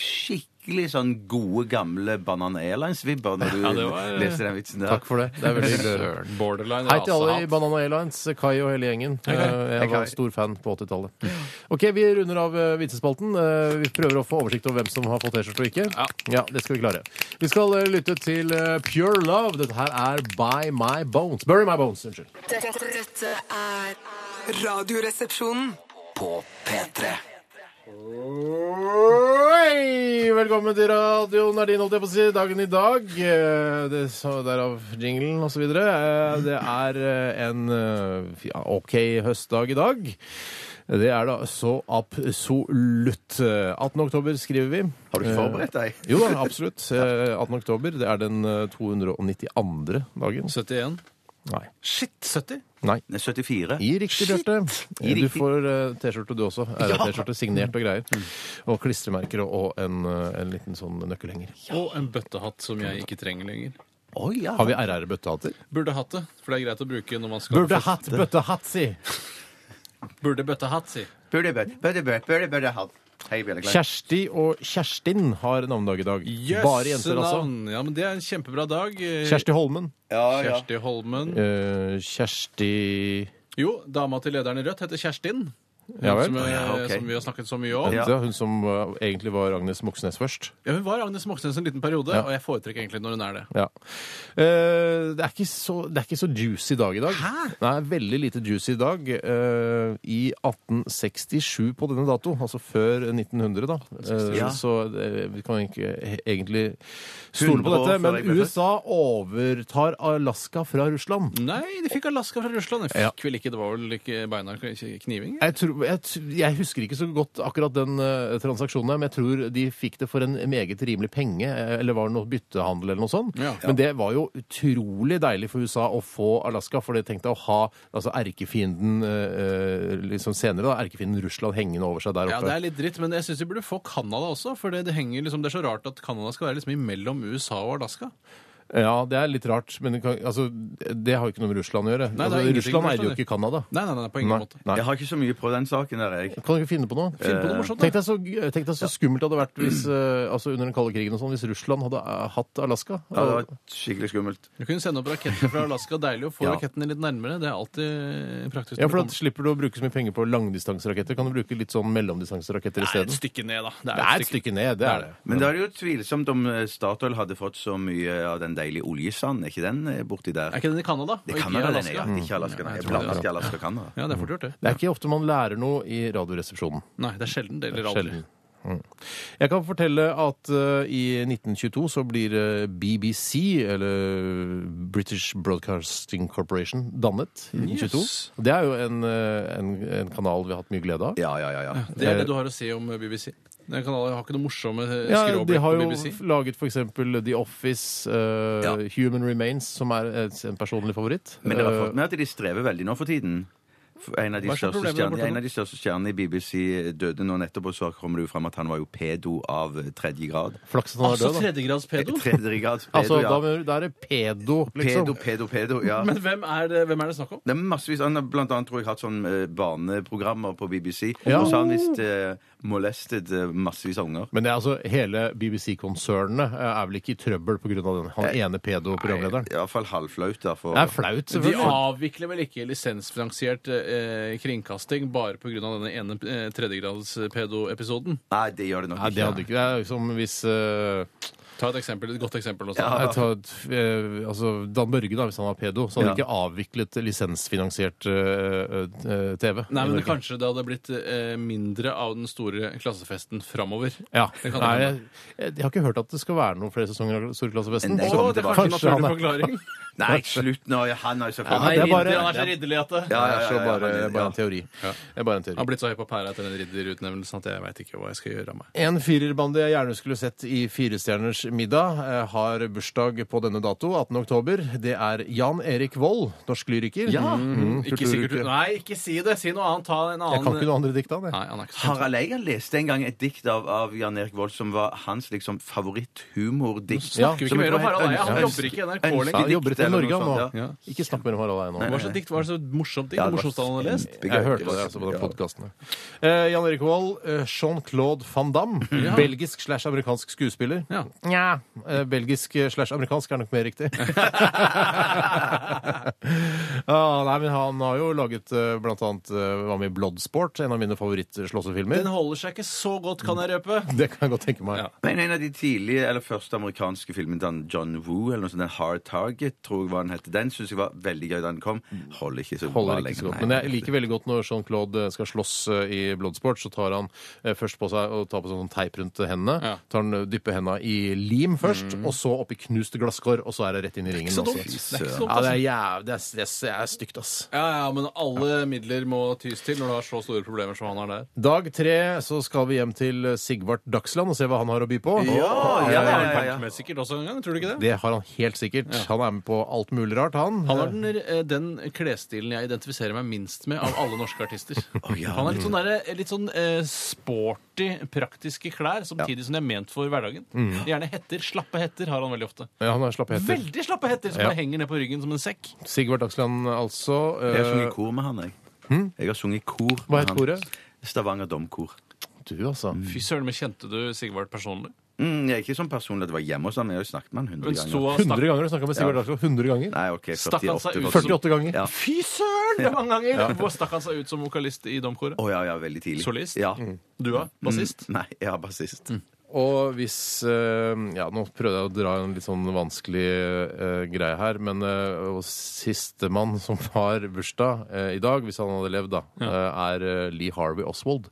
S5: skikkelig sånn gode, gamle Banan Airlines-vibber når du
S4: Ja, det var- eh,
S5: leste den vitsen der.
S3: Takk for det. Det er veldig hyggelig.
S4: Søren, Borderline altså,
S3: Hei til alle i
S4: rasehat.
S3: Banana Airlines, Kai og hele gjengen. Eh,
S5: Hei,
S3: Jeg var
S5: Kai.
S3: stor fan på 80-tallet. Ok, Vi runder av eh, vitsespalten. Eh, Vi prøver å få oversikt over hvem som har fått T-skjorte og ikke.
S4: Ja.
S3: Det skal vi klare. Vi skal eh, lytte til eh, Pure Love. Dette her er By My Bones. Bury My Bones, unnskyld.
S6: Dette, dette er Radioresepsjonen.
S2: På P3.
S3: Oi! Velkommen til radioen er din, holdt jeg på å si. Dagen i dag. eh, Det, så derav jinglen osv. Det er eh, en eh, ja, OK høstdag i dag. Det er da så absolutt. Eh, 18. oktober skriver vi. Eh,
S5: Har du ikke forberedt deg?
S3: Jo da, absolutt. Eh, 18. oktober, det er den eh, 292. dagen.
S4: 71.
S3: Nei.
S4: Shit, 70?
S3: Nei.
S5: Nei, 74.
S3: I riktig, Bjarte.
S5: I
S3: Du
S5: riktig.
S3: får eh, T-skjorte, du også. RR-T-skjorte signert og greier. Og klistremerker og, og en, eh, en liten sånn nøkkelhenger.
S4: Og en bøttehatt som jeg ikke trenger lenger.
S5: Oi, ja.
S3: Har vi RR-bøttehatter?
S4: Burde hatt det, for det er greit å bruke når man skal
S3: Burde hatt bøttehatt, si!
S4: Burde bøttehatt, si.
S5: Burde, burde, burde, burde, burde hatt. Hei, Bjelle Klein.
S3: Kjersti og Kjerstin har navnedag i dag. Bare jenter, altså.
S4: Jøssenavn. Ja, men det er en kjempebra dag. Eh,
S3: Kjersti Holmen.
S5: Ja, ja.
S4: Kjersti Holmen.
S3: eh, Kjersti
S4: Jo, dama til lederen i Rødt heter Kjerstin.
S3: Ja vel.
S4: Som, eh,
S5: Ja, ok.
S4: som vi har snakket så mye om. Ja.
S5: Ja.
S3: Det er hun som eh, egentlig var Agnes Moxnes først.
S4: Hun var Agnes Moxnes en liten periode, og jeg foretrekker egentlig når hun er det.
S3: Ja. Eh, det, er ikke så, det er ikke så juicy dag i dag. Hæ? Nei, veldig lite juicy dag. Eh, I 1867 på denne dato, altså før 1900, da. Eh,
S5: Ja.
S3: Så eh, vi kan ikke he- egentlig stole på
S5: 100 år
S3: dette.
S5: før
S3: Men
S5: jeg ble født.
S3: USA overtar Alaska fra Russland.
S4: Nei, de fikk Alaska fra Russland. Det
S3: Ja.
S4: fikk vel ikke, det var vel ikke beinar ikke kniving?
S3: Jeg, tror, jeg, tr- jeg husker ikke så godt akkurat den eh, transaksjonen, her, men jeg tror de fikk det for en meget rimelig penge, eh, eller var det noe byttehandel eller noe sånt.
S4: Ja.
S3: Men det var jo utrolig deilig for USA å få Alaska, for de tenkte å ha altså, erkefienden eh, eh, liksom senere, da, erkefienden Russland hengende over seg der
S4: Ja,
S3: oppe.
S4: det er litt dritt, men jeg syns vi burde få Canada også. For det, det henger liksom, det er så rart at Canada skal være liksom imellom USA og Alaska.
S3: Ja, det er litt rart, men det, kan, altså, det har jo ikke noe med Russland å gjøre.
S4: Nei, det er
S3: altså,
S4: ingenting
S3: Russland
S4: med
S3: eier jo
S4: Russland.
S3: ikke Canada.
S4: Nei, nei, nei, på ingen
S3: Nei,
S4: måte.
S3: nei.
S5: Jeg har ikke så mye på den saken der, jeg.
S3: Kan du ikke finne på noe?
S4: Finn på noe morsomt.
S3: Tenk
S4: da.
S3: deg så, tenk deg så skummelt det hadde vært hvis, eh, altså under den kalde krigen og sånn, hvis Russland hadde eh, hatt Alaska.
S5: Ja, det var skikkelig skummelt.
S4: Du kunne sende opp raketter fra Alaska. Deilig å få
S5: Ja.
S4: rakettene litt nærmere. Det er alltid praktisk.
S3: Ja,
S4: når
S3: for
S4: det
S3: da slipper du å bruke så mye penger på langdistanseraketter. Kan du bruke litt sånn mellomdistanseraketter
S4: kommer- det er et
S3: isteden?
S4: stykke ned, da.
S3: Det er et stykke ned, det er det.
S5: Men da er det jo tvilsomt om eh, Statoil hadde fått så mye av den deilige oljesanden. Er ikke den eh, borti der?
S4: Er ikke den i Canada?
S5: Det
S4: og
S5: kan
S4: ikke i
S5: være den,
S4: Alaska?
S5: ja. Ikke Alaska,
S3: Mm.
S5: nei.
S4: Ja, jeg
S5: Jeg
S4: tror det,
S5: blander ikke Alaska og Canada.
S4: Ja, det er fort gjort,
S3: Det
S4: det.
S3: er ikke ofte man lærer noe i Radioresepsjonen.
S4: Nei, det er sjelden. Det gjelder aldri.
S3: Sjelden. Mm. Jeg kan fortelle at eh, i 1922 så blir eh, BBC, eller eh, British Broadcasting Corporation, dannet. i 1922.
S4: Mm. Yes.
S3: Og Det er jo en, eh, en, en kanal vi har hatt mye glede av.
S5: Ja, ja, ja. ja.
S4: Det
S3: Eh,
S4: er det du har å si om eh, BBC. Den kanalen har ikke noe morsomme eh,
S3: Ja, de
S4: skråblikk
S3: har
S4: på
S3: jo
S4: BBC.
S3: laget f.eks. The Office, eh,
S5: Ja.
S3: Human Remains, som er et- en personlig favoritt.
S5: Men dere har
S3: Eh,
S5: fått med at de strever veldig nå for tiden? For En av, de
S4: Hva er så
S5: største
S4: problemet der borte
S5: stjernene,
S4: nå?
S5: en av de største stjernene i BBC døde nå nettopp, og så kommer det jo fram at han var jo pedo av eh, tredje grad.
S3: Flaks at han er
S4: Altså
S3: død, da.
S4: tredjegrads pedo?
S5: Tredje grads pedo,
S3: Altså, da,
S5: ja.
S3: mener du- da er det pedo, liksom.
S5: Pedo, pedo, pedo, ja.
S4: Men hvem er det, hvem er det snakk om?
S5: Det er massevis. Han har blant annet tror jeg hatt sånn eh, barneprogrammer på BBC.
S3: Ja.
S5: Og så har han visst eh, molestet eh, massevis av unger.
S3: Men det er altså, hele BBC-konsernet eh, er vel ikke i trøbbel pga. den han ene pedo-programlederen?
S5: Eh, I hvert fall halvflaut. da, for-
S3: Det er flaut,
S4: De
S3: selvfølgelig.
S4: avvikler vel ikke lisensfinansiert eh, kringkasting bare pga. denne ene eh, tredjegrads pedo-episoden?
S5: Nei, det gjør det nok
S3: Nei, det hadde ikke Det er som hvis eh,
S4: Ta et eksempel, et godt eksempel. Også.
S5: Ja.
S3: jeg tar, et, eh, altså Dan Børge, da, hvis han var pedo, så hadde
S5: Ja.
S3: ikke avviklet lisensfinansiert eh, eh, TV.
S4: Nei,
S3: i
S4: men
S3: Norge.
S4: Kanskje det hadde blitt eh, mindre av den store klassefesten framover.
S3: Ja.
S4: Det kan
S3: Nei, jeg,
S4: hende.
S3: jeg, har ikke hørt at det skal være noen flere sesonger av Storklassefesten.
S5: Men
S4: Å,
S5: det er sånn
S4: det er
S5: var.
S4: kanskje en
S3: Kanskje
S4: naturlig
S3: han er-
S4: forklaring.
S5: Nei, slutt nå. ja, Han har
S3: det
S4: Han
S5: jo selvfølgelig
S3: er
S4: er,
S3: bare-
S4: ridder, han er så ridderlig at det
S5: Ja,
S3: Det
S5: ja,
S3: er
S5: ja,
S3: så
S5: ja,
S3: bare,
S5: ja.
S3: bare en teori. Det er bare en
S4: Han har
S3: teori.
S4: blitt så høy på pæra etter den ridderutnevnelsen at jeg veit ikke hva jeg skal gjøre av meg.
S3: En firerbandy jeg gjerne skulle sett i Firestjerners middag, eh, har bursdag på denne dato, 18. oktober. Det er Jan Erik Vold, norsk lyriker. Mm,
S4: Ikke
S3: kulturuke.
S4: sikkert, nei, ikke si det! Si noe annet. Ta en annen
S3: Jeg kan ikke noe andre dikt av det.
S4: Nei, han er ikke så
S5: Harald Eia leste en gang et dikt av, av Jan Erik Vold som var hans liksom favoritthumordikt.
S3: Ja,
S4: Snakker vi
S5: Som
S4: ikke mer
S5: jeg tror
S4: om
S5: het
S4: Harald Eia? Han
S5: Ønske-
S4: jobber ikke i NRK lenger.
S5: Ønske-
S3: Han jobber i
S5: eller noe
S3: Norge han
S5: sånt,
S3: nå.
S5: ja.
S4: altså? Ja.
S3: Ikke snakk mer om Harald Eia nå.
S4: Hva slags dikt var det så morsomt? Ikke
S5: Ja, det var
S4: morsomst han hadde lest?
S5: kjempegøy.
S3: Jeg hørte det altså, på den podcasten. Eh, Jan Erik Vold, eh, Jean-Claude van Damme. Belgisk slash amerikansk skuespiller.
S4: Ja.
S3: Nja, eh, belgisk eh, slash amerikansk er nok mer riktig. ah, nei, men han har jo laget eh, blant annet eh, var med i Bloodsport, en av mine
S4: Den
S3: favorittslåssefilmer.
S4: holder seg ikke så godt, kan jeg røpe.
S3: Det kan jeg godt tenke meg.
S4: Ja.
S5: Men en av de tidlige, eller første amerikanske filmene til han John Woo, eller noe sånt, den Hard Target, tror jeg hva den het. Den syns jeg var veldig gøy da den kom. Holder ikke så bra
S3: Holder ikke
S5: lenger.
S3: så godt.
S5: nei.
S3: Men jeg liker veldig godt når Jean-Claude skal slåss eh, i Bloodsport, så tar han eh, først på seg og tar på seg sånn teip rundt hendene.
S4: Ja.
S3: Tar han, eh, dypper hendene i lim først, og så oppi knust glasskår, og så er det rett inn i ringen.
S4: så
S3: også.
S4: dumt. Det er ikke så
S3: Ja,
S4: dumt,
S3: det
S4: altså.
S3: er, jæv... det er, det er, det er stygt, ass.
S4: Ja, ja, men alle midler må tys til når du har så store problemer som han har der.
S3: Dag tre så skal vi hjem til eh, Sigvart Dagsland og se hva han har å by på.
S5: Ja, ja, ja, ja, ja.
S4: Vært med sikkert også en gang, tror du ikke det?
S3: Det har han helt sikkert. Han er med på alt mulig rart, han.
S4: Han har den, eh, den klesstilen jeg identifiserer meg minst med av alle norske artister.
S5: ja.
S4: Han har litt sånn, derre- litt sånn eh, sporty, praktiske klær, samtidig som de er ment for hverdagen.
S5: Mm.
S4: Gjerne hetter. Slappe hetter har han veldig ofte.
S3: Ja, han har slappe hetter.
S4: Veldig slappe hetter som
S3: Ja.
S4: bare henger ned på ryggen som en sekk.
S3: Sigvart Dagsland, altså.
S5: Jeg har
S3: eh,
S5: sunget kor med han, jeg. Jeg har sunget kor
S3: Hm? Hva
S5: med
S3: het
S5: han.
S3: koret?
S5: Stavanger Domkor.
S3: Du, altså.
S4: Fy søren, men kjente du Sigvart personlig?
S5: Mm, jeg er ikke sånn personlig at det var hjemme hos han, men jeg har jo snakket med han
S4: Hun
S5: hundre
S4: sto og
S5: ganger.
S7: 100
S4: stakk
S7: ganger? Du snakka med Sigurd
S5: Ja.
S7: Dagsgaard 100 ganger?
S5: Nei, ok,
S4: Stakk han seg
S5: 48
S4: ut
S5: kanskje.
S7: 48 ganger.
S5: Ja.
S4: Fy søren! Det er mange ganger! Hvor stakk han seg ut som vokalist i Domkoret?
S5: Å ja, ja, veldig tidlig.
S4: Solist?
S5: Ja. Mm.
S4: Du da? Bassist?
S5: Nei, ja, bassist.
S3: Og hvis eh, Ja, nå prøvde jeg å dra en litt sånn vanskelig eh, greie her, men uh, sistemann som har bursdag eh, i dag, hvis han hadde levd, da, eh, er eh, Lee Harvey Oswald.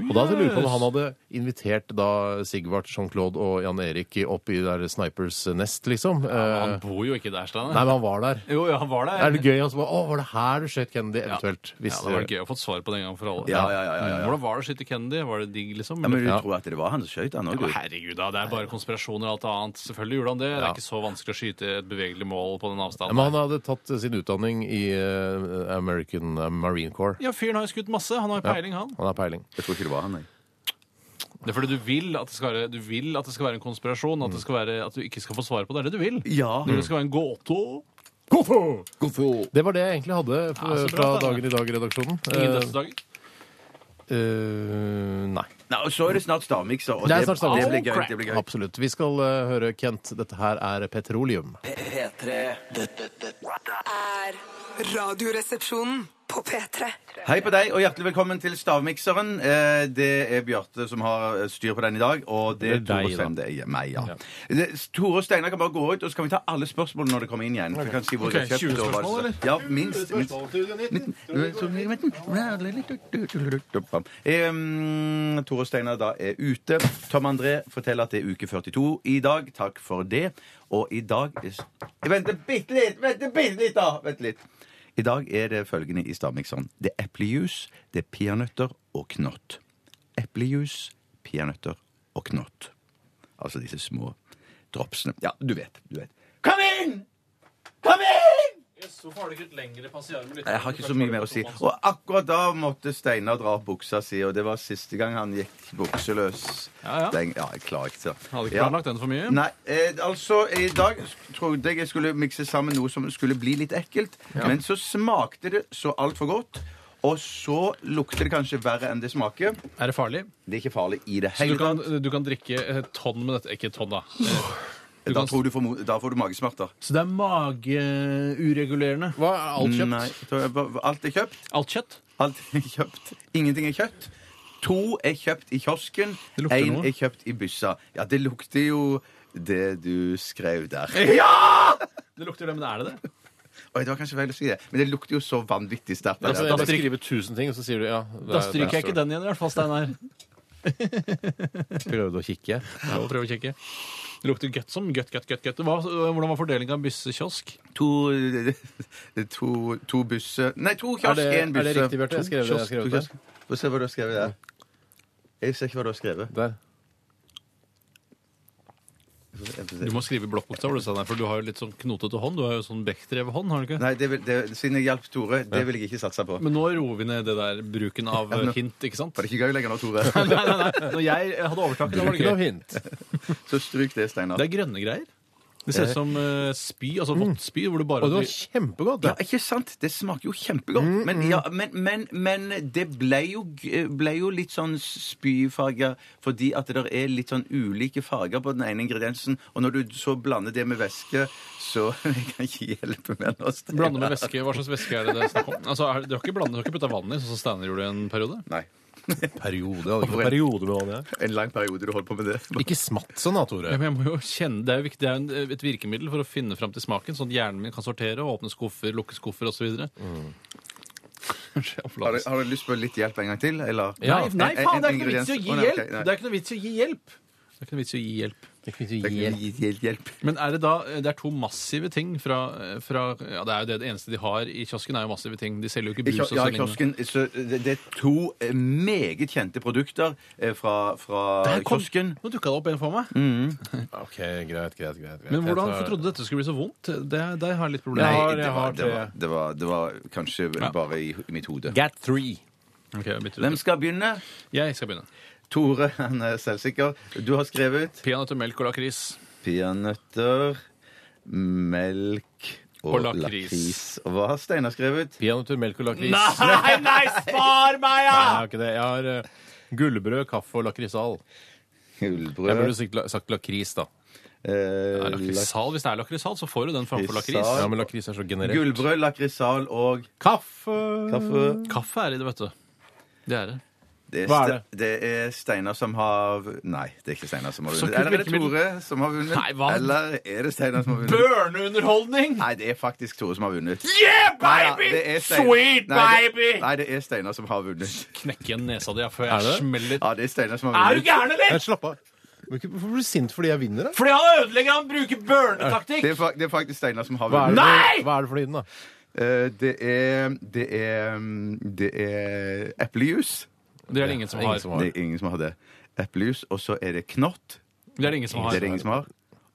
S3: Og da hadde jeg lurt på om han hadde invitert da Sigvart, Jean-Claude og Jan Erik i- opp i der Snipers Nest, liksom.
S4: Han
S3: Eh,
S4: bor jo ikke der, Steinar.
S3: nei, men han var der.
S4: Jo, ja, han var der.
S3: Er det gøy? Altså, bare, å, var det her du skjøt Kennedy?
S4: Ja.
S3: Eventuelt.
S4: Ja, det var gøy å få et svar på det en gang for alle.
S5: Ja, ja, ja, ja, ja.
S4: Mm, Hvordan var det å skyte Kennedy? Var det digg, liksom?
S5: Ja, men du
S3: Ja.
S5: tror at det var han som skøyt han òg?
S4: Ja, herregud, da. Det er bare konspirasjoner og alt annet. Selvfølgelig gjorde han det. Det
S3: Ja.
S4: er ikke så vanskelig å skyte et bevegelig mål på den
S3: Ja,
S4: avstanden.
S3: Men han hadde tatt eh, sin utdanning i eh, American eh, Marine Corps.
S4: Ja, fyren har jo skutt masse. Han har jo peiling, han.
S3: Han har peiling.
S5: Jeg tror ikke det var han, nei.
S4: Det er fordi du vil at det skal være, du vil at det skal være en konspirasjon, at, det skal være, at du ikke skal få svaret på det. Det er det du vil.
S5: Ja.
S4: Du vil det skal være en gåte.
S3: Det var det jeg egentlig hadde f-
S4: Ja, så bra,
S3: fra
S4: Steinar.
S3: Dagen i dag-redaksjonen.
S4: Ingen dødsdager.
S3: eh, nei.
S5: Nei, og så er det snart stavmikser. Og
S3: Det er snart stavmikser.
S5: Det blir gøy.
S4: Oh,
S5: Det blir gøy.
S3: Absolutt. Vi skal eh, høre Kent. Dette her er Petroleum.
S8: P3. Dette, dette.
S6: er Radioresepsjonen på P3.
S5: Hei på deg, og hjertelig velkommen til Stavmikseren. Eh, Det er Bjarte som har eh, styr på den i dag, og det er
S3: Det er
S5: Tore
S3: deg, da.
S5: Stein. Det er meg, ja. Det- Tore og Steinar kan bare gå ut, og så kan vi ta alle spørsmålene når det kommer inn igjen. Så kan vi si hvor
S4: Ok,
S5: de har
S4: 20
S5: kjøpt og hva det
S4: spørsmål,
S5: står.
S4: eller?
S5: Ja, minst. minst. Em, Tore og Steinar da er ute. Tom André forteller at det er uke 42 i dag. Takk for det. Og i dag er- Vent bitte litt! Vent bitte litt, da! Vent litt. I dag er det følgende i stavmikseren. Det er eplejus, det er peanøtter og knott. Eplejus, peanøtter og knott. Altså disse små dropsene. Ja, du vet. Du vet. Kom inn! Kom inn!
S4: Hvorfor har du ikke et lengre passiarm?
S5: Jeg har ikke så mye mer å si.
S4: sånn
S5: Og akkurat da måtte Steinar dra opp buksa si, og det var siste gang han gikk bukseløs.
S4: Ja, ja.
S5: Den, ja jeg klarer ikke det.
S4: Hadde ikke
S5: Ja.
S4: planlagt den for mye.
S5: Nei, eh, altså, i dag sk- trodde jeg jeg skulle mikse sammen noe som skulle bli litt ekkelt, men så smakte det så altfor godt. Og så lukter det kanskje verre enn det smaker.
S4: Er det farlig?
S5: Det er ikke farlig i det
S4: Så du
S5: hele
S4: kan,
S5: tatt.
S4: du kan drikke et tonn med dette? Ikke et tonn, da. Eh, Du
S5: Da,
S4: kan,
S5: tror du får, mo- da får du magesmerter.
S4: så det er mageuregulerende?
S3: Hva er alt kjøpt?
S5: Nei, da- hva- alt er kjøpt.
S4: Alt kjøtt?
S5: Alt er kjøpt. Ingenting er kjøpt. To er kjøpt i kiosken.
S4: Det lukter
S5: Én
S4: noe.
S5: er kjøpt i byssa. Ja, det lukter jo det du skrev der.
S4: Det lukter det, men er det det?
S5: Oi, det var kanskje feil å si det, men det lukter jo så vanvittig sterkt.
S3: Altså,
S4: da
S3: jeg bare
S4: stryk-
S3: skriver 1000 ting, og så sier du ja. det
S4: Da
S3: er-
S4: stryker
S3: det er
S4: jeg ikke
S3: så-
S4: den igjen, i hvert fall, Steinar.
S3: Prøvde å kikke.
S4: Jeg prøver å kjekke. Det lukter godt som gutt, gutt, gutt, gutt. Hva, hvordan var fordelingen av byssekiosk?
S5: To, to, to busser Nei, to
S3: Er
S5: kiosk,
S3: det,
S5: én
S3: er
S5: busse.
S3: det riktig, Bjarte? Jeg skrev det. Jeg
S5: Kiosk,
S3: skrev
S5: to
S3: det.
S5: kiosk. Få se hva du har skrevet der. Jeg ser ikke hva du har skrevet.
S3: Der.
S5: Jeg får
S4: Du
S5: se.
S4: må skrive i blokkbokstaver, du, Steinar, for du har jo litt sånn knotete hånd. Du har jo sånn Bechdrev-hånd, har du ikke?
S5: Nei, det vil, det, siden jeg hjalp Tore, det vil jeg ikke satse på.
S4: Men nå roer vi ned det der bruken av eh, hint, ikke sant?
S5: Var det ikke gøy lenger nå, Tore?
S4: Nei, nei, nei. Når jeg hadde overtaket, da var
S3: Ikke
S4: det
S3: noe
S4: gøy.
S3: hint.
S5: Så stryk det, Steinar.
S4: Det er grønne greier. Det ser ut som eh, spy, altså vått spy, hvor du bare
S3: Og det var kjempegodt.
S5: Ja,
S3: det.
S5: ikke sant? Det smaker jo kjempegodt.
S4: Mm,
S5: Men, ja, men, men, men det ble jo, g- ble jo litt sånn spyfarger fordi at det der er litt sånn ulike farger på den ene ingrediensen. Og når du så blander det med væske, så Jeg kan ikke hjelpe mer nå. Steinar.
S4: Blande med væske. Hva slags væske er det det er snakk om? Altså, er, det- du har ikke blandet, du har ikke putta vann i, sånn som Steinar gjorde i en periode?
S5: Nei.
S3: Periode. det hadde ikke
S5: Hvorfor-
S3: vært Periode med hva det er.
S5: En lang periode du holdt på med det.
S3: Ikke smatt sånn da,
S4: Ja,
S3: Tore.
S4: men jeg må jo kjenne, Det er jo viktig, det er jo en- eh, et virkemiddel for å finne fram til smaken, sånn at hjernen min kan sortere og åpne skuffer, lukke skuffer osv.
S5: Mm. Har du, har du lyst på litt hjelp en gang til, eller?
S3: Ja.
S4: Nei, nei, faen! Det er ikke noe vits i å
S5: Å,
S4: gi
S5: nei, ok, nei.
S4: hjelp! Det er ikke noe vits i å gi hjelp! Det er ikke noe vits i å gi hjelp.
S5: Det er ikke noe gitt hjelp. hjelp.
S4: Men er det da eh, Det er to massive ting fra, eh, fra Ja, det er jo det, det eneste de har i kiosken, er jo massive ting. De selger jo ikke
S5: I
S4: brus og
S5: kio- Ja, i
S4: sånn. lignende.
S5: kiosken. Så det, det er to eh, meget kjente produkter eh, fra, fra
S4: Der kom-
S5: kiosken.
S4: Nå dukka det opp en for meg.
S3: OK, greit, greit, greit. greit.
S4: Men hvordan
S3: Jeg
S4: hvorfor
S3: tar-
S4: trodde du dette skulle bli så vondt? Det, der har jeg
S3: Jeg
S4: litt problemer.
S3: har-
S5: det
S3: jeg
S5: var,
S3: har
S5: det, var, det, var, det var kanskje bare i, i mitt hode.
S3: Get three.
S4: Ok, jeg bytter
S5: Hvem
S4: ut.
S5: skal begynne?
S4: Jeg skal begynne.
S5: Tore, han er selvsikker. Du har skrevet
S4: Peanøtter, melk og lakris.
S5: peanøtter, melk og,
S4: Og lakris.
S5: lakris. Og hva har Steinar skrevet?
S3: Peanøtter, melk og lakris.
S4: Nei, nei, spar meg,
S3: Ah. Nei, jeg har ikke det. Jeg har eh, gullbrød, kaffe og lakrisal. Jeg
S5: Gullbrød
S3: burde sikkert la- sagt lakris, da.
S5: eh,
S4: Nei, Lakrisal, hvis det er lakrisal, så får du den framfor lakris.
S5: Lakrisal.
S3: Ja, men lakris er så
S5: lak-
S3: generelt.
S5: Gullbrød, lakrisal og
S9: Kaffe.
S5: kaffe.
S4: Kaffe er i det, vet du. Det Mm. er det.
S5: Det er,
S9: Hva er
S5: Ste- det? er Steinar som har Nei, det er ikke Steinar som har
S4: Så
S5: vunnet. Eller er det
S4: virkemiddel.
S5: Tore som har vunnet?
S4: Nei, hva?
S5: Eller er det Steinar som har vunnet?
S4: Børneunderholdning!
S5: Nei, det er faktisk Tore som har vunnet.
S4: Yeah,
S5: Nei, det er Stein- nei, det- Nei, det er Steinar som har vunnet.
S4: Knekke igjen nesa di ja, før
S3: Er det
S4: jeg
S3: det?
S4: smeller.
S5: Ja, det er Steinar som har vunnet.
S4: gæren, eller?!
S3: Men slapp av. Men ikke- Hvorfor blir du sint fordi jeg vinner, da?
S4: Fordi han ødelegger, han bruker børnetaktikk!
S5: Det er, fa det er faktisk Steinar som har
S3: Hva er det,
S5: vunnet.
S4: Nei!
S3: Hva er det for lyden, da?
S5: Eh, Det er Det er mm, Det er eplejus.
S4: Det er det ingen som har.
S3: som
S5: Det er ingen som har det. Eplejus, og så er det knott.
S4: Det er det ingen som
S5: Det
S4: har.
S5: er det ingen som har.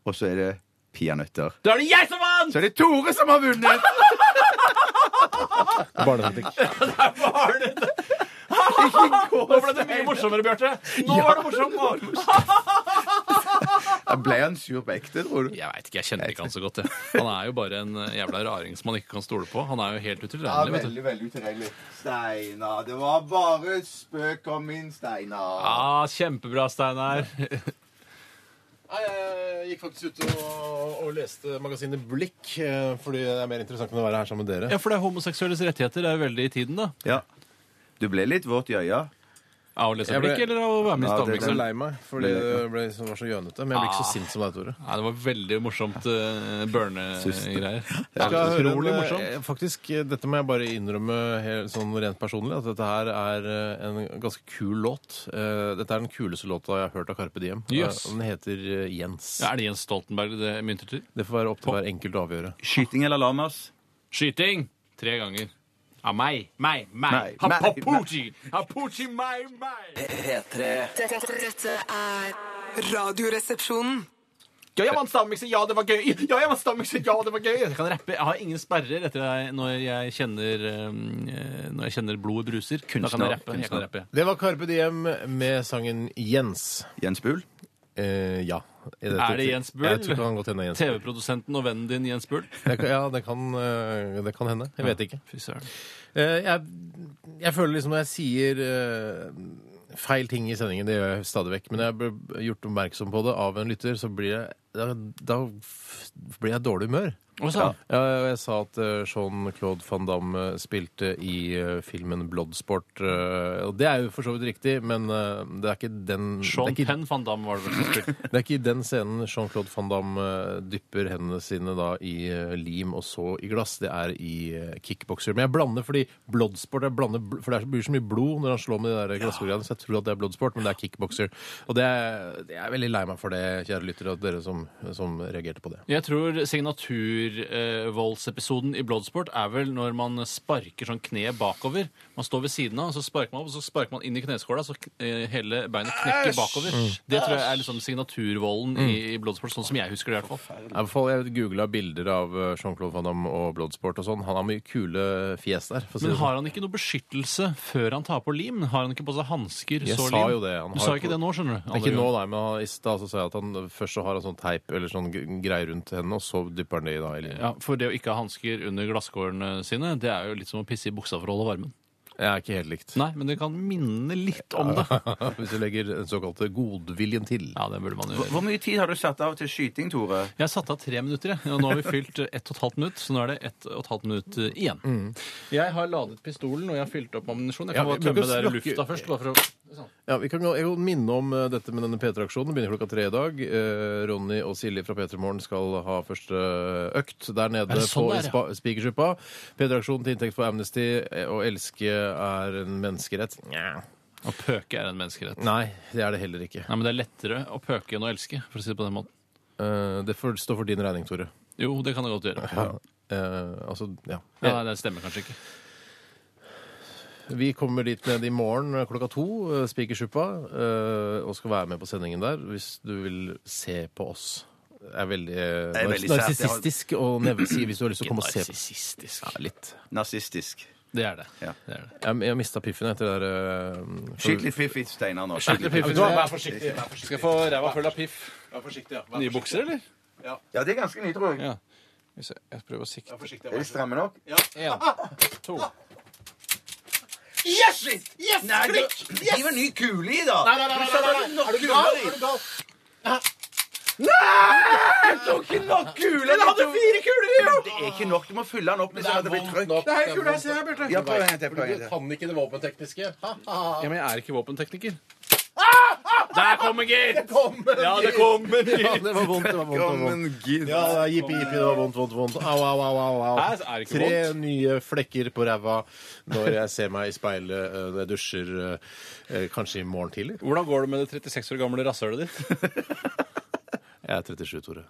S5: Og så er det peanøtter.
S4: Da er det jeg som vant!
S5: Så er det Tore som har vunnet!
S3: Barnetaktikk.
S4: Nå ble det mye morsommere, Bjarte. Nå var det morsomt!
S5: Ble han sur på ekte, tror du?
S4: Jeg veit ikke, jeg kjenner ikke han så godt. Jeg. Han er jo bare en eh, jævla raring som man ikke kan stole på. Han er jo helt utilregnelig. vet du.
S5: veldig utilregnelig. Steinar, det var bare spøk om min, Steinar.
S4: Ah, kjempebra, Steinar.
S3: Jeg gikk faktisk ut og, leste magasinet Blikk, eh, fordi det er mer interessant enn å være her sammen med dere.
S4: Ja, for det er homoseksuelles rettigheter er jo veldig i tiden, da.
S5: Ja. Du ble litt våt i øya.
S4: Av å lese
S3: Jeg ble-
S4: liksom blikk eller av å være med i
S5: Ja, det-
S3: Jeg ble
S4: stavmikseren?
S3: lei meg, fordi det ble, det var så gjønete. Men jeg ble ikke så sint som deg, Tore.
S4: Nei, det var veldig morsomt uh, børnegreier.
S3: Skal jeg høre
S4: Utrolig
S3: en,
S4: morsomt.
S3: eh, faktisk, eh, Dette må jeg bare innrømme helt, sånn rent personlig, at dette her er eh, en ganske kul låt. Eh, Dette er den kuleste låta jeg har hørt av Carpe Diem.
S4: Jøss.
S3: Eh, Den heter eh, Jens.
S4: Ja, er det Jens Stoltenberg det mynter til?
S3: Det får være opp til hver enkelt å avgjøre.
S5: Skyting eller lamas?
S4: Skyting! Tre ganger. Av meg, meg, meg.
S5: Meg,
S4: Ha-
S5: meg,
S4: Hapuchi! Hapuchi, meg, meg!
S10: P3
S6: Dette, dette er Radioresepsjonen.
S4: Ja, jeg vant stavmikser! Ja, det var gøy! Ja, jeg vant stavmikser! Ja, det var gøy! Jeg kan rappe. Jeg har ingen sperrer etter deg når jeg kjenner um, eh, Når jeg kjenner blodet bruser. da kan
S5: Kunstner,
S4: jeg rappe. Jeg kan
S5: kunstner.
S4: rappe.
S3: Det var Carpe Diem med sangen Jens.
S5: Jens Buhl?
S3: Eh, ja. I
S4: Er det Jens Bull?
S3: Jeg tror det kan godt hende Jens Bull.
S4: TV-produsenten og vennen din Jens Bull.
S3: Det kan- Ja, det kan, eh, det kan hende. Jeg vet ikke.
S4: Fy søren.
S3: Eh, jeg, jeg føler liksom når jeg sier eh, feil ting i sendingen, det gjør jeg stadig vekk, men jeg ble gjort oppmerksom på det av en lytter, så blir jeg da, da f- blir jeg i dårlig humør.
S4: Hva sa han?
S3: Ja, og jeg sa at eh, Jean-Claude van Damme spilte i eh, filmen Bloodsport. eh, og det er jo for så vidt riktig, men eh, det er ikke den
S4: Sean
S3: det, er ikke,
S4: Penn van Damme var det vel som spilte.
S3: det er ikke i den scenen Jean-Claude van Damme eh, dypper hendene sine da i eh, lim og så i glass. Det er i eh, kickbokser. Men jeg blander fordi Bloodsport jeg blander, bl- For det er- blir så mye blod når han slår med de der glassgreiene, så jeg tror at det er Bloodsport, men det er kickbokser. Og det er, jeg er veldig lei meg for det, kjære lyttere, at dere som, som reagerte på det.
S4: Jeg tror signaturvoldsepisoden i Bloodsport er vel når man sparker sånn kneet bakover. Man står ved siden av, så sparker man opp, og så sparker man inn i kneskåla, så kn- eh, hele beinet knekker bakover. Det tror jeg er liksom signaturvolden i, i Bloodsport, sånn som jeg husker det i hvert fall.
S3: I hvert fall, Jeg googla bilder av eh, Jean-Claude Van Damme og Bloodsport og sånn. Han har mye kule fjes der. For å si
S4: Men
S3: det sånn.
S4: har han ikke noe beskyttelse før han tar på lim? Har han ikke på seg hansker?
S3: Jeg
S4: så
S3: sa
S4: lim?
S3: jo det, han
S4: Du
S3: har
S4: sa
S3: jo-
S4: ikke det nå, skjønner du.
S3: Ikke nå, nei, men han- i stad så sa jeg at han først så har han sånn teip eller sånn g- greie rundt hendene, og så dypper han det i da, i linja.
S4: Ja, For det å ikke ha hansker under glasskårene sine, det er jo litt som å pisse i buksa for å holde varmen.
S3: Det er ikke helt likt.
S4: Nei, men det kan minne litt om det.
S3: Hvis du legger den såkalte godviljen til.
S4: Ja, det burde man jo gjøre.
S5: Hvor mye tid har du satt av til skyting, Tore?
S4: Jeg har satt av tre minutter, jeg. og nå har vi fylt eh, ett og et halvt minutt. Så nå er det ett og et halvt minutt eh, igjen. Jeg har ladet pistolen, og jeg har fylt opp ammunisjon. Jeg
S3: Mm. Ja,
S4: kan bare
S3: vi bruker
S4: tømme
S3: å
S4: der
S3: snakke-
S4: lufta først. Bare for å...
S3: Ja, vi kan jo jeg kan minne om eh, dette med denne P3-aksjonen. Begynner klokka tre i dag. Eh, Ronny og Silje fra P3 Morgen skal ha første eh, økt der nede
S4: Er det sånn
S3: på
S4: det er, ja?
S3: Spa- Spikersuppa. P3-aksjonen til inntekt for Amnesty eh, og elske er en menneskerett. Nja.
S4: Å pøke er en menneskerett.
S3: Nei, det er det heller ikke.
S4: Nei, men det er lettere å pøke enn å elske, for å si det på den måten.
S3: Eh, det får står for din regning, Tore.
S4: Jo, det kan jeg godt gjøre. Ja,
S3: Eh, altså, ja.
S4: nei, det stemmer kanskje ikke.
S3: Vi kommer dit ned i morgen eh, klokka to, eh, Spikersuppa, eh, og skal være med på sendingen der hvis du vil se på oss. Det er veldig, eh,
S5: Det er veldig sært.
S3: narsissistisk å nevne si hvis du har lyst til å komme og se på.
S4: Narsissistisk.
S3: Ja, litt.
S5: Nazistisk.
S4: Det er det.
S5: Ja.
S4: det, er det.
S3: Jeg, jeg mista piffen etter det der eh,
S5: Skyt litt fiffig, Steinar, nå.
S3: Skyt litt piffen.
S4: forsiktig. Skal jeg få ræva full av piff?
S3: Vær forsiktig, ja.
S4: Nye bukser, eller?
S5: Ja, det er ganske nye, tror jeg.
S4: Ja. Hvis jeg- Jeg prøver å sikte.
S5: Er de stramme nok?
S4: Én, to
S5: Yes! yes! Nei, klikk! Gi meg en ny kule i, da. Nei, nei, nei, nei, Er du gal? Er du gal? Nei! Jeg tok ikke nok kuler! Jeg hadde fire kuler i! Det er ikke nok. Du må fylle den opp. Hvis det blir trøkk.
S3: Det er kul, jeg ser,
S5: Ja, prøv en til, prøv en
S3: Du
S5: til.
S3: kan ikke det våpentekniske. Ha, ha.
S4: Ja, men jeg er ikke våpentekniker. Der kommer gitt!
S3: Kommer
S4: Ja, det kommer
S3: Ja,
S4: gitt!
S3: det var vondt, det var vondt. Det var vondt. Ja, det er jippi, jippi, det var vondt, vondt, vondt. Au, au, au, au. au.
S4: Nei, er det ikke
S3: Tre
S4: vondt?
S3: nye flekker på ræva når jeg ser meg i speilet eh, når jeg dusjer eh, kanskje i morgen tidlig.
S4: Hvordan går det med det 36 år gamle rasshølet ditt?
S3: Jeg er 37, Tore.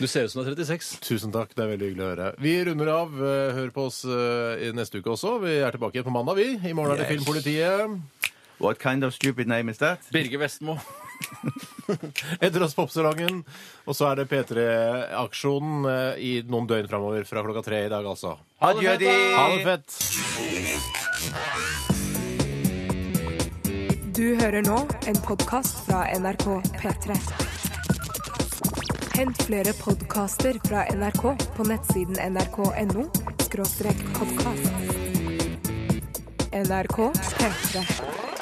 S4: Du ser ut som du er 36.
S3: Tusen takk, det er veldig hyggelig å høre. Vi runder av. eh, Hør på oss eh, i neste uke også. Vi er tilbake igjen på mandag, vi. I morgen er det
S5: Yes.
S3: Filmpolitiet.
S5: What kind of stupid name is that?
S4: Birger Vestmo.
S3: Etter oss Popsalongen. Og så er det P3-aksjonen eh, i noen døgn framover fra klokka tre i dag, altså.
S5: Adjø, de.
S3: Ha det fett!
S1: Du hører nå en podkast fra NRK P3. Hent flere podkaster fra NRK på nettsiden nrk.no podkast. NRK P3.